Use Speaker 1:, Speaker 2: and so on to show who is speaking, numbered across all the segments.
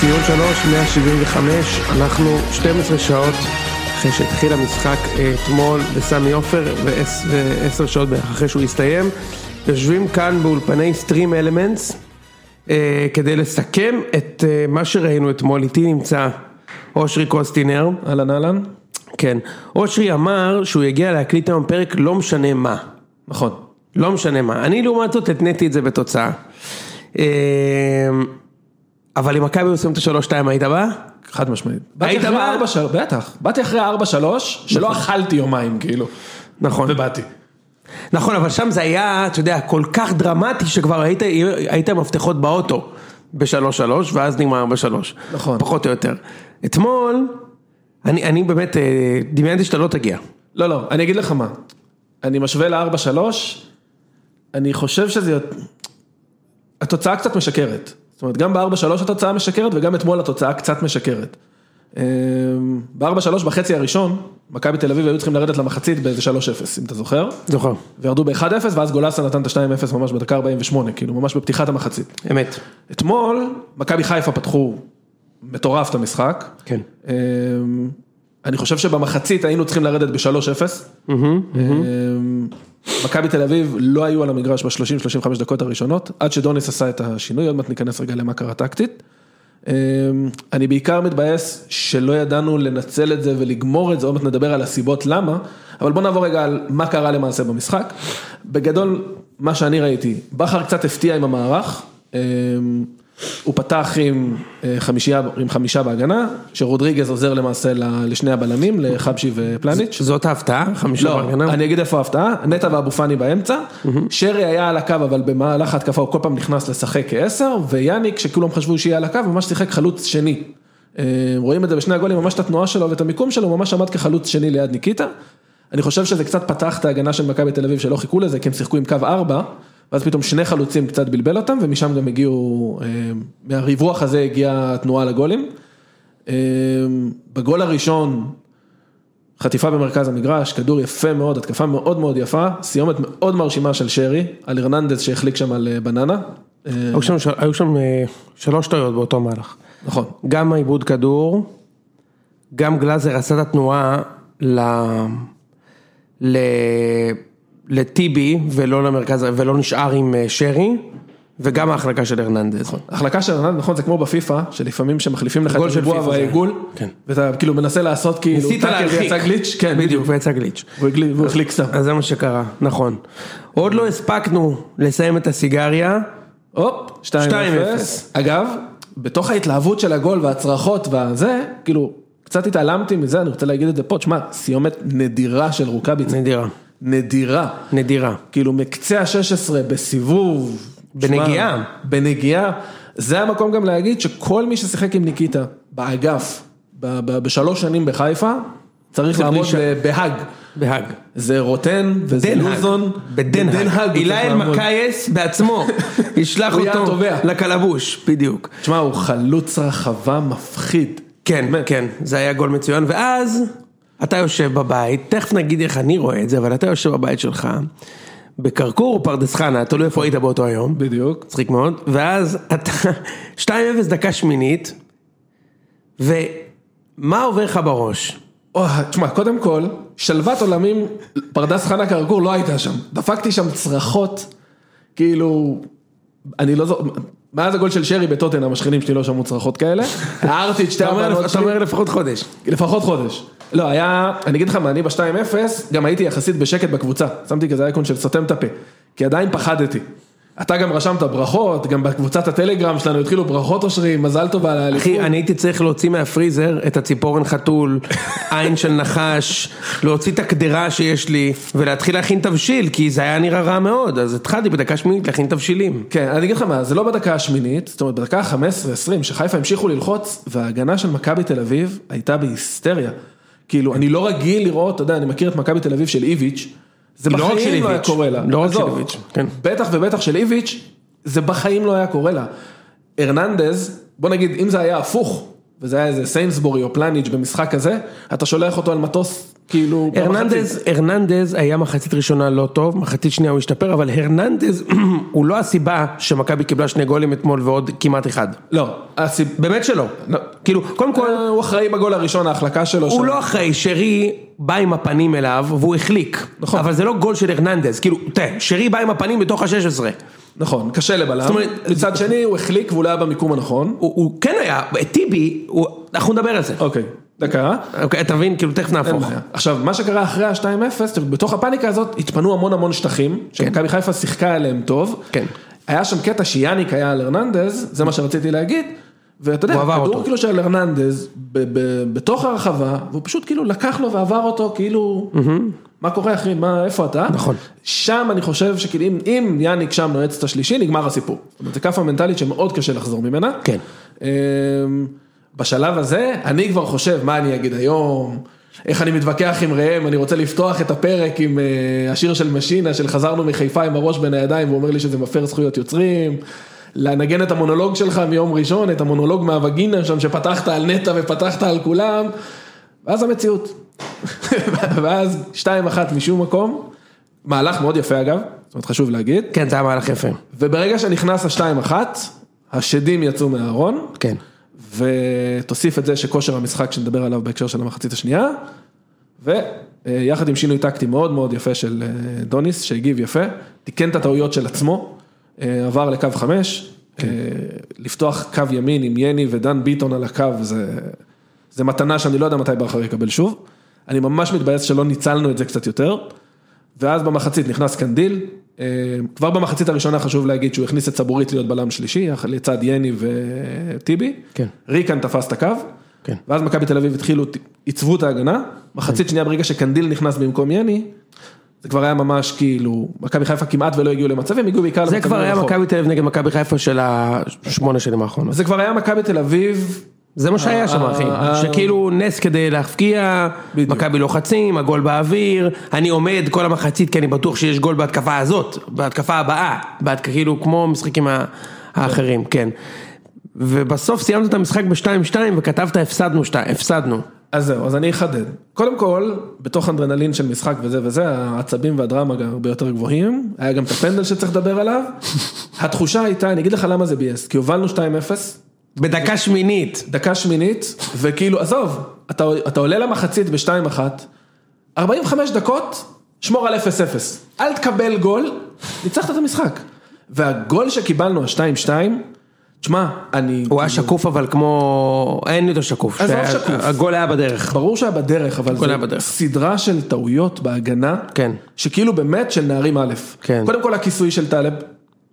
Speaker 1: ציון 3, 175, אנחנו 12 שעות אחרי שהתחיל המשחק אה, אתמול בסמי עופר ועשר שעות בערך אחרי שהוא הסתיים, יושבים כאן באולפני סטרים אלמנטס כדי לסכם את אה, מה שראינו אתמול, איתי נמצא אושרי קוסטינר,
Speaker 2: אהלן אהלן.
Speaker 1: כן, אושרי אמר שהוא יגיע להקליט היום פרק לא משנה מה,
Speaker 2: נכון.
Speaker 1: לא משנה מה, אני לעומת זאת התניתי את זה בתוצאה, אה, אבל אם מכבי עושים את ה-3-2 היית בא?
Speaker 2: חד משמעית.
Speaker 1: היית
Speaker 2: באתי אחרי
Speaker 1: בא?
Speaker 2: ארבע שלוש, בטח. באתי אחרי ארבע שלוש, שלא אכלתי יומיים כאילו.
Speaker 1: נכון.
Speaker 2: ובאתי.
Speaker 1: נכון, אבל שם זה היה, אתה יודע, כל כך דרמטי שכבר היית, היית מפתחות באוטו בשלוש שלוש, ואז נגמר בשלוש.
Speaker 2: נכון.
Speaker 1: פחות או יותר. אתמול, אני, אני באמת אה, דמיינתי שאתה לא תגיע.
Speaker 2: לא לא, אני אגיד לך מה. אני משווה לארבע שלוש, אני חושב שזה... יות- התוצאה קצת משקרת. זאת אומרת, גם בארבע שלוש התוצאה משקרת וגם אתמול התוצאה קצת משקרת. אמ, בארבע שלוש בחצי הראשון, מכבי תל אביב היו צריכים לרדת למחצית באיזה שלוש אפס, אם אתה זוכר.
Speaker 1: זוכר.
Speaker 2: וירדו ב-1-0 ואז גולסה נתן את ה-2-0 ממש בדקה 48, כאילו ממש בפתיחת המחצית.
Speaker 1: אמת.
Speaker 2: אתמול, מכבי חיפה פתחו מטורף את המשחק.
Speaker 1: כן.
Speaker 2: אמ, אני חושב שבמחצית היינו צריכים לרדת ב-3-0. אמ, מכבי תל אביב לא היו על המגרש ב-30-35 דקות הראשונות, עד שדוניס עשה את השינוי, עוד מעט ניכנס רגע למה קרה טקטית. אמ, אני בעיקר מתבאס שלא ידענו לנצל את זה ולגמור את זה, עוד מעט נדבר על הסיבות למה, אבל בוא נעבור רגע על מה קרה למעשה במשחק. בגדול, מה שאני ראיתי, בכר קצת הפתיע עם המערך, אמ, הוא פתח עם אה, חמישייה, עם חמישה בהגנה, שרודריגז עוזר למעשה ל- לשני הבלמים, לחבשי ופלניץ'.
Speaker 1: זאת ההפתעה, חמישה
Speaker 2: לא,
Speaker 1: בהגנה.
Speaker 2: אני אגיד איפה ההפתעה, נטע ואבו פאני באמצע, שרי היה על הקו אבל במהלך ההתקפה הוא כל פעם נכנס לשחק כעשר, ויאניק שכולם חשבו שיהיה על הקו ממש שיחק חלוץ שני. אה, רואים את זה בשני הגולים, ממש את התנועה שלו ואת המיקום שלו, ממש עמד כחלוץ שני ליד ניקיטה. אני חושב שזה קצת פתח את ההגנה של מכבי תל אביב שלא חיכו לזה, כי הם שיחקו עם קו ארבע, ואז פתאום שני חלוצים קצת בלבל אותם, ומשם גם הגיעו, אה, מהריווח הזה הגיעה התנועה לגולים. אה, בגול הראשון חטיפה במרכז המגרש, כדור יפה מאוד, התקפה מאוד מאוד יפה, סיומת מאוד מרשימה של שרי, על הרננדז שהחליק שם על אה, בננה. אה,
Speaker 1: היו שם, של- היו שם אה, שלוש טעויות באותו מהלך.
Speaker 2: נכון,
Speaker 1: גם העיבוד כדור, גם גלאזר עשה את התנועה ל... ל... לטיבי ולא למרכז, ולא נשאר עם אה, שרי, וגם ההחלקה של הרננדז.
Speaker 2: החלקה של הרננדז, נכון, זה כמו בפיפא, שלפעמים שמחליפים לך את
Speaker 1: גול של
Speaker 2: הריבוע
Speaker 1: פיפא זה-
Speaker 2: והעיגול,
Speaker 1: כן.
Speaker 2: ואתה כאילו מנסה לעשות כאילו,
Speaker 1: ניסית
Speaker 2: טאקל
Speaker 1: להרחיק.
Speaker 2: ויצא גליץ', כן,
Speaker 1: בדיוק, ויצא גליץ'.
Speaker 2: והוא הגליל- והוא החליק סתם.
Speaker 1: אז זה מה שקרה, נכון. עוד לא הספקנו לסיים את הסיגריה.
Speaker 2: הופ, 2-0.
Speaker 1: 2-0.
Speaker 2: אגב, בתוך ההתלהבות של הגול והצרחות והזה, כאילו, קצת התעלמתי מזה, אני רוצה להגיד את זה פה, תשמע, סיומת נדירה של רוקאביצה,
Speaker 1: נדירה,
Speaker 2: נדירה.
Speaker 1: נדירה.
Speaker 2: כאילו מקצה ה-16 בסיבוב.
Speaker 1: בנגיעה.
Speaker 2: שמע, בנגיעה. זה המקום גם להגיד שכל מי ששיחק עם ניקיטה באגף, ב- ב- בשלוש שנים בחיפה, צריך
Speaker 1: זה בלי
Speaker 2: לעמוד
Speaker 1: ש-
Speaker 2: ב- בהאג.
Speaker 1: בהאג.
Speaker 2: זה רוטן, וזה
Speaker 1: דנהג.
Speaker 2: לוזון.
Speaker 1: בדנהג.
Speaker 2: הוא צריך
Speaker 1: איליאל
Speaker 2: לעמוד.
Speaker 1: מקייס בעצמו ישלח
Speaker 2: הוא יהיה
Speaker 1: אותו
Speaker 2: התובע.
Speaker 1: לקלבוש, בדיוק.
Speaker 2: תשמע, הוא חלוץ רחבה מפחיד.
Speaker 1: כן, כן, זה היה גול מצוין, ואז אתה יושב בבית, תכף נגיד איך אני רואה את זה, אבל אתה יושב בבית שלך, בקרקור או פרדס חנה, תלוי איפה היית באותו היום,
Speaker 2: בדיוק.
Speaker 1: מצחיק מאוד, ואז אתה 2-0 דקה שמינית, ומה עובר לך בראש?
Speaker 2: אוי, תשמע, קודם כל, שלוות עולמים, פרדס חנה כרכור לא הייתה שם. דפקתי שם צרחות, כאילו, אני לא זוכר, מאז הגול של שרי בטוטן, המשכנים שלי לא שמעו צרחות כאלה. הערתי את שתי
Speaker 1: אתה אומר,
Speaker 2: הבנות
Speaker 1: אתה
Speaker 2: שלי,
Speaker 1: אומר לפחות חודש.
Speaker 2: לפחות חודש. לא, היה, אני אגיד לך מה, אני ב-2-0, גם הייתי יחסית בשקט בקבוצה. שמתי כזה אייקון של סותם את הפה, כי עדיין פחדתי. אתה גם רשמת ברכות, גם בקבוצת הטלגרם שלנו התחילו ברכות אושרי, מזל טוב על האליפות.
Speaker 1: אחי, אני הייתי צריך להוציא מהפריזר את הציפורן חתול, עין של נחש, להוציא את הקדרה שיש לי, ולהתחיל להכין תבשיל, כי זה היה נראה רע מאוד, אז התחלתי בדקה שמינית להכין תבשילים.
Speaker 2: כן, אני אגיד לך מה, זה לא בדקה השמינית, זאת אומרת בדקה ה-15-20, שחיפה המשיכו ללחוץ, וההגנה של מכבי תל אביב הייתה בהיסטריה. כאילו, אני לא רגיל לראות, אתה יודע, אני מכיר את מכבי תל אביב של איביץ', זה
Speaker 1: לא רק של
Speaker 2: בחיים לא היה
Speaker 1: איביץ',
Speaker 2: קורה לה.
Speaker 1: לא רק של
Speaker 2: עזוב,
Speaker 1: איביץ', כן.
Speaker 2: בטח ובטח של איביץ', זה בחיים לא היה קורה לה. הרננדז, בוא נגיד, אם זה היה הפוך, וזה היה איזה סיינסבורי או פלניג' במשחק כזה, אתה שולח אותו על מטוס כאילו... במחצית.
Speaker 1: הרננדז, הרננדז היה מחצית ראשונה לא טוב, מחצית שנייה הוא השתפר, אבל הרננדז הוא לא הסיבה שמכבי קיבלה שני גולים אתמול ועוד כמעט אחד.
Speaker 2: לא, הסיב...
Speaker 1: באמת שלא.
Speaker 2: לא.
Speaker 1: כאילו, קודם כל,
Speaker 2: אה, הוא אחראי בגול הראשון, ההחלקה שלו.
Speaker 1: הוא
Speaker 2: שם.
Speaker 1: לא אחראי, שרי בא עם הפנים אליו והוא החליק.
Speaker 2: נכון.
Speaker 1: אבל זה לא גול של הרננדז, כאילו, תראה, שרי בא עם הפנים בתוך ה-16.
Speaker 2: נכון, קשה לבלם. זאת
Speaker 1: אומרת-
Speaker 2: אומרת, מצד שני הוא החליק והוא לא היה במיקום הנכון.
Speaker 1: הוא, הוא כן היה, טיבי, הוא, אנחנו נדבר על זה.
Speaker 2: אוקיי, דקה.
Speaker 1: אוקיי, אתה מבין? כאילו, תכף
Speaker 2: אין
Speaker 1: נהפוך.
Speaker 2: בעיה. עכשיו, מה שקרה אחרי ה-2-0, בתוך הפאניקה הזאת התפנו המון המון שטחים, שמכבי חיפה שיחקה עליהם טוב.
Speaker 1: כן.
Speaker 2: היה שם קטע שיאניק היה על הרננדז, זה מה שרציתי להגיד, ואתה
Speaker 1: הוא
Speaker 2: יודע,
Speaker 1: עבר אותו.
Speaker 2: כדור כאילו של הרננדז, ב- ב- בתוך הרחבה, והוא פשוט כאילו לקח לו ועבר אותו, כאילו, מה קורה אחי, מה, איפה אתה?
Speaker 1: נכון.
Speaker 2: שם אני חושב שכאילו, אם- אם יאניק שם נועץ את השלישי, נגמר הסיפור. זאת אומרת, זו כאפה מנטלית שמאוד קשה לחזור ממנה.
Speaker 1: כן.
Speaker 2: אמ, בשלב הזה, אני כבר חושב, מה אני אגיד היום, איך אני מתווכח עם ראם, אני רוצה לפתוח את הפרק עם אה, השיר של משינה, של חזרנו מחיפה עם הראש בין הידיים, והוא אומר לי שזה מפר זכויות יוצרים. לנגן את המונולוג שלך מיום ראשון, את המונולוג מהווגינה שם שפתחת על נטע ופתחת על כולם, ואז המציאות. ואז 2-1 משום מקום, מהלך מאוד יפה אגב, זאת אומרת חשוב להגיד,
Speaker 1: כן, זה היה מהלך יפה.
Speaker 2: וברגע שנכנס ה-2-1, השדים יצאו מהארון,
Speaker 1: כן.
Speaker 2: ותוסיף את זה שכושר המשחק שנדבר עליו בהקשר של המחצית השנייה, ויחד עם שינוי טקטי מאוד מאוד יפה של אה, דוניס, שהגיב יפה, תיקן את הטעויות של עצמו, אה, עבר לקו חמש, אה, לפתוח קו ימין עם יני ודן ביטון על הקו, זה, זה מתנה שאני לא יודע מתי בכר יקבל שוב. אני ממש מתבאס שלא ניצלנו את זה קצת יותר. ואז במחצית נכנס קנדיל, אה, כבר במחצית הראשונה חשוב להגיד שהוא הכניס את סבורית להיות בלם שלישי, יח- לצד יני וטיבי.
Speaker 1: כן.
Speaker 2: ריקן תפס את הקו,
Speaker 1: כן.
Speaker 2: ואז מכבי תל אביב התחילו, עיצבו את ההגנה, מחצית שנייה ברגע שקנדיל נכנס במקום יני, זה כבר היה ממש כאילו, מכבי חיפה כמעט ולא הגיעו למצבים, הגיעו בעיקר
Speaker 1: זה
Speaker 2: למצבים
Speaker 1: כבר היה
Speaker 2: מרחוק.
Speaker 1: מכבי תל אביב נגד מכבי חיפה של השמונה שנים האחרונות.
Speaker 2: זה כבר היה מכבי תל אביב,
Speaker 1: זה מה שהיה שם,
Speaker 2: אה,
Speaker 1: אחי.
Speaker 2: אה,
Speaker 1: שכאילו נס כדי להפקיע,
Speaker 2: בדיוק.
Speaker 1: מכבי לוחצים, הגול באוויר, אני עומד כל המחצית כי אני בטוח שיש גול בהתקפה הזאת, בהתקפה הבאה, בהת- כאילו כמו המשחקים ה- האחרים, כן. ובסוף סיימנו את המשחק ב-2-2 וכתבת הפסדנו, שתיים- הפסדנו.
Speaker 2: אז זהו, אז אני אחדד. קודם כל, בתוך אנדרנלין של משחק וזה וזה, העצבים והדרמה גם הרבה יותר גבוהים, היה גם את הפנדל שצריך לדבר עליו, התחושה הייתה, אני אגיד לך למה זה ביאס, כי הובלנו 2-0,
Speaker 1: בדקה שמינית.
Speaker 2: דקה שמינית, וכאילו, עזוב, אתה, אתה עולה למחצית ב-2-1, 45 דקות, שמור על 0-0. אל תקבל גול, ניצחת את המשחק. והגול שקיבלנו, ה-2-2, תשמע, אני...
Speaker 1: הוא היה שקוף אבל כמו... אין יותר שקוף.
Speaker 2: עזוב
Speaker 1: שהיה-
Speaker 2: שקוף.
Speaker 1: הגול היה בדרך.
Speaker 2: ברור שהיה בדרך, אבל
Speaker 1: הכל
Speaker 2: זו
Speaker 1: היה בדרך.
Speaker 2: סדרה של טעויות בהגנה,
Speaker 1: כן.
Speaker 2: שכאילו באמת של נערים א'.
Speaker 1: כן.
Speaker 2: קודם כל הכיסוי של טלב,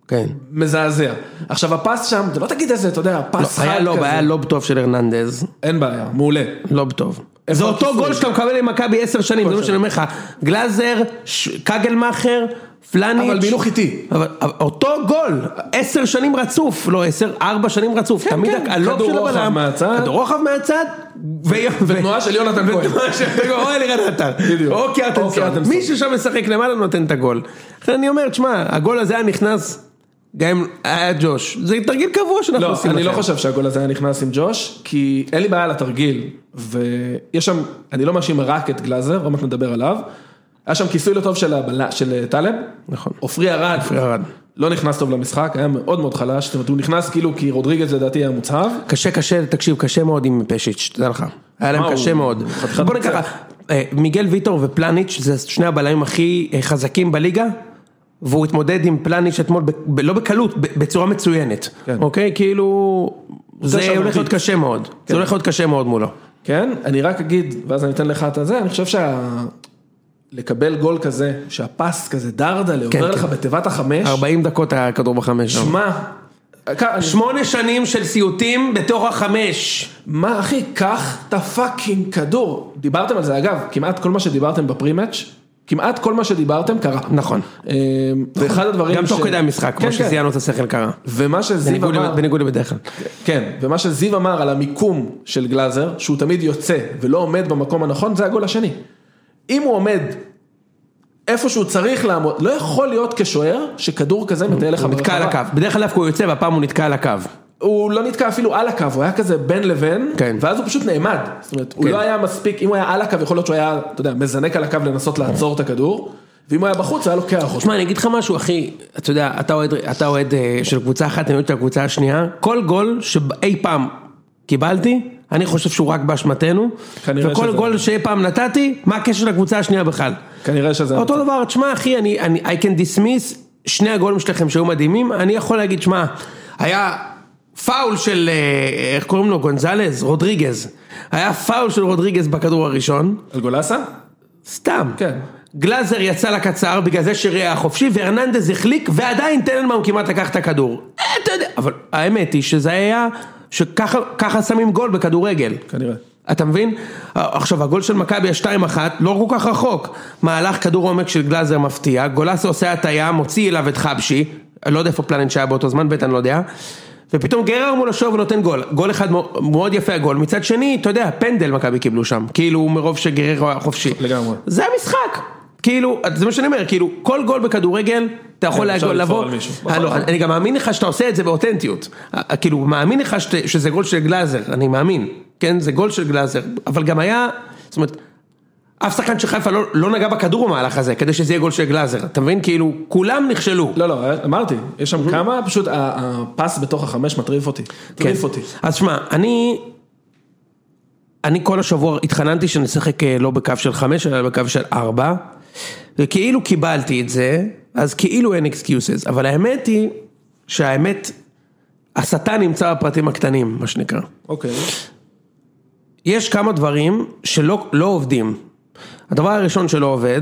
Speaker 1: כן.
Speaker 2: מזעזע. עכשיו הפס שם, זה לא תגיד איזה, אתה יודע,
Speaker 1: לא,
Speaker 2: פס חד
Speaker 1: היה לא,
Speaker 2: כזה.
Speaker 1: היה לוב טוב של הרננדז.
Speaker 2: אין בעיה, מעולה.
Speaker 1: לוב טוב.
Speaker 2: לא איפה
Speaker 1: זה אותו
Speaker 2: הכיסוי?
Speaker 1: גול שאתה מקבל עם מכבי עשר שנים, זה מה שאני אומר לך. גלאזר, ש- קגלמאכר, פלניץ'.
Speaker 2: אבל בהילוך איטי.
Speaker 1: אבל- אבל אותו גול, עשר שנים רצוף, לא עשר, ארבע שנים רצוף. תמיד
Speaker 2: כן.
Speaker 1: הלוב
Speaker 2: כדור
Speaker 1: של
Speaker 2: רוחב
Speaker 1: הבלם.
Speaker 2: מהצד.
Speaker 1: כדור רוחב מהצד. ו-
Speaker 2: ותנועה של יונתן כהן.
Speaker 1: ותנועה של או אלירן עטר.
Speaker 2: בדיוק. אוקיי,
Speaker 1: או
Speaker 2: או
Speaker 1: קיארטנסון.
Speaker 2: קיארטנסון.
Speaker 1: מישהו אוקיי, שם משחק למעלה נותן את הגול. לכן אני אומר, תשמע, הגול הזה היה נכנס, גם אם היה ג'וש. זה תרגיל קבוע שאנחנו
Speaker 2: לא,
Speaker 1: עושים.
Speaker 2: אני לא
Speaker 1: לכם.
Speaker 2: חושב שהגול הזה היה נכנס עם ג'וש, כי אין לי בעיה לתרגיל, ויש שם, אני לא מאשים רק את גלאזר, עוד מעט נדבר עליו. היה שם כיסוי לא טוב של, הבלה, של אה, טלב.
Speaker 1: נכון.
Speaker 2: עופרי ארד.
Speaker 1: עופרי ארד.
Speaker 2: לא נכנס טוב למשחק, היה מאוד מאוד חלש, זאת אומרת, הוא נכנס כאילו כי רודריגז לדעתי היה מוצהב.
Speaker 1: קשה קשה, תקשיב, קשה מאוד עם פשיץ', תדע לך. היה להם
Speaker 2: מה,
Speaker 1: קשה
Speaker 2: הוא-
Speaker 1: מאוד.
Speaker 2: הוא חתיכת
Speaker 1: בוא נגיד
Speaker 2: רוצח.
Speaker 1: ככה, אה, מיגל ויטור ופלניץ' זה שני הבלמים הכי אה, חזקים בליגה. והוא התמודד עם פלניץ' אתמול, ב- ב- לא בקלות, ב- בצורה מצוינת,
Speaker 2: כן.
Speaker 1: אוקיי? כאילו, זה
Speaker 2: שם
Speaker 1: הולך להיות
Speaker 2: מרביץ.
Speaker 1: קשה מאוד, זה הולך להיות קשה מאוד מולו.
Speaker 2: כן, אני רק אגיד, ואז אני אתן לך את הזה, אני חושב שה... לקבל גול כזה, שהפס כזה דרדלה,
Speaker 1: כן,
Speaker 2: עובר
Speaker 1: כן.
Speaker 2: לך בתיבת החמש,
Speaker 1: 40 דקות היה כדור בחמש. שם.
Speaker 2: שמע, כ- אני-
Speaker 1: שמונה שנים של סיוטים בתוך החמש.
Speaker 2: מה אחי, קח את הפאקינג כדור. דיברתם על זה, אגב, כמעט כל מה שדיברתם בפרימאץ', כמעט כל מה שדיברתם קרה.
Speaker 1: נכון.
Speaker 2: אמ, ואחד הדברים
Speaker 1: גם תוך כדי המשחק,
Speaker 2: כן,
Speaker 1: כמו
Speaker 2: כן.
Speaker 1: שזיינו את השכל קרה.
Speaker 2: ומה שזיו
Speaker 1: בניגוד
Speaker 2: אמר,
Speaker 1: ל- בניגוד לבדרך כלל.
Speaker 2: כן, ומה שזיו אמר על המיקום של גלאזר, שהוא תמיד יוצא ולא עומד במקום הנכון, זה הגול השני. אם הוא עומד איפה שהוא צריך לעמוד, לא יכול להיות כשוער שכדור כזה מטייל לך
Speaker 1: הוא נתקע על
Speaker 2: ברחבה.
Speaker 1: הקו, בדרך כלל דווקא הוא יוצא והפעם הוא נתקע על הקו.
Speaker 2: הוא לא נתקע אפילו על הקו, הוא היה כזה בין לבין,
Speaker 3: כן.
Speaker 2: ואז הוא פשוט נעמד. זאת אומרת, הוא
Speaker 3: כן.
Speaker 2: לא היה מספיק, אם הוא היה על הקו, יכול להיות שהוא היה, אתה יודע, מזנק על הקו לנסות לעצור את הכדור, ואם הוא היה בחוץ, היה לוקח אותו.
Speaker 1: תשמע, אני אגיד לך משהו, אחי, אתה יודע, אתה אוהד- אתה אוהד אה, של קבוצה אחת, אני אוהד של הקבוצה השנייה, כל גול שאי פעם קיבלתי, אני חושב שהוא רק באשמתנו,
Speaker 2: כנראה
Speaker 1: וכל
Speaker 2: שזה-
Speaker 1: גול שאי פעם נתתי, מה הקשר לקבוצה השנייה בכלל?
Speaker 2: כנראה שזה...
Speaker 1: אותו דבר, תשמע אחי, אני, אני, I can dismiss, שני הגולים שלכם שהיו מדהימים, אני יכול להגיד, שמע, היה פאול של, אה, איך קוראים לו, גונזלז, רודריגז, היה פאול של רודריגז בכדור הראשון,
Speaker 2: על גולסה?
Speaker 1: סתם.
Speaker 2: כן.
Speaker 1: גלאזר יצא לקצר בגלל זה שרי היה חופשי והרננדז החליק ועדיין טננבאום כמעט לקח את הכדור. אה, אתה יודע, אבל האמת היא שזה היה, שככה ככה שמים גול בכדורגל.
Speaker 2: כנראה.
Speaker 1: אתה מבין? אה, עכשיו הגול של מכבי ה-2-1 לא כל כך רחוק. מהלך כדור עומק של גלאזר מפתיע, גולסה עושה הטיה, מוציא אליו את חבשי, לא יודע איפה פלנט שהיה באותו זמן, בטח אני לא יודע. ופתאום גרר מול השוער ונותן גול, גול אחד מאו- מאוד יפה הגול, מצד שני, אתה יודע, פנדל מכבי קיבלו שם, כאילו מרוב שגרר היה חופשי.
Speaker 2: לגמרי.
Speaker 1: זה המשחק, כאילו, זה מה שאני אומר, כאילו, כל גול בכדורגל, אתה יכול
Speaker 2: כן, אפשר
Speaker 1: להגול-
Speaker 2: לתפור
Speaker 1: לבוא,
Speaker 2: על מישהו. נכון.
Speaker 1: אה, לא, אני גם מאמין לך שאתה עושה את זה באותנטיות. אה, כאילו, מאמין לך שת- שזה גול של גלאזר, אני מאמין. כן, זה גול של גלאזר. אבל גם היה, זאת אומרת, אף שחקן של חיפה לא, לא נגע בכדור במהלך הזה, כדי שזה יהיה גול של גלאזר. אתה מבין? כאילו, כולם נכשלו.
Speaker 2: לא, לא, אמרתי, יש שם כמה, פשוט ה- הפס בתוך החמש מטריף אותי.
Speaker 1: כן.
Speaker 2: מטריף אותי.
Speaker 1: אז שמע, אני... אני כל השבוע התחננתי שנשחק אה, לא בקו של חמש, אלא בקו של ארבע, וכאילו קיבלתי את זה, אז כאילו אין excuses, אבל האמת היא שהאמת, השטן נמצא בפרטים הקטנים, מה שנקרא.
Speaker 2: אוקיי.
Speaker 1: יש כמה דברים שלא לא עובדים. הדבר הראשון שלא עובד,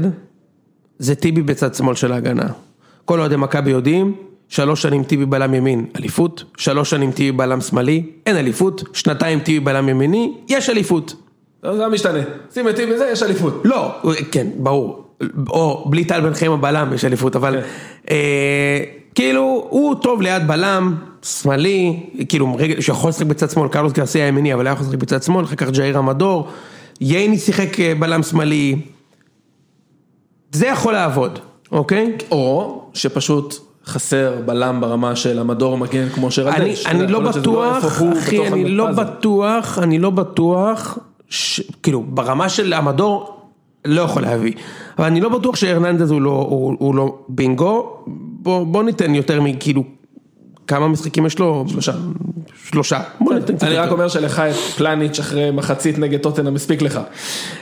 Speaker 1: זה טיבי בצד שמאל של ההגנה. כל אוהדי מכבי יודעים, שלוש שנים טיבי בלם ימין, אליפות, שלוש שנים טיבי בלם שמאלי, אין אליפות, שנתיים טיבי בלם ימיני, יש אליפות.
Speaker 2: לא, זה לא משתנה. שים את טיבי זה, יש אליפות.
Speaker 1: לא, כן, ברור. או בלי טל בן חיים הבלם יש אליפות, אבל
Speaker 2: כן.
Speaker 1: אה, כאילו, הוא טוב ליד בלם, שמאלי, כאילו, רגע, שיכול לשחק בצד שמאל, קרלוס גרסיה ימיני, אבל היה יכול לשחק בצד שמאל, אחר כך ג'איר המדור, ייני שיחק אה, בלם שמאלי. זה יכול לעבוד, אוקיי?
Speaker 2: או שפשוט חסר בלם ברמה של המדור מגן כמו שרדש.
Speaker 1: אני,
Speaker 2: אתה יודע,
Speaker 1: אני לא
Speaker 2: יכול להיות שזה איפה
Speaker 1: בטוח,
Speaker 2: הוא
Speaker 1: אחי,
Speaker 2: בתוך
Speaker 1: אני לא
Speaker 2: המרכז.
Speaker 1: בטוח, אני לא בטוח, ש- כאילו, ברמה של המדור, לא יכול להביא. אבל אני לא בטוח שהרננדז הוא לא, הוא, הוא לא בינגו, בוא, בוא ניתן יותר מכאילו, כמה משחקים יש לו? שלושה. שלושה. בוא ניתן קצת
Speaker 2: אני רק
Speaker 1: יותר.
Speaker 2: אומר שלך את פלניץ' אחרי מחצית נגד טוטנה מספיק לך.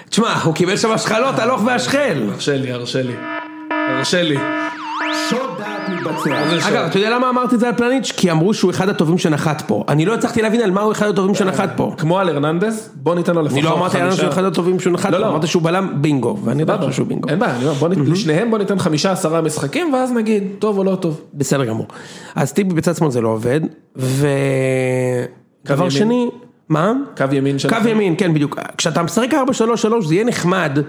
Speaker 1: תשמע, הוא קיבל שם השחלות הלוך והשחל.
Speaker 2: הרשה לי, הרשה לי. הרשה לי. מה זה שוד?
Speaker 1: אגב, אתה יודע למה אמרתי את זה על פלניץ'? כי אמרו שהוא אחד הטובים שנחת פה. אני לא הצלחתי להבין על מה הוא אחד הטובים שנחת פה.
Speaker 2: כמו על הרננדז, בוא ניתן לו לפחות
Speaker 1: אני
Speaker 2: אה, נכון, חמישה.
Speaker 1: לא אמרתי עליו שהוא אחד הטובים שהוא נחת,
Speaker 2: לא, לא.
Speaker 1: אמרתי שהוא בלם בינגו, ואני יודע
Speaker 2: סבבה.
Speaker 1: שהוא בינגו.
Speaker 2: אין בעיה, אני אומר, בוא ניתן- לשניהם בוא ניתן חמישה עשרה משחקים ואז נגיד טוב או לא טוב.
Speaker 1: בסדר גמור. אז טיבי בצד שמאל זה לא עובד,
Speaker 2: ימין.
Speaker 1: ודבר שני, מה?
Speaker 2: קו ימין שלך.
Speaker 1: קו ימין, כן בדיוק. כשאתה משחק 4-3-3 זה יהיה נחמד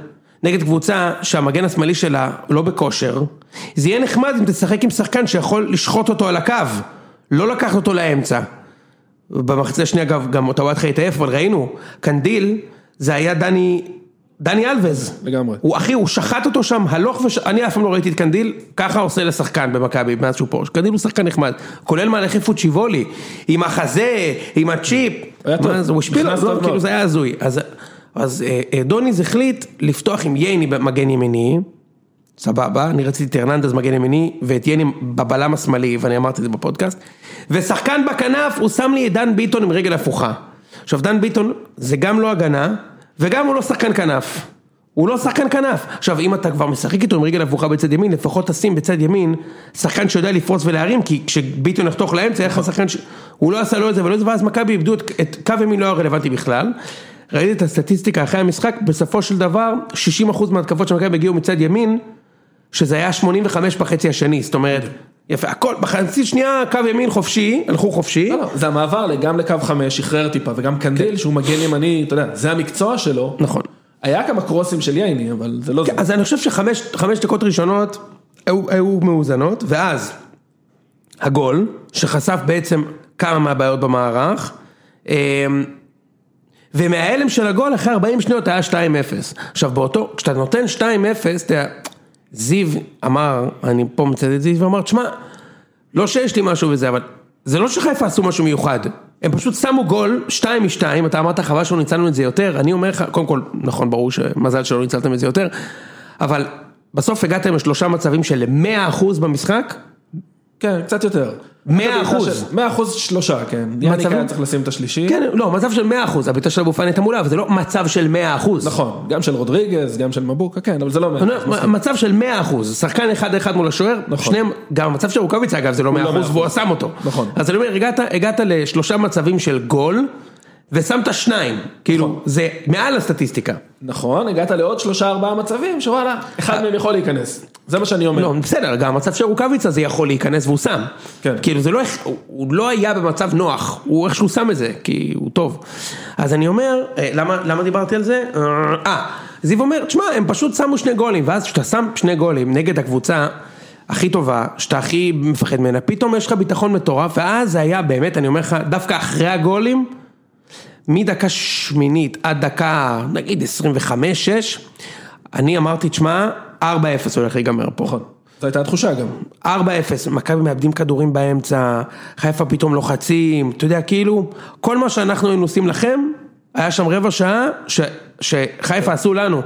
Speaker 1: נגד קבוצה שהמגן השמאלי שלה לא בכושר, זה יהיה נחמד אם תשחק עם שחקן שיכול לשחוט אותו על הקו, לא לקחת אותו לאמצע. במחצית השנייה אגב, גם טוואטחה התעייף, אבל ראינו, קנדיל זה היה דני, דני אלווז.
Speaker 2: לגמרי.
Speaker 1: הוא אחי, הוא שחט אותו שם הלוך וש... אני אף פעם לא ראיתי את קנדיל, ככה עושה לשחקן במכבי מאז שהוא פה. קנדיל הוא שחקן נחמד, כולל מהלכי פוצ'יבולי, עם החזה, עם הצ'יפ.
Speaker 2: היה טוב. לא-
Speaker 1: מה זה, הוא השפיל
Speaker 2: נכנס
Speaker 1: עליו,
Speaker 2: טוב מאוד.
Speaker 1: כאילו זה היה הזוי. אז, אז אה, אה, דוניז החליט לפתוח עם ייני במגן ימיני, סבבה, אני רציתי את הרננדז מגן ימיני ואת יני בבלם השמאלי, ואני אמרתי את זה בפודקאסט, ושחקן בכנף, הוא שם לי את דן ביטון עם רגל הפוכה. עכשיו דן ביטון זה גם לא הגנה, וגם הוא לא שחקן כנף. הוא לא שחקן כנף. עכשיו אם אתה כבר משחק איתו עם רגל הפוכה בצד ימין, לפחות תשים בצד ימין שחקן שיודע לפרוץ ולהרים, כי כשביטון יחתוך לאמצע, היה לך שחקן ש... הוא לא עשה לא את זה ולא את זה, ואז מכבי איבדו את, את קו ימין לא היה רלוונטי בכלל. ראיתי את הסטטיסטיקה אחרי המשחק, בסופו של דבר 60% מההתקפות של מכבי הגיעו מצד ימין, שזה היה 85 בחצי השני, זאת אומרת, יפה, הכל, בחצי שנייה קו ימין חופשי, הלכו חופשי,
Speaker 2: לא, לא, זה המעבר גם לקו חמש, שחרר טיפה, וגם קנדיל שהוא מגן ימני, אתה יודע, זה המקצוע שלו.
Speaker 1: נכון.
Speaker 2: היה כמה קרוסים של ייני, אבל זה לא זה.
Speaker 1: כן, אוקיי, אז אני חושב שחמש חמש דקות ראשונות היו, היו מאוזנות, ואז הגול, שחשף בעצם כמה מהבעיות במערך, אמ, ומההלם של הגול אחרי 40 שניות היה 2-0. עכשיו באותו, כשאתה נותן 2-0, אתה יודע, זיו אמר, אני פה מצטט את זיו, ואמר, תשמע, לא שיש לי משהו וזה, אבל זה לא שחיפה עשו משהו מיוחד, הם פשוט שמו גול, שתיים משתיים, אתה אמרת חבל שלא ניצלנו את זה יותר, אני אומר לך, קודם כל, נכון, ברור שמזל שלא ניצלתם את זה יותר, אבל בסוף הגעתם לשלושה מצבים של 100% במשחק,
Speaker 2: כן, קצת יותר.
Speaker 1: מאה אחוז.
Speaker 2: מאה אחוז שלושה, כן. יאניק היה צריך לשים את השלישי.
Speaker 1: כן, לא, מצב של 100%, הבעיטה של אבו פאני הייתה מולה, אבל זה לא מצב של 100%.
Speaker 2: נכון, גם של רודריגז, גם של מבוקה, כן, אבל זה לא מאה
Speaker 1: אני
Speaker 2: אחוז.
Speaker 1: אומר, מצב של 100%, שחקן אחד אחד מול השוער,
Speaker 2: נכון.
Speaker 1: שניהם, גם המצב של רוקאביצה אגב זה לא 100%
Speaker 2: לא 100%.
Speaker 1: והוא שם אותו.
Speaker 2: נכון.
Speaker 1: אז אני אומר, הגעת, הגעת לשלושה מצבים של גול, ושמת שניים, כאילו, זה מעל הסטטיסטיקה.
Speaker 2: נכון, הגעת לעוד שלושה ארבעה מצבים שוואלה, אחד מהם יכול להיכנס. זה מה שאני
Speaker 1: אה.
Speaker 2: אומר.
Speaker 1: לא, בסדר, גם המצב של רוקאביצה זה יכול להיכנס והוא שם.
Speaker 2: כן.
Speaker 1: כאילו זה לא, איך- הוא- הוא לא היה במצב נוח, הוא איכשהו שם את זה, כי הוא טוב. אז אני אומר, אה, למה, למה דיברתי על זה? אה, אה, זיו אומר, תשמע, הם פשוט שמו שני גולים, ואז כשאתה שם שני גולים נגד הקבוצה הכי טובה, שאתה הכי מפחד ממנה, פתאום יש לך ביטחון מטורף, ואז זה היה באמת, אני אומר לך, דווקא אחרי הגולים, מדקה שמינית עד דקה, נגיד 25-6, אני אמרתי, תשמע, 4-0 הולך להיגמר פה. נכון.
Speaker 2: זו הייתה התחושה גם.
Speaker 1: 4-0, מכבי מאבדים כדורים באמצע, חיפה פתאום לוחצים, אתה יודע, כאילו, כל מה שאנחנו היינו עושים לכם, היה שם רבע שעה ש, שחיפה עשו לנו.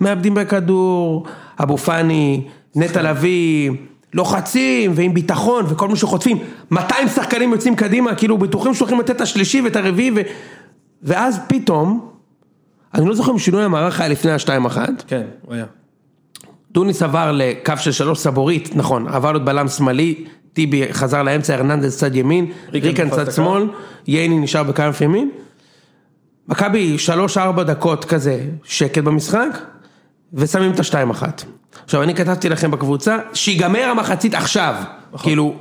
Speaker 1: מאבדים בכדור, אבו פאני, נטע לביא, לוחצים, ועם ביטחון, וכל מי שחוטפים, 200 שחקנים יוצאים קדימה, כאילו, בטוחים שהולכים לתת את השלישי ואת הרביעי, ו... ואז פתאום, אני לא זוכר אם שינוי המערך היה לפני השתיים אחת,
Speaker 2: כן, הוא היה.
Speaker 1: דוניס עבר לקו של שלוש סבורית, נכון, עבר להיות בלם שמאלי, טיבי חזר לאמצע, הרננדז צד ימין,
Speaker 2: ריקן
Speaker 1: ריקן
Speaker 2: תפס
Speaker 1: צד
Speaker 2: את הקו.
Speaker 1: שמאל, ייני נשאר בכנף ימין. מכבי שלוש ארבע דקות כזה שקט במשחק, ושמים את השתיים אחת. עכשיו אני כתבתי לכם בקבוצה, שיגמר המחצית עכשיו, כאילו,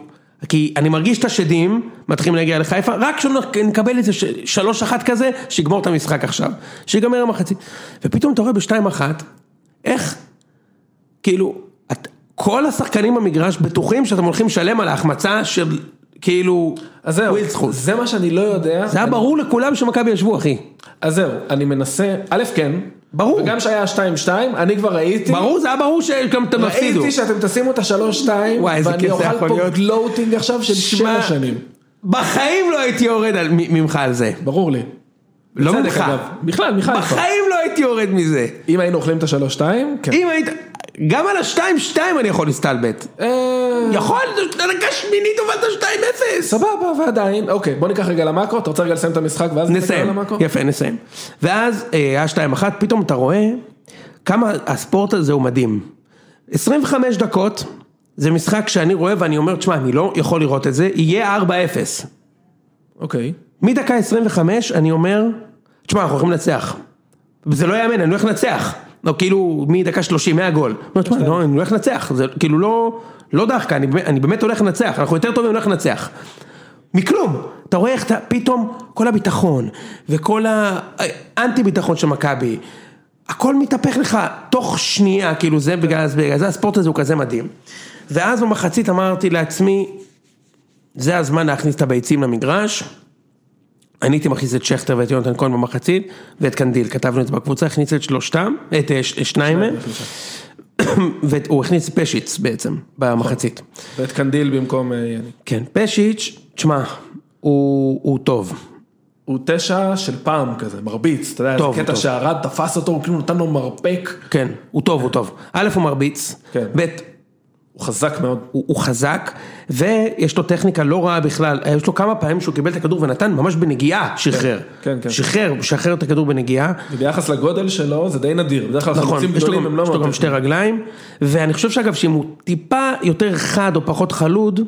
Speaker 1: כי אני מרגיש את השדים, מתחילים להגיע לחיפה, רק כשנקבל איזה ש- שלוש אחת כזה, שיגמור את המשחק עכשיו, שיגמר המחצית. ופתאום אתה רואה בשתיים אחת, איך כאילו, את, כל השחקנים במגרש בטוחים שאתם הולכים לשלם על ההחמצה של כאילו
Speaker 2: אז זהו,
Speaker 1: ווילדסחוט.
Speaker 2: זה מה שאני לא יודע.
Speaker 1: זה היה ברור לכולם שמכבי ישבו אחי.
Speaker 2: אז זהו, אני מנסה, א' כן.
Speaker 1: ברור.
Speaker 2: וגם שהיה 2-2, אני כבר ראיתי.
Speaker 1: ברור, זה היה ברור שגם אתם תפסידו.
Speaker 2: ראיתי שאתם תשימו את השלוש שתיים,
Speaker 1: וואי, איזה
Speaker 2: ואני
Speaker 1: כיף זה
Speaker 2: אוכל
Speaker 1: יכול
Speaker 2: פה
Speaker 1: להיות.
Speaker 2: גלוטינג עכשיו של
Speaker 1: שמע,
Speaker 2: שבע שנים,
Speaker 1: בחיים לא הייתי יורד על, מ- ממך על זה.
Speaker 2: ברור לי.
Speaker 1: לא
Speaker 2: בצדק,
Speaker 1: ממך.
Speaker 2: אגב. בכלל, מחיפה.
Speaker 1: בחיים לא הייתי יורד מזה.
Speaker 2: אם היינו אוכלים את השלוש שתיים, כן.
Speaker 1: אם היית... גם על השתיים שתיים אני יכול להסתלבט.
Speaker 2: אה,
Speaker 1: יכול, דקה שמינית הובלת שתיים אפס.
Speaker 2: סבבה, ועדיין, אוקיי, בוא ניקח רגע למאקרו, אתה רוצה רגע לסיים את המשחק ואז נסתכל על
Speaker 1: נסיים,
Speaker 2: המאקרו?
Speaker 1: יפה נסיים. ואז אה, היה שתיים אחת, פתאום אתה רואה כמה הספורט הזה הוא מדהים. 25 דקות, זה משחק שאני רואה ואני אומר, תשמע, אני לא יכול לראות את זה, יהיה 4-0.
Speaker 2: אוקיי.
Speaker 1: מדקה 25 אני אומר, תשמע, אנחנו הולכים לנצח. זה לא יאמן, אני הולך לנצח. לא, כאילו, מדקה 30, 100 גול. אני אומר, תשמע, לא, אני הולך לנצח, זה כאילו לא, לא דחקה, אני, באמת- אני באמת הולך לנצח, אנחנו יותר טובים, אני הולך לנצח. מכלום. אתה רואה איך אתה, פתאום כל הביטחון, וכל האנטי ביטחון של מכבי, הכל מתהפך לך תוך שנייה, כאילו זה בגלל, בגלל זה הספורט הזה הוא כזה מדהים. ואז במחצית אמרתי לעצמי, זה הזמן להכניס את הביצים למגרש. אני הייתי מכניס את שכטר ואת יונתן כהן במחצית, ואת קנדיל, כתבנו את זה בקבוצה, הכניס את שלושתם, את אה, ש- שניים מהם, והוא הכניס את פשיץ בעצם, במחצית.
Speaker 2: ואת קנדיל במקום אה, יני.
Speaker 1: כן, פשיץ', תשמע, הוא, הוא טוב.
Speaker 2: הוא תשע של פעם כזה, מרביץ, אתה יודע,
Speaker 1: טוב,
Speaker 2: זה קטע
Speaker 1: טוב.
Speaker 2: שהרד תפס אותו, הוא כאילו נתן לו מרפק,
Speaker 1: כן, הוא טוב, הוא טוב. א', הוא מרביץ,
Speaker 2: כן.
Speaker 1: ב',
Speaker 2: הוא חזק מאוד.
Speaker 1: הוא, הוא חזק, ויש לו טכניקה לא רעה בכלל, יש לו כמה פעמים שהוא קיבל את הכדור ונתן ממש בנגיעה, שחרר.
Speaker 2: כן, כן.
Speaker 1: שחרר, שחרר את הכדור בנגיעה.
Speaker 2: וביחס לגודל שלו זה די נדיר, בדרך כלל
Speaker 1: נכון,
Speaker 2: חלוצים
Speaker 1: יש לו
Speaker 2: גדולים הם
Speaker 1: גם,
Speaker 2: לא
Speaker 1: יש לו
Speaker 2: מאוד...
Speaker 1: גם שתי רגליים, ואני חושב שאגב שאם הוא טיפה יותר חד או פחות חלוד,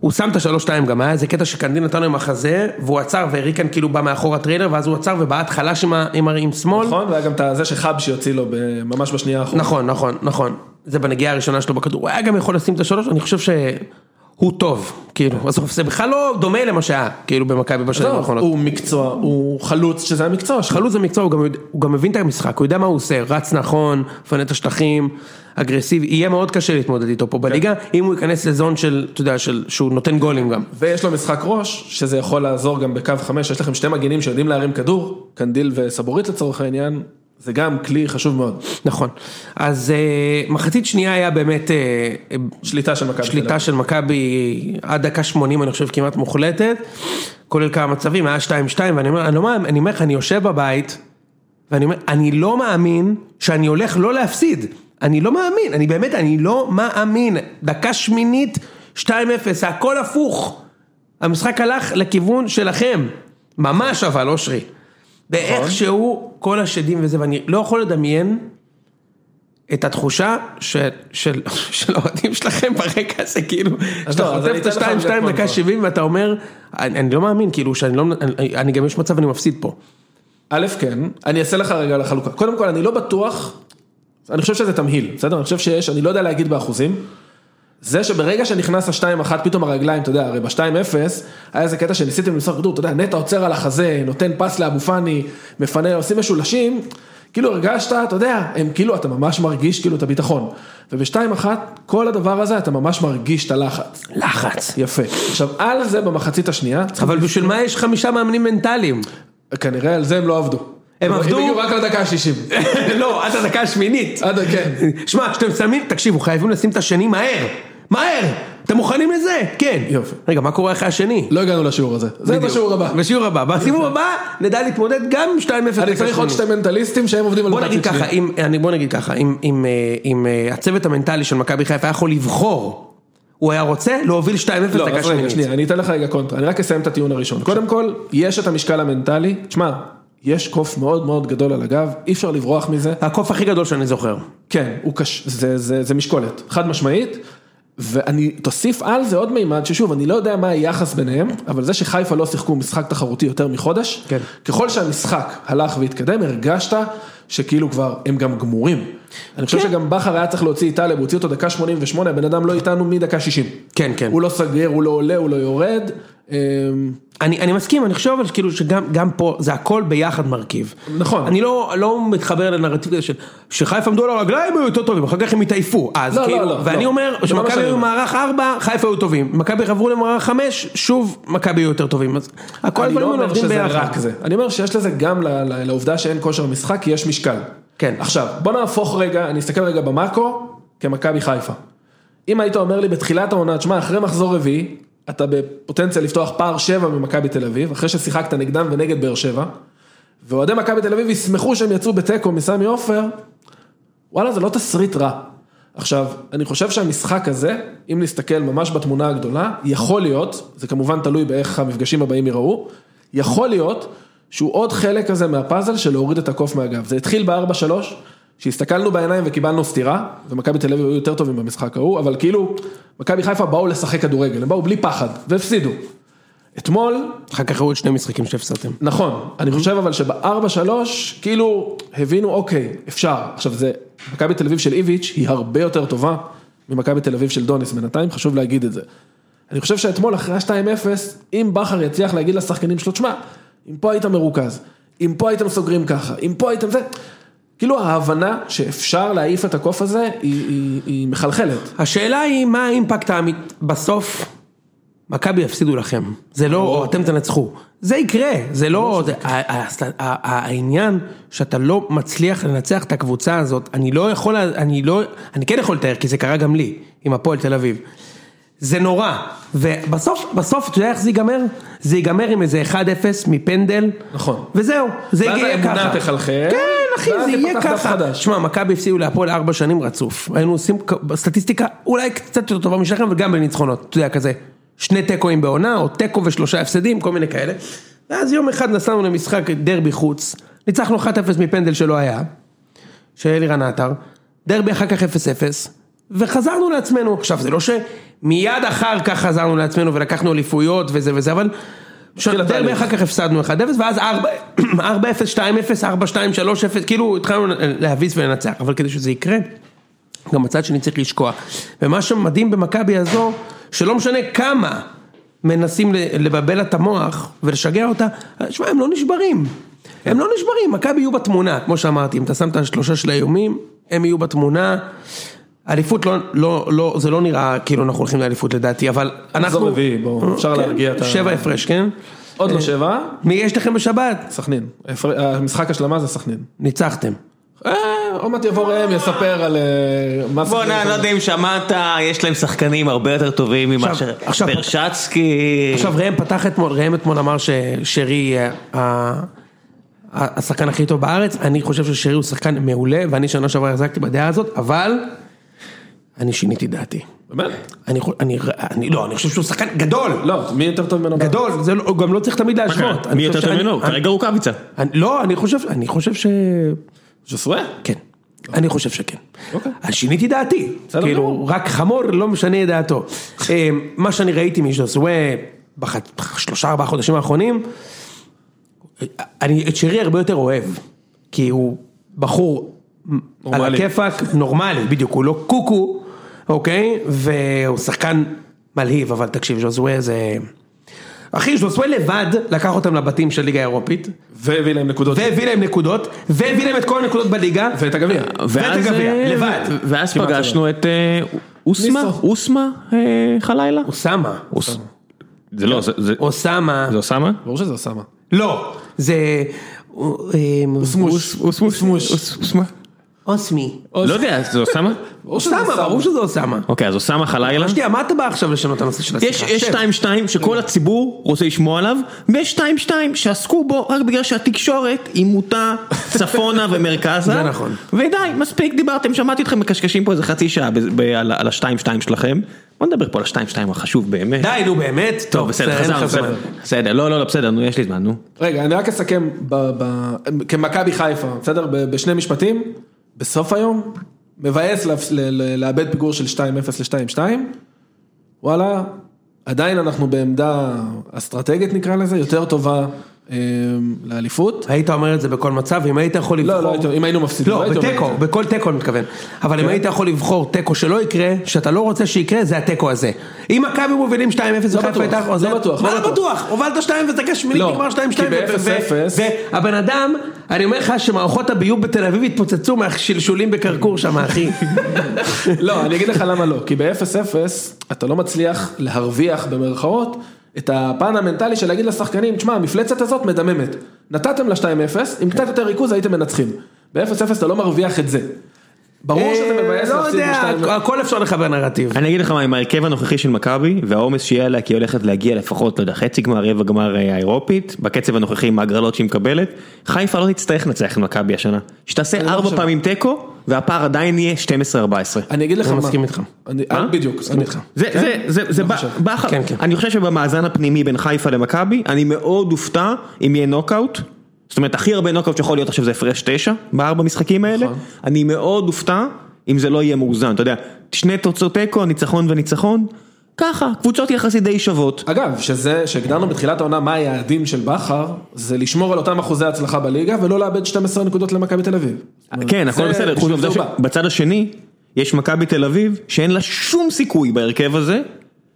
Speaker 1: הוא שם את השלוש שתיים גם, היה איזה קטע שקנדין נתן לו עם החזה, והוא עצר והריקן כאילו בא מאחור הטריילר, ואז הוא עצר ובעט חלש עם, ה- עם, ה- עם שמאל.
Speaker 2: נכון, והיה גם את זה שחבשי הוציא לו ב- ממש בשנייה האחרונה.
Speaker 1: נכון, נכון, נכון. זה בנגיעה הראשונה שלו בכדור. הוא היה גם יכול לשים את השלוש, אני חושב שהוא טוב, כאילו. בסוף זה בכלל לא דומה למה שהיה, כאילו, במכבי בשנים
Speaker 2: עזוב,
Speaker 1: האחרונות.
Speaker 2: לא, הוא מקצוע, הוא חלוץ, שזה המקצוע שלו.
Speaker 1: חלוץ זה מקצוע, הוא גם, יודע- הוא גם מבין את המשחק, הוא יודע מה הוא עושה, רץ נכון, מפנה את השטחים, אגרסיבי, יהיה מאוד קשה להתמודד איתו פה בליגה, אם הוא ייכנס לזון של, אתה יודע, של, שהוא נותן גולים גם.
Speaker 2: ויש לו משחק ראש, שזה יכול לעזור גם בקו חמש, יש לכם שתי מגנים שיודעים להרים כדור, קנדיל וסבורית לצורך העניין, זה גם כלי חשוב מאוד.
Speaker 1: נכון. אז אה, מחצית שנייה היה באמת אה,
Speaker 2: שליטה של מכבי. תל
Speaker 1: שליטה
Speaker 2: אביב.
Speaker 1: של מכבי עד דקה 80 אני חושב כמעט מוחלטת, כולל כמה מצבים, היה 2-2 ואני אומר, אני לא מאמין, אני אומר לך, אני יושב בבית, ואני אומר, אני לא מאמין שאני הולך לא להפסיד, אני לא מאמין, אני באמת, אני לא מאמין, דקה שמינית 2-0, הכל הפוך, המשחק הלך לכיוון שלכם, ממש אבל, אושרי,
Speaker 2: נכון.
Speaker 1: ואיכשהו כל השדים וזה, ואני לא יכול לדמיין את התחושה של, של, של האוהדים שלכם ברגע הזה, כאילו,
Speaker 2: אז
Speaker 1: שאתה
Speaker 2: לא, אז
Speaker 1: חוטף
Speaker 2: אני
Speaker 1: את
Speaker 2: אתן לך את זה
Speaker 1: השתיים-שתיים
Speaker 2: כמו
Speaker 1: דקה
Speaker 2: כבר.
Speaker 1: שבעים ואתה אומר, אני, אני לא מאמין, כאילו, שאני לא, אני, אני גם יש מצב אני מפסיד פה.
Speaker 2: א', כן, אני אעשה לך רגע לחלוקה. קודם כל, אני לא בטוח, אני חושב שזה תמהיל, בסדר? אני חושב שיש, אני לא יודע להגיד באחוזים. זה שברגע שנכנס השתיים אחת, פתאום הרגליים, אתה יודע, הרי בשתיים אפס, היה איזה קטע שניסיתם למסור כדור, אתה יודע, נטע עוצר על החזה, נותן פס לאבו פאני, מפנה, עושים משולשים, כאילו הרגשת, אתה יודע, הם כאילו, אתה ממש מרגיש כאילו את הביטחון. ובשתיים אחת, כל הדבר הזה, אתה ממש מרגיש את הלחץ.
Speaker 1: לחץ.
Speaker 2: יפה. עכשיו, על זה במחצית השנייה, צריכים
Speaker 1: אבל בשביל מה יש חמישה מאמנים מנטליים?
Speaker 2: כנראה על זה הם לא עבדו.
Speaker 1: הם עבדו?
Speaker 2: הם הגיעו רק לדקה ה-60.
Speaker 1: לא, עד הדקה השמינית.
Speaker 2: עד כן.
Speaker 1: שמע, כשאתם שמים, תקשיבו, חייבים לשים את השני מהר. מהר! אתם מוכנים לזה? כן.
Speaker 2: יופי.
Speaker 1: רגע, מה קורה אחרי השני?
Speaker 2: לא הגענו לשיעור הזה. זה
Speaker 1: בדיוק.
Speaker 2: בשיעור הבא.
Speaker 1: בשיעור הבא. בסיבוב הבא נדע להתמודד גם עם 2-0.
Speaker 2: אני צריך עוד שתי מנטליסטים שהם עובדים על
Speaker 1: בוא נגיד
Speaker 2: מחצית
Speaker 1: ככה,
Speaker 2: שנייה.
Speaker 1: אם, אני, בוא נגיד ככה, אם, אם, אה, אם אה, הצוות המנטלי של מכבי חיפה היה יכול לבחור, הוא היה רוצה להוביל 2-0
Speaker 2: לא,
Speaker 1: דקה
Speaker 2: אז רגע,
Speaker 1: שמינית.
Speaker 2: שנייה, אני אתן לך רגע קונטרה, אני רק אסיים את הטיעון הראשון. קודם כל, יש את המשקל המנטלי, תשמע, יש קוף מאוד מאוד גדול על הגב, אי אפשר לברוח מזה.
Speaker 1: הקוף הכי גדול שאני זוכר.
Speaker 2: כן, הוא קש... זה, זה, זה משקולת, חד משמעית. ואני, תוסיף על זה עוד מימד, ששוב, אני לא יודע מה היחס ביניהם, אבל זה שחיפה לא שיחקו משחק תחרותי יותר מחודש,
Speaker 1: כן.
Speaker 2: ככל שהמשחק הלך והתקדם, הרגשת שכאילו כבר, הם גם גמורים. אני חושב
Speaker 1: כן.
Speaker 2: שגם בכר היה צריך להוציא את טלב, הוא הוציא אותו דקה 88, הבן אדם לא איתנו מדקה 60.
Speaker 1: כן, כן.
Speaker 2: הוא לא סגר, הוא לא עולה, הוא לא יורד. אמ,
Speaker 1: אני, אני מסכים, אני חושב אבל שכאילו שגם גם פה זה הכל ביחד מרכיב.
Speaker 2: נכון.
Speaker 1: אני לא, לא מתחבר לנרטיב הזה של שחיפה עמדו על הרגליים היו יותר טובים, אחר כך הם התעייפו. אז
Speaker 2: לא,
Speaker 1: כאילו,
Speaker 2: לא, לא,
Speaker 1: ואני
Speaker 2: לא. זה
Speaker 1: אומר,
Speaker 2: לא מה
Speaker 1: כשמכבי
Speaker 2: שאני
Speaker 1: היו
Speaker 2: אומר.
Speaker 1: במערך 4, חיפה היו טובים. מכבי עברו למערך 5, שוב מכבי היו יותר טובים. אז הכל
Speaker 2: אני
Speaker 1: הדברים
Speaker 2: לא
Speaker 1: האלה
Speaker 2: אומר
Speaker 1: עובדים
Speaker 2: שזה
Speaker 1: ביחד.
Speaker 2: רק זה. אני אומר שיש לזה גם ל- ל- לעובדה שאין כושר משחק, כי יש משקל.
Speaker 1: כן.
Speaker 2: עכשיו, בוא נהפוך רגע, אני אסתכל רגע במאקרו, כמכבי חיפה. אם היית אומר לי בתחילת העונה, תשמע, אחרי מחזור רביעי, אתה בפוטנציה לפתוח פער שבע ממכבי תל אביב, אחרי ששיחקת נגדם ונגד באר שבע, ואוהדי מכבי תל אביב ישמחו שהם יצאו בתיקו מסמי עופר, וואלה, זה לא תסריט רע. עכשיו, אני חושב שהמשחק הזה, אם נסתכל ממש בתמונה הגדולה, יכול להיות, זה כמובן תלוי באיך המפגשים הבאים ייראו, יכול להיות שהוא עוד חלק כזה מהפאזל של להוריד את הקוף מהגב. זה התחיל ב-4-3, שהסתכלנו בעיניים וקיבלנו סטירה, ומכבי תל אביב היו יותר טובים במשחק ההוא, אבל כאילו, מכבי חיפה באו לשחק כדורגל, הם באו בלי פחד, והפסידו. אתמול,
Speaker 1: אחר כך היו עוד שני משחקים שהפסדתם.
Speaker 2: נכון, אני חושב אבל שבארבע שלוש, כאילו, הבינו, אוקיי, אפשר. עכשיו זה, מכבי תל אביב של איביץ' היא הרבה יותר טובה ממכבי תל אביב של דוניס בינתיים, חשוב להגיד את זה. אני חושב שאתמול אחרי ה-2-0, אם בכר יצליח להגיד לשחקנים שלו, תשמע, אם פה היית מרוכז, אם פה הייתם סוגרים ככה, אם פה הייתם זה, כאילו ההבנה שאפשר להעיף את הקוף הזה, היא, היא, היא מחלחלת.
Speaker 1: השאלה היא מה האימפקט האמית, בסוף מכבי יפסידו לכם, זה לא או אתם תנצחו, זה יקרה, זה לא, זה- ה- ה- ה- ה- העניין שאתה לא מצליח לנצח את הקבוצה הזאת, אני לא יכול, אני לא, אני כן יכול לתאר כי זה קרה גם לי, עם הפועל תל אביב, זה נורא, ובסוף, בסוף אתה יודע איך זה ייגמר? זה ייגמר עם איזה 1-0 מפנדל,
Speaker 2: נכון.
Speaker 1: וזהו, זה
Speaker 2: ואז
Speaker 1: יהיה ככה,
Speaker 2: האמונה תחלחל,
Speaker 1: כן אחי
Speaker 2: ואז
Speaker 1: זה יהיה
Speaker 2: יפתח דף
Speaker 1: ככה,
Speaker 2: חדש.
Speaker 1: שמע, מכבי הפסידו להפועל ארבע שנים רצוף. היינו עושים כ- סטטיסטיקה אולי קצת יותר טובה משלכם וגם בניצחונות, אתה יודע, כזה. שני תיקואים בעונה, או תיקו ושלושה הפסדים, כל מיני כאלה. ואז יום אחד נסענו למשחק דרבי חוץ, ניצחנו 1-0 מפנדל שלא היה, של אלירן עטר, דרבי אחר כך 0-0, וחזרנו לעצמנו. עכשיו, זה לא שמיד אחר כך חזרנו לעצמנו ולקחנו אליפויות וזה וזה, אבל... דרבי
Speaker 2: התהליך.
Speaker 1: אחר כך הפסדנו 1-0, ואז 4-0, 2-0, 4-2, 3-0, כאילו התחלנו להביס ולנצח, אבל כדי שזה יקרה, גם הצד שני צריך לשקוע. ומה שמדהים במכבי הזו, שלא משנה כמה מנסים ל- לבלבל לה את המוח ולשגע אותה, שמע, הם לא נשברים.
Speaker 2: כן.
Speaker 1: הם לא נשברים, מכבי יהיו בתמונה, כמו שאמרתי, אם אתה שם את השלושה של האיומים, הם יהיו בתמונה. אליפות לא, לא, לא, זה לא נראה כאילו אנחנו הולכים לאליפות לדעתי, אבל אנחנו...
Speaker 2: רביעי, בואו, אפשר
Speaker 1: כן,
Speaker 2: להרגיע את ה-
Speaker 1: שבע הפרש, כן?
Speaker 2: עוד לא שבע,
Speaker 1: מי יש לכם בשבת?
Speaker 2: סכנין. הפר- המשחק השלמה זה סכנין.
Speaker 1: ניצחתם.
Speaker 2: אה, עוד מעט יבוא ראם יספר על אה, מה זה.
Speaker 4: בואנה, אני לא יודע אם שמעת, יש להם שחקנים הרבה יותר טובים ממה ש...
Speaker 1: עכשיו- עכשיו-
Speaker 4: ברשצקי.
Speaker 1: עכשיו ראם פתח אתמול, ראם אתמול אמר ששרי אה, ה- ה- השחקן הכי טוב בארץ, אני חושב ששרי הוא שחקן מעולה, ואני שנה שעברה החזקתי בדעה הזאת, אבל אני שיניתי דעתי.
Speaker 2: באמת?
Speaker 1: אני, חו- אני, אני, לא, אני חושב שהוא שחקן גדול,
Speaker 2: לא, מי יותר טוב ממנו?
Speaker 1: גדול, זה לא, הוא גם לא צריך תמיד להשוות. אני
Speaker 4: מי יותר
Speaker 1: חושב
Speaker 4: טוב
Speaker 1: שאני-
Speaker 4: ממנו?
Speaker 1: אני-
Speaker 4: כרגע רוקאביצה.
Speaker 1: אני- לא, אני חושב, אני חושב ש...
Speaker 2: ז'סווה?
Speaker 1: כן. אני חושב שכן.
Speaker 2: אוקיי.
Speaker 1: אז שיניתי דעתי.
Speaker 2: בסדר
Speaker 1: כאילו,
Speaker 2: גמור.
Speaker 1: רק חמור לא משנה את דעתו. אה, מה שאני ראיתי מז'וזווה בשלושה ארבעה חודשים האחרונים, אה, אני את שרי הרבה יותר אוהב. כי הוא בחור על
Speaker 2: נורמלי.
Speaker 1: הכיפאק, נורמלי, בדיוק, הוא לא קוקו, אוקיי? והוא שחקן מלהיב, אבל תקשיב, ז'וזווה זה... אחי, ז'וזווה לבד לקח אותם לבתים של ליגה אירופית,
Speaker 2: והביא להם נקודות.
Speaker 1: והביא להם נקודות, והביא להם את כל הנקודות בליגה.
Speaker 2: ואת הגביע.
Speaker 4: ואז,
Speaker 1: הגביע,
Speaker 4: אה,
Speaker 1: לבד.
Speaker 4: ו- ואז
Speaker 2: כמעט
Speaker 4: פגשנו את אה, אוסמה,
Speaker 2: ניסו.
Speaker 4: אוסמה אה, חלילה?
Speaker 1: אוסאמה.
Speaker 4: זה לא, זה- זה
Speaker 1: אוסאמה.
Speaker 4: זה אוסמה?
Speaker 2: ברור שזה אוסאמה.
Speaker 1: לא. זה... אה, אוסמוש.
Speaker 2: אוסמוש.
Speaker 1: אוסמי.
Speaker 4: לא יודע, זה אוסמה?
Speaker 2: ברור שזה
Speaker 1: אוסאמה, אה? ברור שזה אוסאמה.
Speaker 4: אוקיי, אז אוסמה חלילה?
Speaker 1: שנייה, מה אתה בא עכשיו לשנות את הנושא של
Speaker 4: יש
Speaker 1: השיחה?
Speaker 4: יש
Speaker 1: שב.
Speaker 4: 2-2
Speaker 1: Mm.
Speaker 4: שכל הציבור רוצה לשמוע עליו, ויש 2-2 שעסקו בו רק בגלל שהתקשורת היא מוטה צפונה ומרכזה.
Speaker 1: זה נכון.
Speaker 4: ודי, מספיק דיברתם, שמעתי אתכם מקשקשים פה איזה חצי שעה ב- ב- על על ה-2-2 שלכם. בוא נדבר פה על ה-2-2 החשוב באמת.
Speaker 1: די, נו באמת.
Speaker 4: טוב, בסדר,
Speaker 1: אין לך
Speaker 4: חזרנו,
Speaker 1: זמן.
Speaker 4: בסדר. בסדר, לא, לא, לא, בסדר, נו, יש לי זמן, נו.
Speaker 2: רגע, אני רק אסכם ב, ב, כמכבי חיפה, בסדר? ב, בשני משפטים, בסוף היום, מבאס לה- ל- ל- לאבד פיגור של 2-0 ל-2-2, וואלה, עדיין אנחנו בעמדה אסטרטגית נקרא לזה, יותר טובה אה, לאליפות.
Speaker 1: היית אומר את זה בכל מצב, אם היית יכול לבחור...
Speaker 2: לא, לא, הייתי- אם היינו מפסידים,
Speaker 1: לא,
Speaker 2: הייתי אומר
Speaker 1: בתיקו,
Speaker 2: את זה. כן.
Speaker 1: בכל תיקו אני מתכוון. אבל אם היית יכול לבחור תיקו שלא יקרה, שאתה לא רוצה שיקרה, זה התיקו הזה. אם מכבי מובילים 2-0, וחיפה
Speaker 2: בטוח,
Speaker 1: הייתה
Speaker 2: לא
Speaker 1: עוזרת-
Speaker 2: בטוח, לא
Speaker 1: מה לא
Speaker 2: בטוח?
Speaker 1: בטוח? הובלת 2 ודקה שמינית
Speaker 2: לא,
Speaker 1: נגמר 2-2.
Speaker 2: כי ב- 0-0.
Speaker 1: והבן אדם, אני אומר לך שמערכות הביוב בתל אביב התפוצצו מהשלשולים בקרקור שם, אחי.
Speaker 2: לא, אני אגיד לך למה לא, כי ב-0-0 אתה לא מצליח להרוויח במרכאות את הפן המנטלי של להגיד לשחקנים, תשמע, המפלצת הזאת מדממת. נתתם לה 2-0, עם קצת יותר ריכוז הייתם מנצחים. ב-0-0 אתה לא מרוויח את זה. ברור שזה
Speaker 1: אה,
Speaker 2: מבאס
Speaker 1: לא
Speaker 2: להפסיד לא
Speaker 1: יודע,
Speaker 2: ב-2-0.
Speaker 1: הכל אפשר לחבר נרטיב.
Speaker 4: אני אגיד לך מה, עם ההרכב הנוכחי של מכבי, והעומס שיהיה עליה, כי היא הולכת להגיע לפחות, לא יודע, חצי גמר, רבע גמר אה, האירופית, בקצב הנוכחי עם ההגרלות שהיא מקבלת, חיפה לא תצטרך לנצח את מכבי השנה. שתעשה ארבע
Speaker 2: חושב.
Speaker 4: פעמים תיקו, והפער עדיין יהיה 12-14.
Speaker 2: אני אגיד לך מה.
Speaker 1: אני מסכים איתך.
Speaker 2: אני- בדיוק, אני-
Speaker 4: זה, זה, זה, זה בא,
Speaker 2: חושב.
Speaker 4: בא אחר,
Speaker 1: כן, כן.
Speaker 4: אני חושב שבמאזן הפנימי בין חיפה למכבי, אני מאוד אופתע אם יהיה נוקאוט, זאת אומרת הכי הרבה נוקאוט שיכול להיות עכשיו זה הפרש תשע, בארבע משחקים האלה, אני מאוד אופתע אם זה לא יהיה מאוזן, אתה יודע, שני תוצאות תיקו, ניצחון וניצחון, ככה, קבוצות יחסית די שוות.
Speaker 2: אגב, שזה, שהגדרנו בתחילת העונה מה היעדים של בכר, זה לשמור על אותם אחוזי הצלחה בליגה ולא לאבד 12 נקודות למכבי תל אביב. זאת אומרת,
Speaker 4: כן, הכל
Speaker 2: לא, זה-
Speaker 4: בסדר, חוץ
Speaker 2: בשביל
Speaker 4: מהעובדה
Speaker 2: זה הוא בא.
Speaker 4: שבצד השני, יש מכבי תל אביב, שאין לה שום סיכוי בהרכב הזה,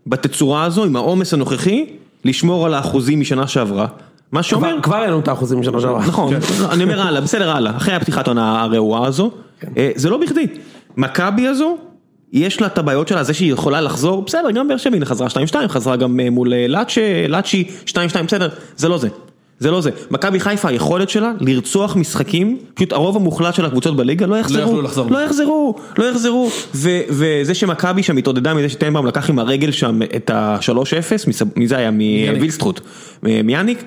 Speaker 4: בתצורה הזו, עם העומס הנוכחי, לשמור על האחוזים משנה שעברה. מה שאומר,
Speaker 1: כבר- כבר העלנו את האחוזים בשנה שעברה.
Speaker 4: נכון, אני אומר הלאה, בסדר הלאה, אחרי הפתיחת העונה הרעועה הזו, אה, זה לא בכדי. מכבי הזו, יש לה את הבעיות שלה, זה שהיא יכולה לחזור, בסדר, גם באר שבע, הנה חזרה 2-2, חזרה גם אה, מול אה, לאצ'ה, לאצ'י, 2-2, בסדר, זה לא זה. זה לא זה. מכבי חיפה, היכולת שלה לרצוח משחקים, פשוט הרוב המוחלט של הקבוצות בליגה לא יחזרו.
Speaker 2: יוכלו לחזור.
Speaker 4: לא יחזרו, לא יחזרו. ו- וזה שמכבי שם התעודדה מזה שטנבאום לקח עם הרגל שם את ה-3-0, מסב- מי זה היה? מווילסטרוט. מ- מיאניק.